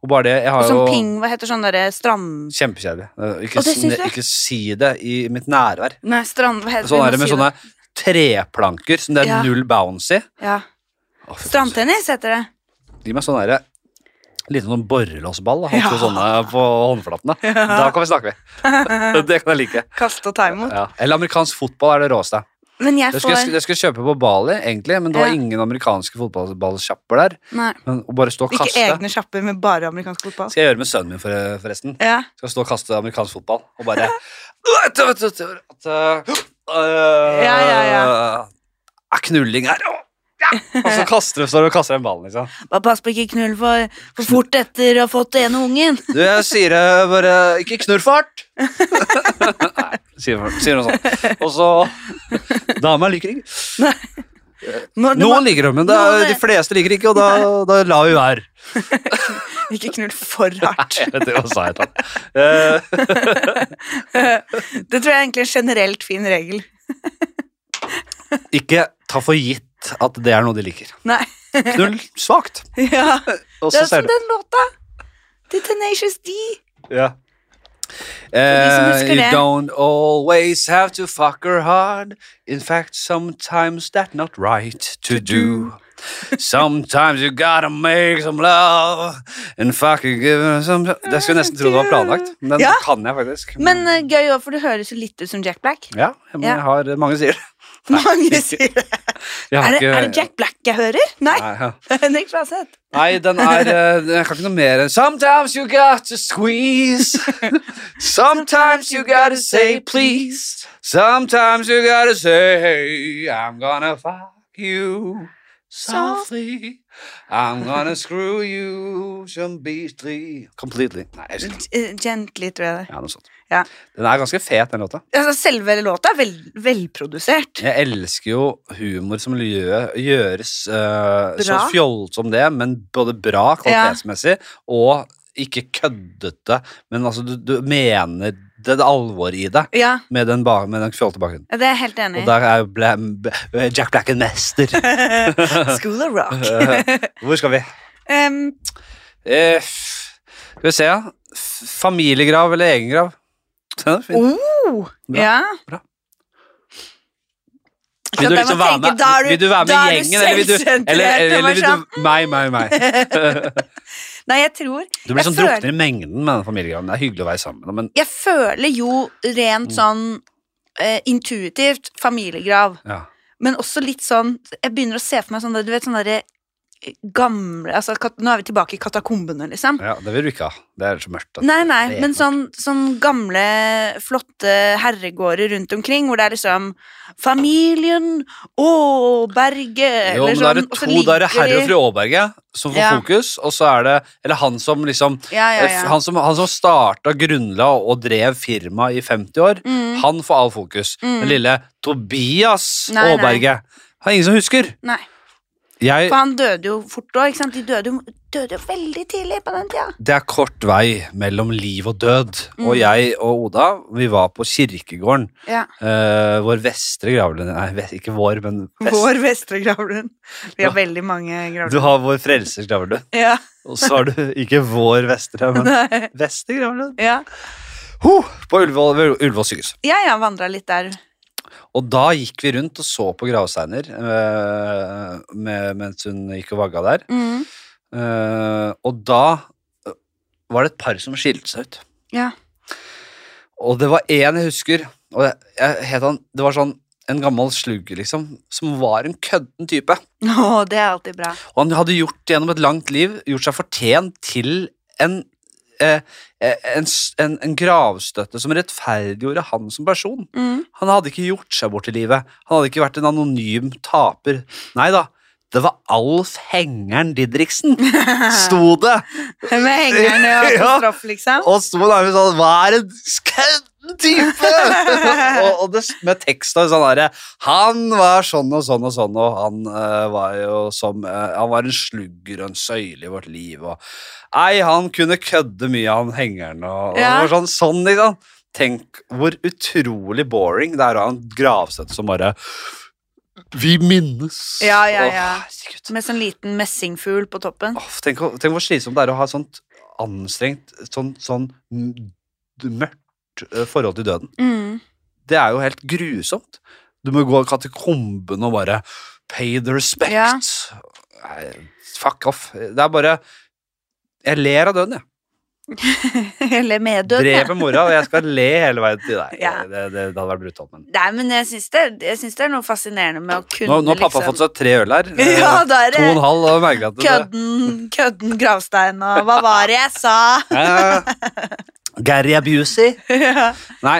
Og bare det Jeg
Og
har
sånn
jo
ping, hva heter sånn derre strand...
Kjempekjedelig. Eh, Ikke,
Og det syns
sne-
du?
ikke si det i mitt nærvær.
Nei, strand... Hva heter
Sånn
vi må
er det med
si
sånne treplanker som det er
Ja.
null bounce i.
Ja.
Å, fy faen.
Strandtennis heter det.
Gi meg sånn derre Liten sånn borrelåsball. da.
Ja.
Hatt sånne på håndflatene.
(laughs)
Da kan vi snakke, vi. det kan jeg like.
Kaste og ta imot.
Ja. Eller amerikansk fotball er det råeste.
Men jeg
Det skulle, jeg,
får
det skulle jeg kjøpe på Bali, egentlig, men det var
Ja.
ingen amerikanske fotballsjapper der.
Nei.
Men å bare stå og
Ikke
kaste
egne sjapper med bare amerikansk fotball.
skal jeg gjøre med sønnen min, for- forresten.
Ja.
Skal stå og kaste amerikansk fotball og
(laughs)
bare Vet du, vet du, vet du, at, øh,
Ja, ja,
eh, Er knulling her Åh, ja. Og så kaster du, står du og kaster den ballen, liksom.
Bare pass på ikke knull for, for fort etter å ha fått det ene ungen. (laughs)
Du, jeg sier det bare Ikke knull for hardt! Nei, sier, sier noe sånt. Og så Dama liker ikke.
Nå, du
Noen
må,
liker det, men det er,
Noen-
de fleste liker ikke, og da, da lar vi være.
(laughs) ikke knull for hardt.
Jeg vet ikke hva jeg sa jeg til ham.
Det tror jeg er egentlig er en generelt fin regel.
Ikke ta for gitt at det er noe de liker.
Nei. (laughs)
Knull svakt,
Ja.
og
Det
så
er som
ser du.
den låta til Tenacious D.
Ja.
de som
Eh,
husker
you
det.
don't always have to fuck her hard. In fact, sometimes that's not right to do. (laughs) Sometimes you gotta make some love and fucking give her some Jeg skulle nesten tro det var planlagt, men den
Ah, Ja.
kan jeg faktisk.
Men eh, gøy òg, for det høres jo litt ut som Jack Black.
ja, men
Ja.
jeg har mange sier det.
Mange sier det.
Jeg har
Er det,
ikke-
er det Jack Black jeg hører? Nei.
Nei, ja.
(laughs) Henrik Flaseth.
Nei, den er eh, Jeg kan ikke noe mer enn Sometimes you got to squeeze. Sometimes you gotta say please. Sometimes you gotta say hey, I'm gonna fuck you softly. I'm gonna screw you some beastly Completely. Nei, jeg husker ikke.
Eh, Gently, tror jeg det er.
Ja, noe sånt.
Ja.
Den er ganske fet, den låta.
Altså, selve låta er vel, velprodusert.
Jeg elsker jo humor som gjø- gjøres eh, så
Bra.
fjoll som det, men både bra kvalitetsmessig og ikke køddete. Men altså, du, du mener det, det alvor i det
Ja,
med den, ba- med den fjollete bakgrunnen.
det er jeg helt enig
Og
i.
der er jo Bla- B- Jack Black en
(laughs)
mester.
School of Rock.
Hvor skal vi?
Em,
Eh, f- skal vi se, ja. F- Familiegrav eller egen grav? Den er fin.
oh,
Bra,
ja.
bra.
Så
Vil du,
der
liksom
må
være
tenke,
med,
da er du-
vil du være med
da er
i
du
gjengen, eller vil du,
selvsentrert,
eller, eller,
og bare
vil
sånn,
du Meg, meg, meg.
(laughs) Nei, jeg tror
Du blir
Jeg
sånn drukner i mengden med den familiegraven. Det er hyggelig å være sammen med, men
Jeg føler jo rent
Mm.
sånn eh, intuitivt familiegrav,
ja.
men også litt sånn Jeg begynner å se for meg sånn der, du vet sånn derre eh, gamle altså, kat- Nå er vi tilbake i katakombene, liksom.
ja, det vil du ikke ha. Det er så mørkt. altså. at-
Nei, nei,
det er
men
nok.
sånn, sånn gamle, flotte herregårder rundt omkring, hvor det er liksom Familien Aaberge
Jo, men da er det
sånn, og så
to, da er det
ligger
herre og
de-
fru Aaberge som får
Ja.
fokus, og så er det Eller han som liksom
Ja, ja,
eh,
ja.
Han som, han som starta, grunnla og drev firmaet i 50 år,
Mm,
han får all fokus.
Mm.
Den lille Tobias
Nei, nei.
Aaberge Han er ingen som husker.
nei.
Jeg,
For han døde jo fort òg, ikke sant? De døde jo, døde jo veldig tidlig på den tida.
det er kort vei mellom liv og død.
Mm.
Og jeg og Oda, vi var på kirkegården.
Ja.
Eh, vår vestre gravlund Nei, ve- ikke vår, men vest.
Vår vestre gravlund. Vi har
Ja.
veldig mange
Du
gravlunder.
har vår frelsers gravlund,
(laughs) Ja.
og så har du ikke vår vestre, men
Nei.
vestre gravlund.
ja.
Ho! På Ullevål ved Ullevål sykehus.
Jeg har vandra litt der.
Og da gikk vi rundt og så på gravsteiner eh, med, mens hun gikk og vagga der.
Mm.
Eh, og da eh, var det et par som skilte seg ut.
Ja.
Og det var én jeg husker, og jeg, jeg het han Det var sånn en gammel slugger, liksom, som var en kødden type.
Å, det er alltid bra.
Og han hadde gjort gjennom et langt liv gjort seg fortjent til en, eh, eh, en, s- en, en gravstøtte som rettferdiggjorde han som person.
Mm.
Han hadde ikke gjort seg bort i livet. Han hadde ikke vært en anonym taper. Nei da, det var Alf Hengeren Didriksen, sto det.
(laughs) Med hengerne og
(laughs)
på
Ja.
stroff, liksom.
Og sto nærmest sånn Hva er en skødden
(laughs)
type?! og og det, med teksta sånn derre Han var sånn og sånn og sånn, og han eh, var jo som eh, Han var en slugger og en søyle i vårt liv, og Nei, han kunne kødde mye, han hengeren, og, og
Ja.
det var sånn, sånn, liksom. Tenk hvor utrolig boring det er å ha en gravstøtte som bare Vi minnes!
Ja, ja,
Å,
ja.
herregud.
Med sånn liten messingfugl på toppen.
Åh, tenk, å- tenk hvor slitsomt det er å ha et sånt anstrengt, sånn, sånn m- mørkt eh, forhold til døden.
Mm. (laughs)
Det er jo helt grusomt. Du må gå katakomben og bare pay the respect.
Ja.
Nei, fuck off. Det er bare Jeg ler av døden, jeg.
Eller meddød.
Dreper mora, og jeg skal le hele veien til deg.
(laughs) Ja.
Det, det, det hadde vært brutalt, men
Nei, men jeg syns det, jeg syns det er noe fascinerende med å kunne
Nå nå har pappa fått
liksom
seg tre øl her. eh,
(laughs) Ja, da
(laughs)
er
To og en
det
halv, og jeg merker at det-
kødden, kødden gravstein og Hva var det jeg sa?
(laughs) Ja, ja.
(laughs)
Gary Abusey.
ja.
Nei.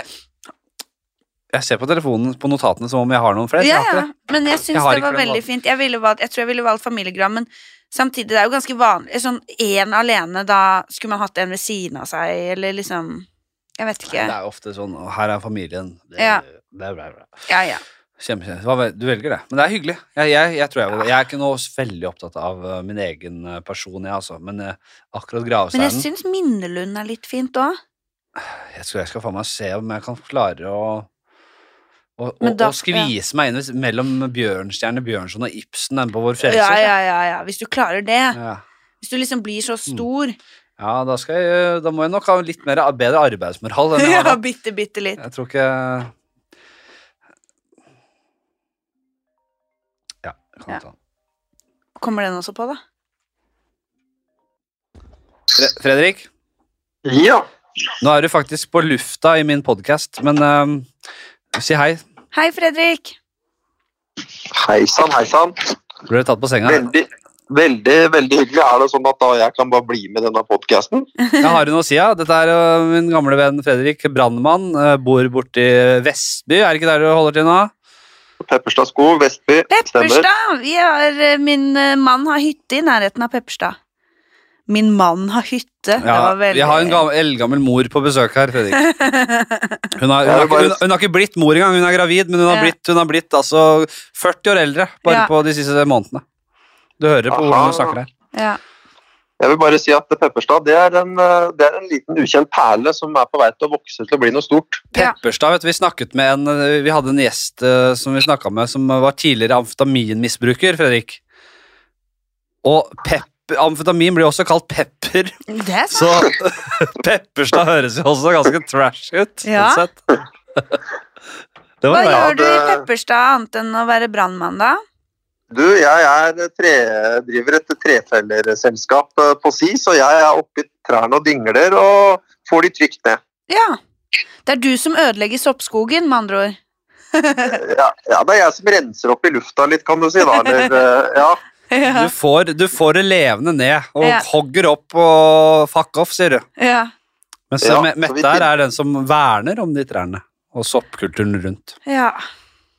Jeg ser på telefonen på notatene som om jeg har noen flere.
Ja,
Jeg har
ja,
ikke det.
men jeg syns
Jeg har
det
ikke
var
flere
veldig
valg.
fint. Jeg, ville valgt, jeg tror jeg ville valgt familiegram, men samtidig, det er jo ganske vanlig. Sånn én alene, da skulle man hatt en ved siden av seg, eller liksom Jeg vet ikke.
Det er jo ofte sånn og Her er familien. Det,
Ja.
det er bra, bra.
Ja, ja.
Kjempe, kjempe. Hva vel- Du velger det. Men det er hyggelig. Jeg, jeg, jeg, tror jeg, var- jeg er ikke noe veldig opptatt av eh, min egen eh, person, jeg, altså. Men eh, akkurat
Men jeg
gravsteinen jeg,
syns Minnelund er litt fint òg.
tror jeg skal faen meg se om jeg kan klare å å- å-
Men da-
å skvise meg inn hvis- mellom Bjørnstjerne Bjørnson og Ibsen den på Vår
Ja,
Frelser.
ja, ja, ja. Hvis du klarer det.
Ja. Mm.
Hvis du liksom blir så stor.
Ja, da, skal jeg, øh, da må jeg nok ha litt mer, bedre arbeidsmoral enn jeg har
(laughs) Ja,
nå.
bitte, bitte litt.
Jeg tror ikke Ja, jeg kan
Ja.
ta den.
Kommer den også på, da?
Fre Fredrik,
Ja.
nå er du faktisk på lufta i min podkast, men eh, si hei.
Hei, Fredrik!
Hei sann, hei sann.
Ble du tatt på senga?
Veldig, veldig, veldig hyggelig. Er det sånn at da jeg kan bare bli med i denne podkasten?
Jeg har du noe å si? Ja. Dette er eh, min gamle venn Fredrik, brannmann. eh, Bor borti Vestby, er det ikke der du holder til nå?
Pepperstad sko, Vestby. Stemmer.
Pepperstad! Vi har, eh, min eh, mann har hytte i nærheten av Pepperstad. Min mann har hytte. det
(laughs) Ja,
var veldig...
Vi har en gammel, eldgammel mor på besøk her,
(laughs)
Fredrik. Hun har, hun, har
Ja, det
ikke,
bare-
hun, hun har ikke blitt mor engang, hun er gravid, men hun har
Ja.
blitt, hun har blitt altså 40 år eldre bare
Ja.
på de siste månedene. Du hører på hvordan
Aha.
hun snakker der.
Ja.
Jeg vil bare si at Pepperstad det er, en, eh, det er en liten ukjent perle som er på vei til å vokse til å bli noe stort.
Ja.
Pepperstad, vet du, vi snakket med en, vi hadde en gjest eh, som vi snakket med, som var tidligere amfetaminmisbruker, Fredrik. Og pep, amfetamin blir jo også kalt
(laughs)
pepper,
Det er sant.
så (laughs) Pepperstad høres jo også ganske trash ut, sånn
Ja.
sett.
(laughs)
Det
Hva
var bra.
ja,
gjør du i
det-
Pepperstad annet enn å være brannmann, da?
Du, jeg er tre, driver et trefellerselskap eh, på SIS, og jeg er oppi trærne og dingler og får de trygt ned.
Ja. Det er du som ødelegger soppskogen, med andre ord.
Ja, ja, det er jeg som renser opp i lufta litt, kan du si da. Eller, eh, ja.
Ja.
Du får, du får det levende ned og
Ja.
hogger opp og fuck off, sier du.
ja.
Mens
Ja,
Me-
så
Mette
vi
her
til-
er den som verner om de trærne og soppkulturen rundt.
Ja.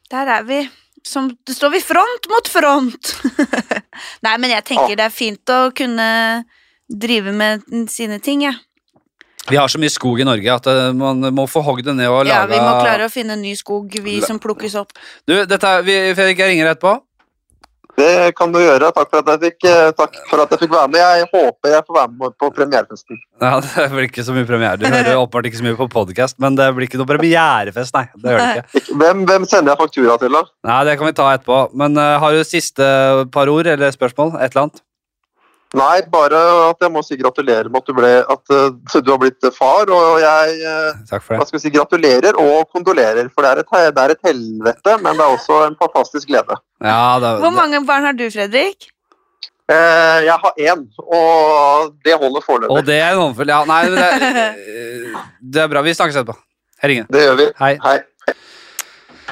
Der er vi. Som, det står vi front mot front. (laughs) Nei, men jeg tenker det er fint å kunne drive med sine ting, jeg.
Vi har så mye skog i Norge at eh, man må få hogd det ned og
Ja.
lage
vi må klare å finne ny skog, vi som plukkes opp.
Du, dette er, vi, Fredrik, jeg ringer etterpå.
Det kan du gjøre. Takk for at jeg fikk, eh, takk for at jeg fikk være med. Jeg håper jeg får være med på premierefesten.
Ja, (laughs) Det blir ikke så mye premiere. Du hører
(laughs)
åpenbart ikke så mye på podkast, men det blir ikke noe premierefest, nei. Det gjør det ikke.
Hvem, hvem sender jeg faktura til, da?
Nei, Det kan vi ta etterpå. Men eh, har du siste par ord eller spørsmål? Et eller annet?
Nei, bare at jeg må si gratulerer med at du, ble, at eh, du har blitt far. Og jeg eh,
Takk for
hva
det.
skal jeg si, gratulerer og kondolerer. For det er, et, he- det er et helvete, men det er også en fantastisk glede.
Ja, det,
Hvor mange barn har du, Fredrik?
Eh, Jeg har én, og det holder
Og
foreløpig.
det er en håndfull. Ja, nei, men det, eh, det er bra. Vi snakkes etterpå. Jeg ringer.
Det gjør vi.
Hei.
Hei.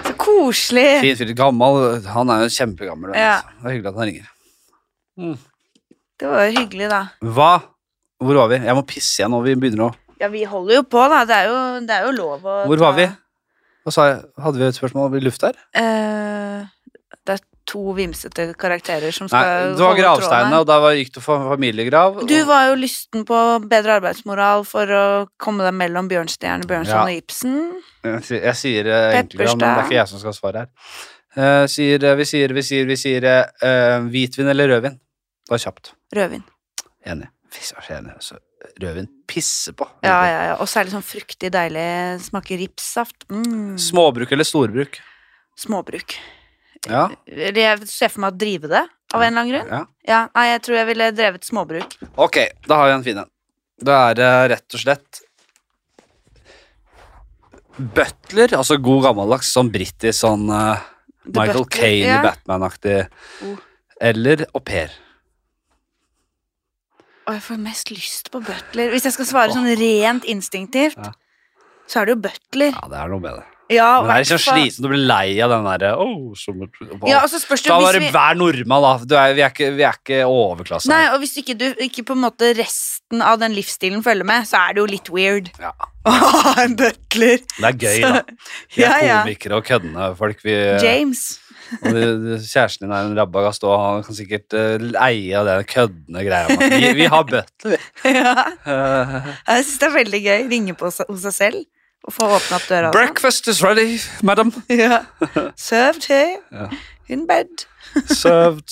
Så koselig.
Fint fyr. Gammel. Han er jo kjempegammel. vet du.
Ja.
Det er hyggelig at han ringer.
Det var jo hyggelig, da.
Hva? Hvor var vi? Jeg må pisse igjen nå. Vi begynner nå.
Ja, vi holder jo på, da. Det er jo, det er jo lov å
Hvor
ta-
var vi? Hva sa jeg? Hadde vi et spørsmål over luft her?
Eh, det er to vimsete karakterer som
Nei,
skal
det var
holde tråden
gravsteinene,
her.
og da var- gikk du for familiegrav. og-
Du var jo lysten på bedre arbeidsmoral for å komme deg mellom Bjørnstjerne, Bjørnson
Ja.
og Ibsen.
Jeg sier- jeg sier eh, egentlig, ja, men det er
Pepperstad.
ikke jeg som skal svare her. Eh, sier, eh, vi sier, vi sier, vi sier eh, hvitvin eller rødvin. Det var kjapt.
Rødvin.
Enig. Fy, jeg er så enig. altså. Rødvin pisser på.
Ja, ja, ja. Og særlig sånn fruktig, deilig Smaker ripssaft. Mm.
Småbruk eller storbruk?
Småbruk.
Ja.
Eller Jeg ser for meg å drive det, av en eller annen grunn.
ja.
Ja, nei, jeg tror jeg ville drevet småbruk.
Ok, da har vi en fin en. Da er det rett og slett Butler, altså god gammeldags, sånn britisk, sånn eh,
The
Michael
Butler,
Caine
ja.
i Batman-aktig.
Oh.
Eller au pair.
Og jeg får mest lyst på butler. Hvis jeg skal svare sånn rent instinktivt,
Ja.
så er det jo butler.
Ja, det er noe med det.
Ja,
Men det er liksom
hvertfall-
slitsomt å bli lei av den derre oh, sommer-
Ja, og så spørs det
Da
hvis
bare
vi...
vær nordmann, da. Du er, vi, er ikke, vi er ikke overklasse.
Nei,
her.
og hvis ikke du ikke på en måte resten av den livsstilen følger med, så er det jo litt weird.
Ja.
(laughs) Å ha en butler.
Det er gøy,
Så-
da. Vi er
(laughs) Ja, ja.
komikere og køddende folk. Vi,
James.
Og det- det- kjæresten din er en rabagast, og han kan sikkert eh, eie av den køddende greia. med at Vi, vi har butler, vi.
(laughs) ja,
Eh,
jeg syns det er veldig gøy. Ringe på seg- hos seg selv og få åpna opp døra. og sånn.
Breakfast is ready, madam.
Ja.
(laughs)
Served here
Ja.
in bed.
Served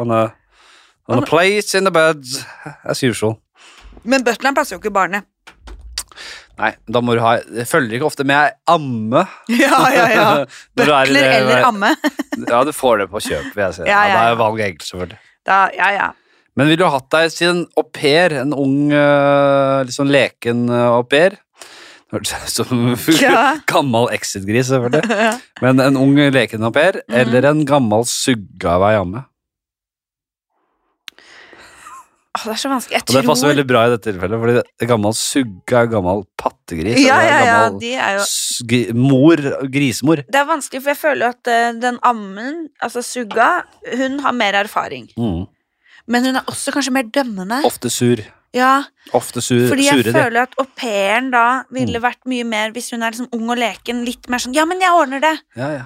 on a, on a plate in the bed, as usual.
Men butleren passer jo ikke barnet.
Nei, da må du ha Det følger ikke ofte med amme.
(laughs) Ja, ja, ja.
(laughs) Når du er i
Butler
det-
eller amme.
Ja, du får det på kjøp, vil jeg si.
(laughs) Ja, ja,
Ja, Det
ja.
er valget eget, selvfølgelig.
(laughs) Da, ja, ja.
Men ville du hatt deg siden au pair, en ung, eh, litt sånn leken eh, au pair (laughs) Hørtes ut som
Ja.
(laughs) gammel exit-gris, selvfølgelig.
Ja.
Men en ung leken au pair
Mhm.
eller en gammel sugga veiamme?
Åh, det er så vanskelig. Jeg
Og det
tror
passer veldig bra i dette tilfellet, fordi det- gammel sugga er gammel pattegris.
Ja,
eller
ja, ja.
gammel
De er jo
s- gri- Mor, grisemor.
Det er vanskelig, for jeg føler jo at eh, den ammen, altså Sugga, hun har mer erfaring.
Mm.
Men hun er også kanskje mer dømmende.
Ofte sur.
Ja,
Ofte sur,
Fordi jeg
sure, Mm. de.
føler at au pairen da ville vært mye mer hvis hun er liksom ung og leken, litt mer sånn 'ja, men jeg ordner det'.
Ja, ja.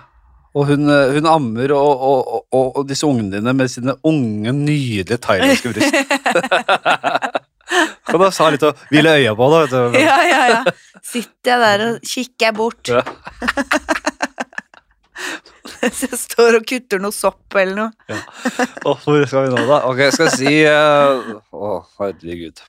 Og hun, eh, hun ammer og, og, og, og disse ungene dine med sine unge, nydelige thailandske
(laughs)
bryst. (laughs) Kan du ha litt å hvile øya på, da? Vet du.
(laughs) Ja, ja, ja. Sitter jeg der og kikker jeg bort. (laughs)
Ja.
Mens jeg står og kutter noe sopp eller noe.
Åh, hvor skal vi nå, da? Ok, jeg skal si eh, Å, herregud.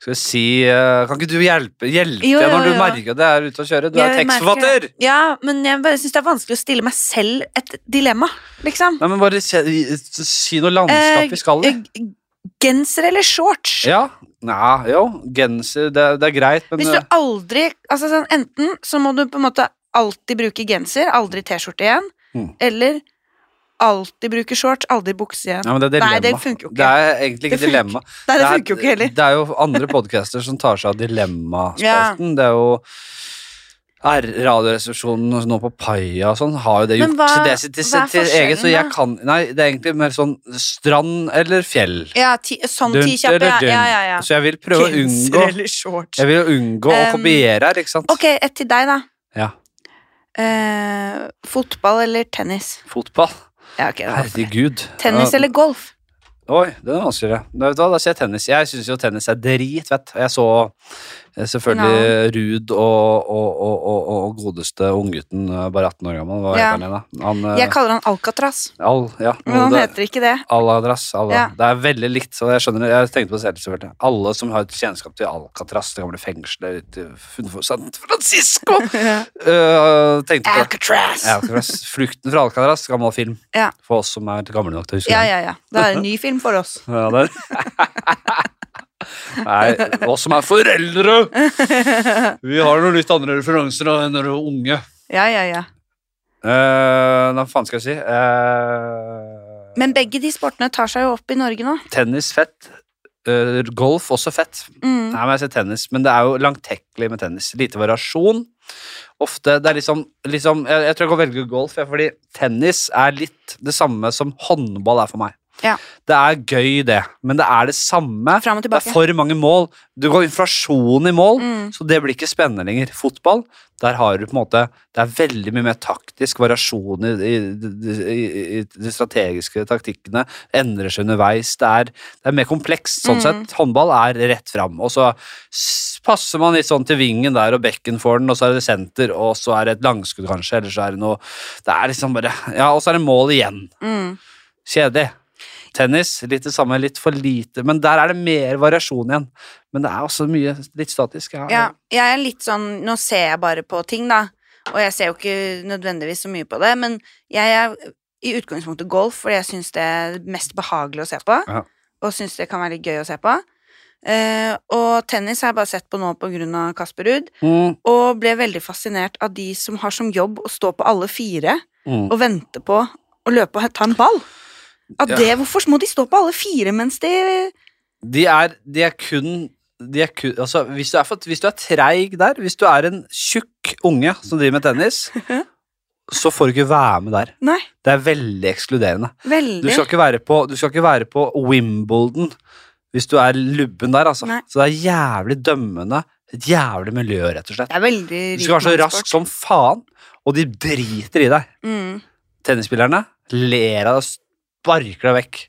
Skal vi si eh, Kan ikke du hjelpe, hjelpe
Jo,
deg
jo,
når du
jo.
merker at det er ute å kjøre? Du er
Jeg merker
tekstforfatter!
det. Ja, men jeg bare syns det er vanskelig å stille meg selv et dilemma, liksom.
Nei, men bare si, si noe landskap vi skal i.
Eh, g- Genser eller shorts?
Ja. Nei, jo. Genser, det, er- det er greit, men
Hvis
eh,
du aldri altså sånn, Enten så må du på en måte alltid bruke genser, aldri T-skjorte igjen,
Mm.
eller alltid bruke shorts, aldri bukse igjen.
ja, men det er dilemma.
Nei, det funker jo ikke.
Det er egentlig ikke
Det funker-
dilemma.
Nei, det
er-
funker jo ikke heller.
Det er jo andre podcaster som tar seg av dilemmaspalten. Det er jo er Radioresepsjonen nå på Paia og sånn har jo det
Men
gjort
hva-
til det sitt, til
hva er
sitt til eget, så
forskjellen
jeg
da?
kan Nei, det er egentlig mer sånn strand eller fjell.
Ja, ti, sånn
Dunt
ti kjappe, ja.
eller
ja, ja, ja.
dunt. Så jeg vil prøve å
Genser
unngå
eller shorts.
Jeg vil jo unngå å
Um,
kopiere her, ikke sant?
Ok, et til deg, da.
Ja.
Eh, fotball eller tennis?
Fotball.
Ja, ok. da.
Herregud.
Tennis
Ja.
eller golf?
Oi, det er vanskeligere. Da, vet du hva, da sier jeg tennis. Jeg syns jo tennis er drit, vet Jeg så eh, selvfølgelig Ruud og, og, og, og, og godeste unggutten, eh, bare 18 år gammel, hva
Ja.
heter han igjen, da? Han, eh,
Jeg kaller han Alcatraz,
Al, ja.
men han
det-
heter ikke det.
Aladras. Al
Ja.
Det er veldig likt, så jeg skjønner det. Jeg tenkte på det selv, selvfølgelig. Alle som har et kjennskap til Alcatraz, det gamle fengselet ute utenfor San
(laughs)
Francisco, eh, tenkte på det.
Alcatraz! Ja,
Alcatraz. Flukten fra Alcatraz, gammel film.
Ja.
For oss som er gamle nok til å huske den.
ja, ja. Det er en ny film for oss.
Ja, det Nei, oss som er foreldre! Vi har noen litt andre referanser da enn dere unge.
Ja, ja, ja.
Eh, hva faen skal jeg si? Eh,
Men begge de sportene tar seg jo opp i Norge nå.
tennis fett. Eh, golf også fett.
Mm.
Nei, men jeg sier tennis, men det er jo langtekkelig med tennis. Lite variasjon. Ofte det er liksom, liksom jeg, jeg tror jeg går og velger golf, jeg, fordi tennis er litt det samme som håndball er for meg.
Ja.
Det er gøy, det, men det er det samme.
Fram og
Det er
tilbake.
for mange mål. Du går inflasjon i mål,
Mm.
så det blir ikke spennende lenger. Fotball, der har du på en måte Det er veldig mye mer taktisk variasjon i, i, i, i de strategiske taktikkene. Endrer seg underveis. Det er, det er mer komplekst sånn
Mm.
sett. Håndball er rett fram, og så s- passer man litt sånn til vingen der, og bekken får den, og så er det senter, og så er det et langskudd kanskje, eller så er det noe Det er liksom bare Ja, og så er det mål igjen.
Mm.
Kjedelig. Tennis, litt det samme, litt for lite. Men der er det mer variasjon igjen. Men det er også mye litt statisk. Ja.
Ja, jeg er litt sånn Nå ser jeg bare på ting, da. Og jeg ser jo ikke nødvendigvis så mye på det, men jeg er i utgangspunktet golf, fordi jeg syns det er mest behagelig å se på.
Ja.
Og syns det kan være litt gøy å se på. Eh, og tennis har jeg bare sett på nå på grunn av Kasper Ruud,
Mm,
og ble veldig fascinert av de som har som jobb å stå på alle fire
mm.
og vente på å løpe og ta en ball. At
Ja.
det, Hvorfor må de stå på alle fire mens de
De, er, de er kun de er kun, altså, hvis, du er for, hvis du er treig der, hvis du er en tjukk unge som driver med
(laughs)
tennis, så får du ikke være med der.
Nei,
Det er veldig ekskluderende. Du
veldig
skal ikke være på, du skal ikke være på Wimbledon hvis du er lubben der, altså.
Nei.
Så det er jævlig dømmende. Et jævlig miljø, rett og slett.
Det er veldig
Du skal være så rask som faen, og de driter i deg.
Mm.
Tennisspillerne ler av deg og sparker deg vekk.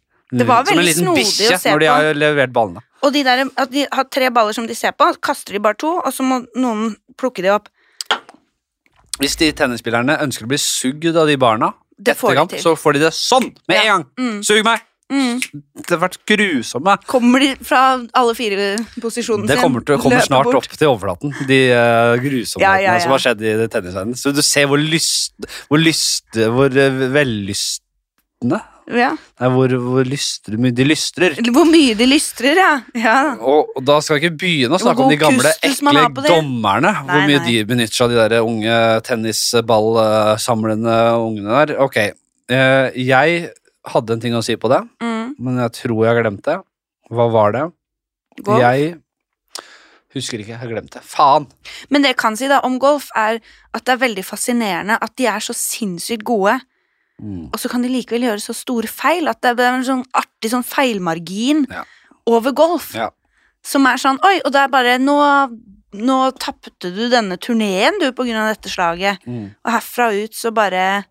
Det var
Som en
veldig
liten
snodig
bikkje
å se
når de
på.
har levert ballene.
Og de der, at de har tre baller som de ser på, kaster de bare to, og så må noen plukke de opp.
Hvis de tennisspillerne ønsker å bli sugd av de barna,
Det får de
etterkant,
til.
så får de det sånn med en gang.
Mm,
Sug meg!
mm.
Det har vært grusomme.
Kommer de fra alle fire posisjonene
Det kommer, til, kommer
løper
snart
bort.
opp til overflaten, de eh, grusomhetene
Ja, ja, ja.
som har skjedd i tennisverdenen. Så du ser hvor lyst, hvor lyst, hvor eh, vellystne
Ja.
Nei, hvor, hvor lystrer mye De lystrer.
Hvor mye de lystrer, ja. ja.
Og, og da skal jeg ikke begynne å snakke om
god
de gamle,
kustus man
ekle
har på det.
dommerne. hvor
Nei,
mye
nei.
de benytter seg av de der unge tennisballsamlende ungene der. Ok, eh, jeg hadde en ting å si på det,
Mm.
men jeg tror jeg glemte det. Hva var det?
Golf.
Jeg husker ikke. Jeg har glemt det. Faen!
Men det jeg kan si da om golf, er at det er veldig fascinerende at de er så sinnssykt gode, og så kan de likevel gjøre så store feil at det er en sånn artig sånn feilmargin
Ja.
over golf.
Ja.
Som er sånn Oi, og det er bare Nå, nå tapte du denne turneen, du, på grunn av dette slaget. Og herfra og ut så bare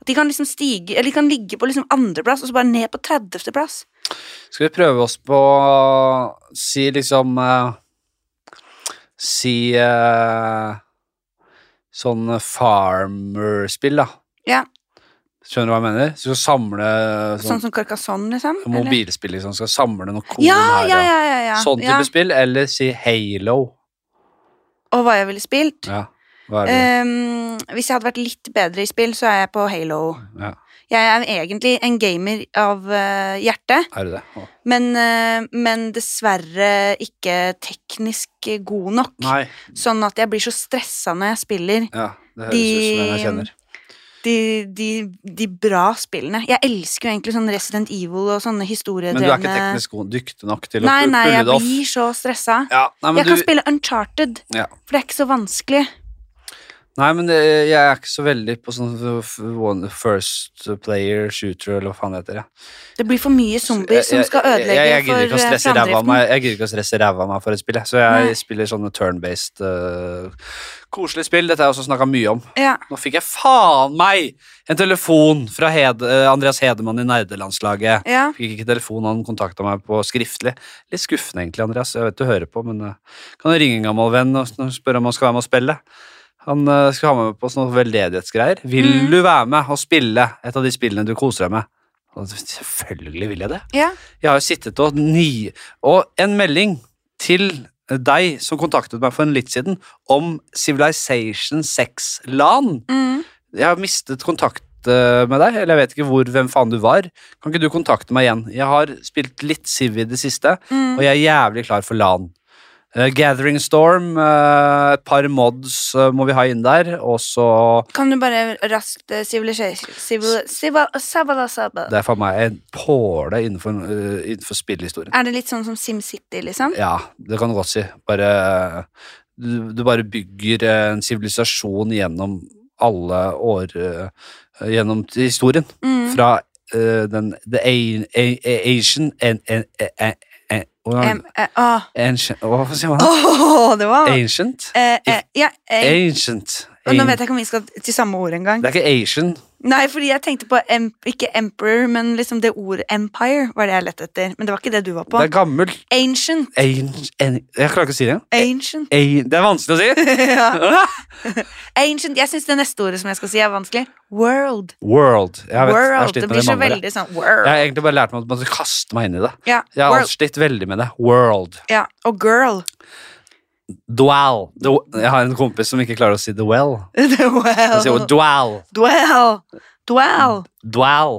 At de kan liksom stige Eller de kan ligge på liksom andreplass, og så bare ned på 30. plass.
Skal vi prøve oss på Si liksom eh, Si eh, sånn farmerspill, da.
Ja.
Skjønner du hva jeg mener? Så skal samle
Sånn
sånn,
som Carcassonne, liksom. eller?
mobilspill, liksom. Skal samle noen korn
Ja,
her.
ja,
da.
ja, ja, ja.
Sånn type
ja.
spill, eller si Halo.
Og hva jeg ville spilt.
Ja. Hva er det?
Ehm, hvis jeg hadde vært litt bedre i spill, så er jeg på Halo.
Ja.
Jeg er egentlig en gamer av eh, hjerte,
er det det? Å.
men, eh, men dessverre ikke teknisk god nok.
Nei.
Sånn at jeg blir så stressa når jeg spiller
Ja, det høres ut som en jeg
de,
kjenner.
de, de, de bra spillene. Jeg elsker jo egentlig sånn Resident Evil og sånne historiedrevne
Men du er ikke teknisk god, dyktig nok til å
Nei, nei,
pulle
jeg
det off.
blir så stressa.
Ja, nei, men
Jeg kan
du-
spille Uncharted,
Ja.
for det er ikke så vanskelig.
Nei, men det, jeg er ikke så veldig på sånn f- one, first player shooter, eller hva faen det heter. Ja.
Det blir for mye zombier som skal ødelegge
jeg, jeg, jeg gidder ikke å
for eh,
stresse ræva av
framdriften.
meg, jeg gidder ikke å stresse ræva av meg for et spill, jeg. så jeg
Nei.
spiller sånne turn-based eh, Koselige spill. Dette har jeg også snakka mye om.
Ja.
Nå fikk jeg faen meg en telefon fra Hed, eh, Andreas Hedemann i nerdelandslaget.
Ja.
Fikk ikke telefon, han kontakta meg på skriftlig. Litt skuffende egentlig, Andreas. Jeg vet du hører på, men eh, kan du ringe en gammel venn og s- og spørre om han skal være med og spille? Han eh, skal ha med meg på sånne veldedighetsgreier. Vil
Mm.
du være med og spille et av de spillene du koser deg med? Og Selvfølgelig vil jeg det.
Ja.
Jeg har jo sittet og ni... Og en melding til deg som kontaktet meg for en litt siden om Civilization 6-LAN.
Mm.
Jeg har mistet kontakt eh, med deg, eller jeg vet ikke hvor, hvem faen du var. Kan ikke du kontakte meg igjen? Jeg har spilt litt Civ i det siste,
Mm.
og jeg er jævlig klar for LAN. Eh, Gathering Storm, eh, et par mods eh, må vi ha inn der, og så
Kan du bare raskt eh, civilisation civil, civil, sabala, sabala.
Det er for meg en påle innenfor, eh, innenfor spillhistorien.
Er det litt sånn som SimCity, liksom?
Ja, det kan du godt si. Bare, du, du bare bygger eh, en sivilisasjon gjennom alle år eh, Gjennom historien.
Mm.
Fra eh, den The A- A- A- Asian and, and, and, and,
Em, eh, ah.
Ancient Hva sier man?
Åh, det var
Ancient?
eh, eh, Ja, eh,
Ancient.
og nå vet jeg ikke om vi skal til samme ord engang.
Det er ikke Asian.
Nei, fordi jeg tenkte på em, ikke emperor, men liksom det ordet empire var det jeg lette etter. Men det var ikke det du var på.
Det er gammelt.
Ancient.
Ancient Jeg klarer ikke å si det.
Ancient.
A det er vanskelig å si.
(laughs) ja. Ancient. Jeg syns det neste ordet som jeg skal si, er vanskelig. World.
World. Jeg, vet, jeg har
World.
slitt med
Det
det
blir
i
så
mange år.
veldig sånn world.
Jeg har egentlig bare lært meg at man skal kaste meg inn i det.
Ja,
Jeg har
world.
slitt veldig med det. World.
Ja, og girl.
Dwell. Dw- Jeg har en kompis som ikke klarer å si the well.
(laughs)
Han sier jo Mm.
Dwell.
dwell.
Dwell. Dwell.
Dwell.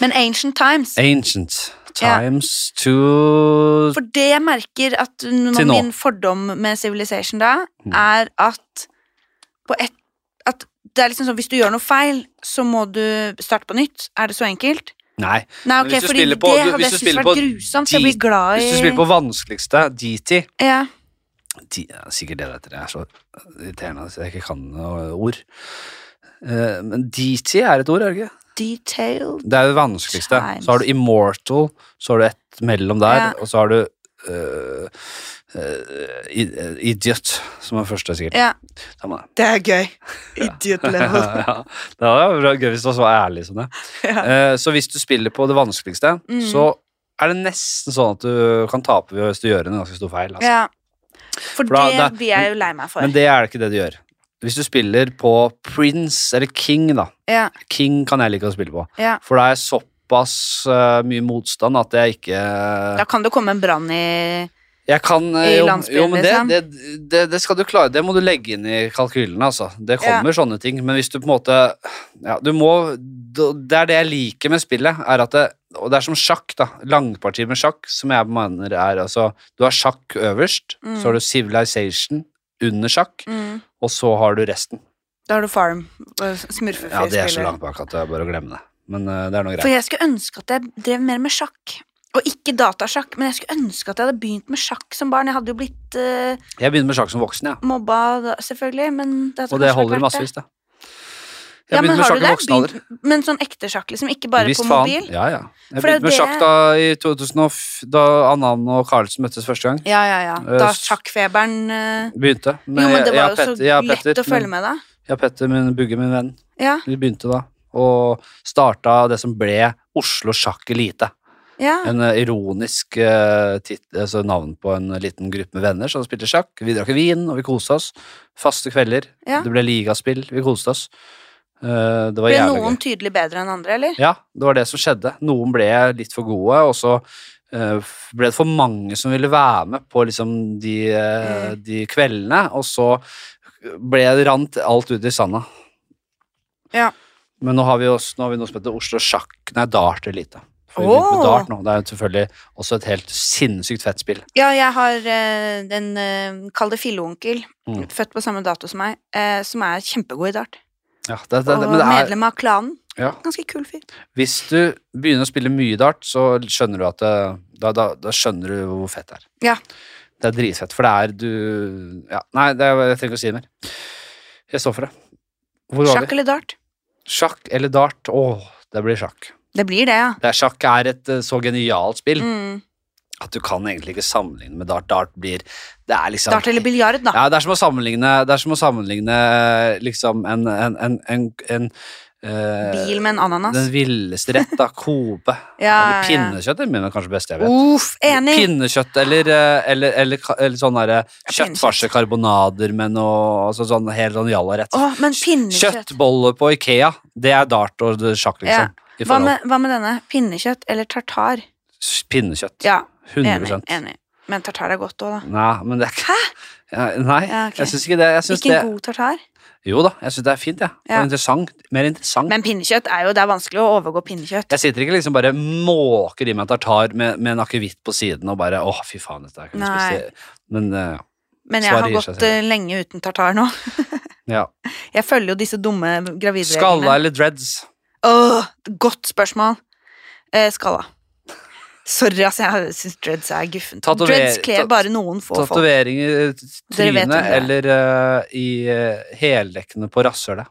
Men ancient times.
Ancient
Ja.
times to
For det jeg merker at n-
Til nå. Mm.
min fordom med Civilization da, er at på et, at det er liksom sånn, hvis du gjør noe feil, så må du starte på nytt. Er det så enkelt?
Nei.
Nei,
Men
ok,
hvis du
fordi
spiller
det
på- du-
hadde
hvis
jeg
du
syntes
spiller
vært
på
grusomt. så Jeg blir
de-
glad i
Hvis du spiller på vanskeligste, DT
Ja.
D- ja, Sikkert det det heter. Jeg er så irriterende at jeg ikke kan noe ord. Eh, Men DT er et ord, er det ikke?
Detailed.
Det er det vanskeligste.
Times.
Så har du Immortal, så har du et mellom der,
Ja.
og så har du øh, øh, i- øh, Idiot, som er første, sikkert.
Ja.
Samme det.
Det er (laughs) gøy. Idiot
(laughs)
level.
ja, det hadde vært gøy hvis du var så ærlig som det. Eh, så hvis du spiller på det vanskeligste,
Mm.
så er det nesten sånn at du kan tape hvis du gjør en ganske stor feil. Altså.
(laughs) Ja.
For
For,
da- da-
det blir jeg jo lei meg for.
Men det er det ikke det du gjør. Hvis du spiller på Prince, eller King, da.
ja,
King kan jeg like å spille på.
ja.
For det er såpass øh, mye motstand at jeg ikke
Da kan det komme en brann i
Jeg kan eh,
I
jo,
landsbyen,
jo, men det,
liksom.
det, det, det skal du klare. Det må du legge inn i kalkylene, altså. Det kommer sånne ting, men hvis du på en måte Ja, du må Det er det jeg liker med spillet, er at det Og det er som sjakk, da. Langpartier med sjakk, som jeg mener er altså Du har sjakk øverst,
Mm.
så har du Civilization under sjakk,
Mm.
og så har du resten.
Da har du Farm. og Smurfefri
Ja, det er så
spiller.
langt bak at det er bare å glemme det. Men eh, det er noe
For
greit.
jeg skulle ønske at jeg drev mer med sjakk. Og ikke datasjakk, men jeg skulle ønske at jeg hadde begynt med sjakk som barn. Jeg hadde jo blitt eh,
Jeg begynner med sjakk som voksen, jeg.
mobba, da, selvfølgelig, men det hadde
Og det
kanskje
holder i
vært verdt
massevis, det.
Ja,
Jeg
men
begynte med
har
sjakk
du
i
det?
voksen alder.
Begynt- Men sånn ekte sjakk, liksom. Ikke bare
Visst
på
faen.
mobil.
Ja, ja. Jeg
For det er
begynte med
det-
sjakk da i 2000, da Annan og Carlsen møttes første gang.
Ja, ja, ja.
Eh,
Da
s-
sjakkfeberen eh,
Begynte.
Jo, men det
jeg- jeg
var
og
jo så
Petter- jeg og Petter,
lett å følge
min-
med, da.
Jeg og Petter, min Bugge, min venn,
Ja,
vi begynte da. Og starta det som ble Oslo Sjakk Elite.
ja.
En eh, ironisk eh, tit altså navn på en liten gruppe med venner som spilte sjakk. Vi drakk vin, og vi koste oss. Faste kvelder.
Ja.
Det ble ligaspill. Vi koste oss. Eh, det var
Ble
jævlig gøy.
noen tydelig bedre enn andre, eller?
Ja, det var det som skjedde. Noen ble litt for gode, og så eh, ble det for mange som ville være med på liksom de, eh,
Mm.
de kveldene, og så ble det rant alt ut i sanda.
Ja.
Men nå har vi, også, nå har vi noe som heter Oslo Sjakk Nei, Dart Elite. For vi
Åh!
begynte med Dart nå. Det er jo selvfølgelig også et helt sinnssykt fett spill.
Ja, jeg har eh, en eh, Kall det filleonkel,
Mm.
født på samme dato som meg, eh, som er kjempegod i dart.
Ja, det, det,
Og
det, men det er,
medlem av klanen.
Ja.
Ganske kul fyr.
hvis du begynner å spille mye dart, så skjønner du at det, da, da, da skjønner du hvor fett det er.
Ja.
Det er dritfett, for det er du ja, Nei, det er, jeg trenger ikke å si det mer. Jeg står for det. Hvor var
Sjakk eller dart?
vi? Sjakk eller dart? Åh, det blir sjakk.
Det blir det, ja.
Det er, sjakk er et eh, så genialt spill
Mm.
at du kan egentlig ikke sammenligne med dart. Dart blir Det er liksom
Dart eller biljard, da.
ja, det er som å sammenligne, det er som å sammenligne eh, liksom en, en, en, en, en eh,
Bil med en
Den
ananas.
villeste rett, da. Kobe.
(laughs) Ja,
eller
ja, ja.
pinnekjøtt er mine kanskje beste jeg vet.
Uff, enig!
Pinnekjøtt eller, eh, eller, eller, ka- eller sånn derre
pinnekjøtt.
kjøttfarsekarbonader med noe altså sånn helt sånn jallarett.
Åh, men pinnekjøtt.
Kjøttboller på Ikea, det er dart og det- sjakk,
Ja.
liksom. I
Hva
forhold
med, hva med denne? Pinnekjøtt eller tartar?
S- Pinnekjøtt.
Ja, enig.
100
enig. Men tartar er godt òg, da.
Nei, men det er ikke Ja, Nei,
Ja, ok.
jeg syns ikke det. Jeg synes
Ikke
det
en god tartar.
jo da, jeg syns det er fint, jeg.
Ja.
Og interessant. Mer interessant.
Men pinnekjøtt er jo Det er vanskelig å overgå pinnekjøtt.
Jeg sitter ikke liksom bare måker i meg tartar med, med en akevitt på siden og bare åh, fy faen, dette her kan vi
Nei.
spise. Men eh,
Men jeg har
svaret gir seg
gått eh, lenge uten tartar nå.
ja.
Jeg følger jo disse dumme
Skalla
gravidreglene.
eller dreads?
Åh, godt spørsmål. Eh, skalla. Sorry, altså. Jeg syns dreads er guffen.
Tatover-
Dreads kler
tat-
bare noen få folk.
Tatoveringer i
Dere vet om
trynet
det.
eller eh, i eh, heldekkene på rasshølet?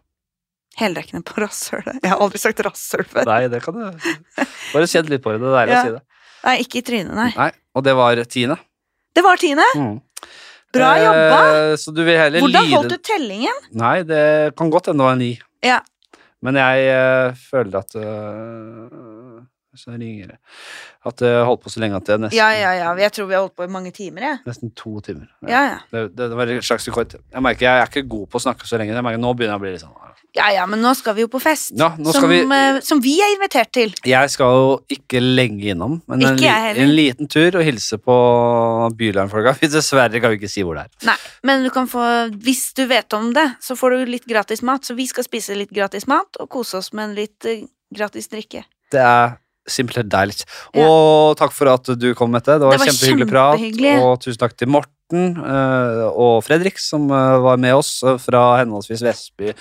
Heldekkende på rasshølet. Jeg har aldri sagt rasshøl før.
Nei, det kan du (laughs) Bare kjenn litt på det. Det er deilig
Ja.
å si det.
Nei, ikke i trynet, nei.
Nei, og det var tiende.
Det var tiende!
Mm.
Bra
Eh,
jobba!
så du vil heller
Hvordan
lide
holdt du tellingen?
Nei, det kan godt hende det var en ni.
Ja.
Men jeg eh, føler at eh, Så ringer det At det holdt på så lenge at det er nesten,
Ja, ja, ja. Jeg tror vi har holdt på i mange timer, jeg.
nesten to timer.
Ja, ja.
Det, det, det var en slags rekord. Jeg merker jeg er ikke god på å snakke så lenge. Jeg merker, nå begynner jeg å bli litt sånn
Ja, ja, men nå skal vi jo på fest.
Ja, nå skal
som,
vi-
eh, som vi er invitert til.
Jeg skal jo ikke lenge innom, men en,
Ikke
li-
jeg heller.
en liten tur og hilse på Bylarm-folka. Vi Dessverre kan vi ikke si hvor det er.
Nei, men du kan få Hvis du vet om det, så får du litt gratis mat. Så vi skal spise litt gratis mat og kose oss med en litt eh, gratis drikke.
Det er simpelthen deilig.
Ja.
Og takk for at du kom, Mette. Det var,
Det var
kjempehyggelig
kjempehyggelig.
prat. Og tusen takk til Morten eh, og Fredrik, som eh, var med oss eh, fra henholdsvis Vestby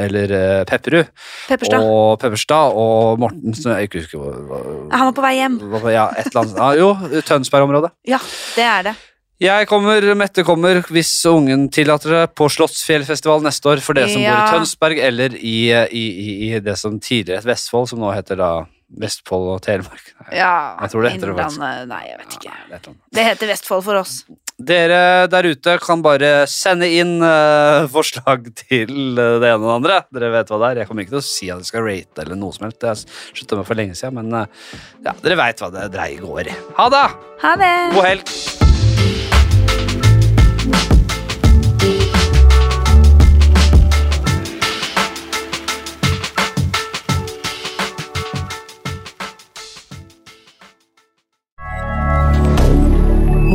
eller eh, Pepperud.
Pepperstad.
Og Pepperstad og Morten som jeg ikke husker hvor- hvor-
Han var på vei hjem.
hva- hva- Ja, et eller annet. Ah, jo, Tønsberg-området.
Ja, det er det.
Jeg kommer, Mette kommer, hvis ungen tillater det, på Slottsfjellfestival neste år for dere som bor
Ja.
i Tønsberg, eller i, i, i, i det som tidligere het Vestfold, som nå heter da Vestfold og Telemark. Nei,
Ja,
Jeg tror det heter det faktisk.
Innlandet- Nei, jeg vet ikke.
nei, det er et eller annet.
Det heter Vestfold for oss.
Dere der ute kan bare sende inn eh, forslag til eh, det ene og det andre. Dere vet hva det er. Jeg kommer ikke til å si at jeg skal rate eller noe som helst. Det har jeg slutta med for lenge siden, men eh, ja, dere veit hva det dreier går i. Ha det!
Ha det!
God helg!
moderne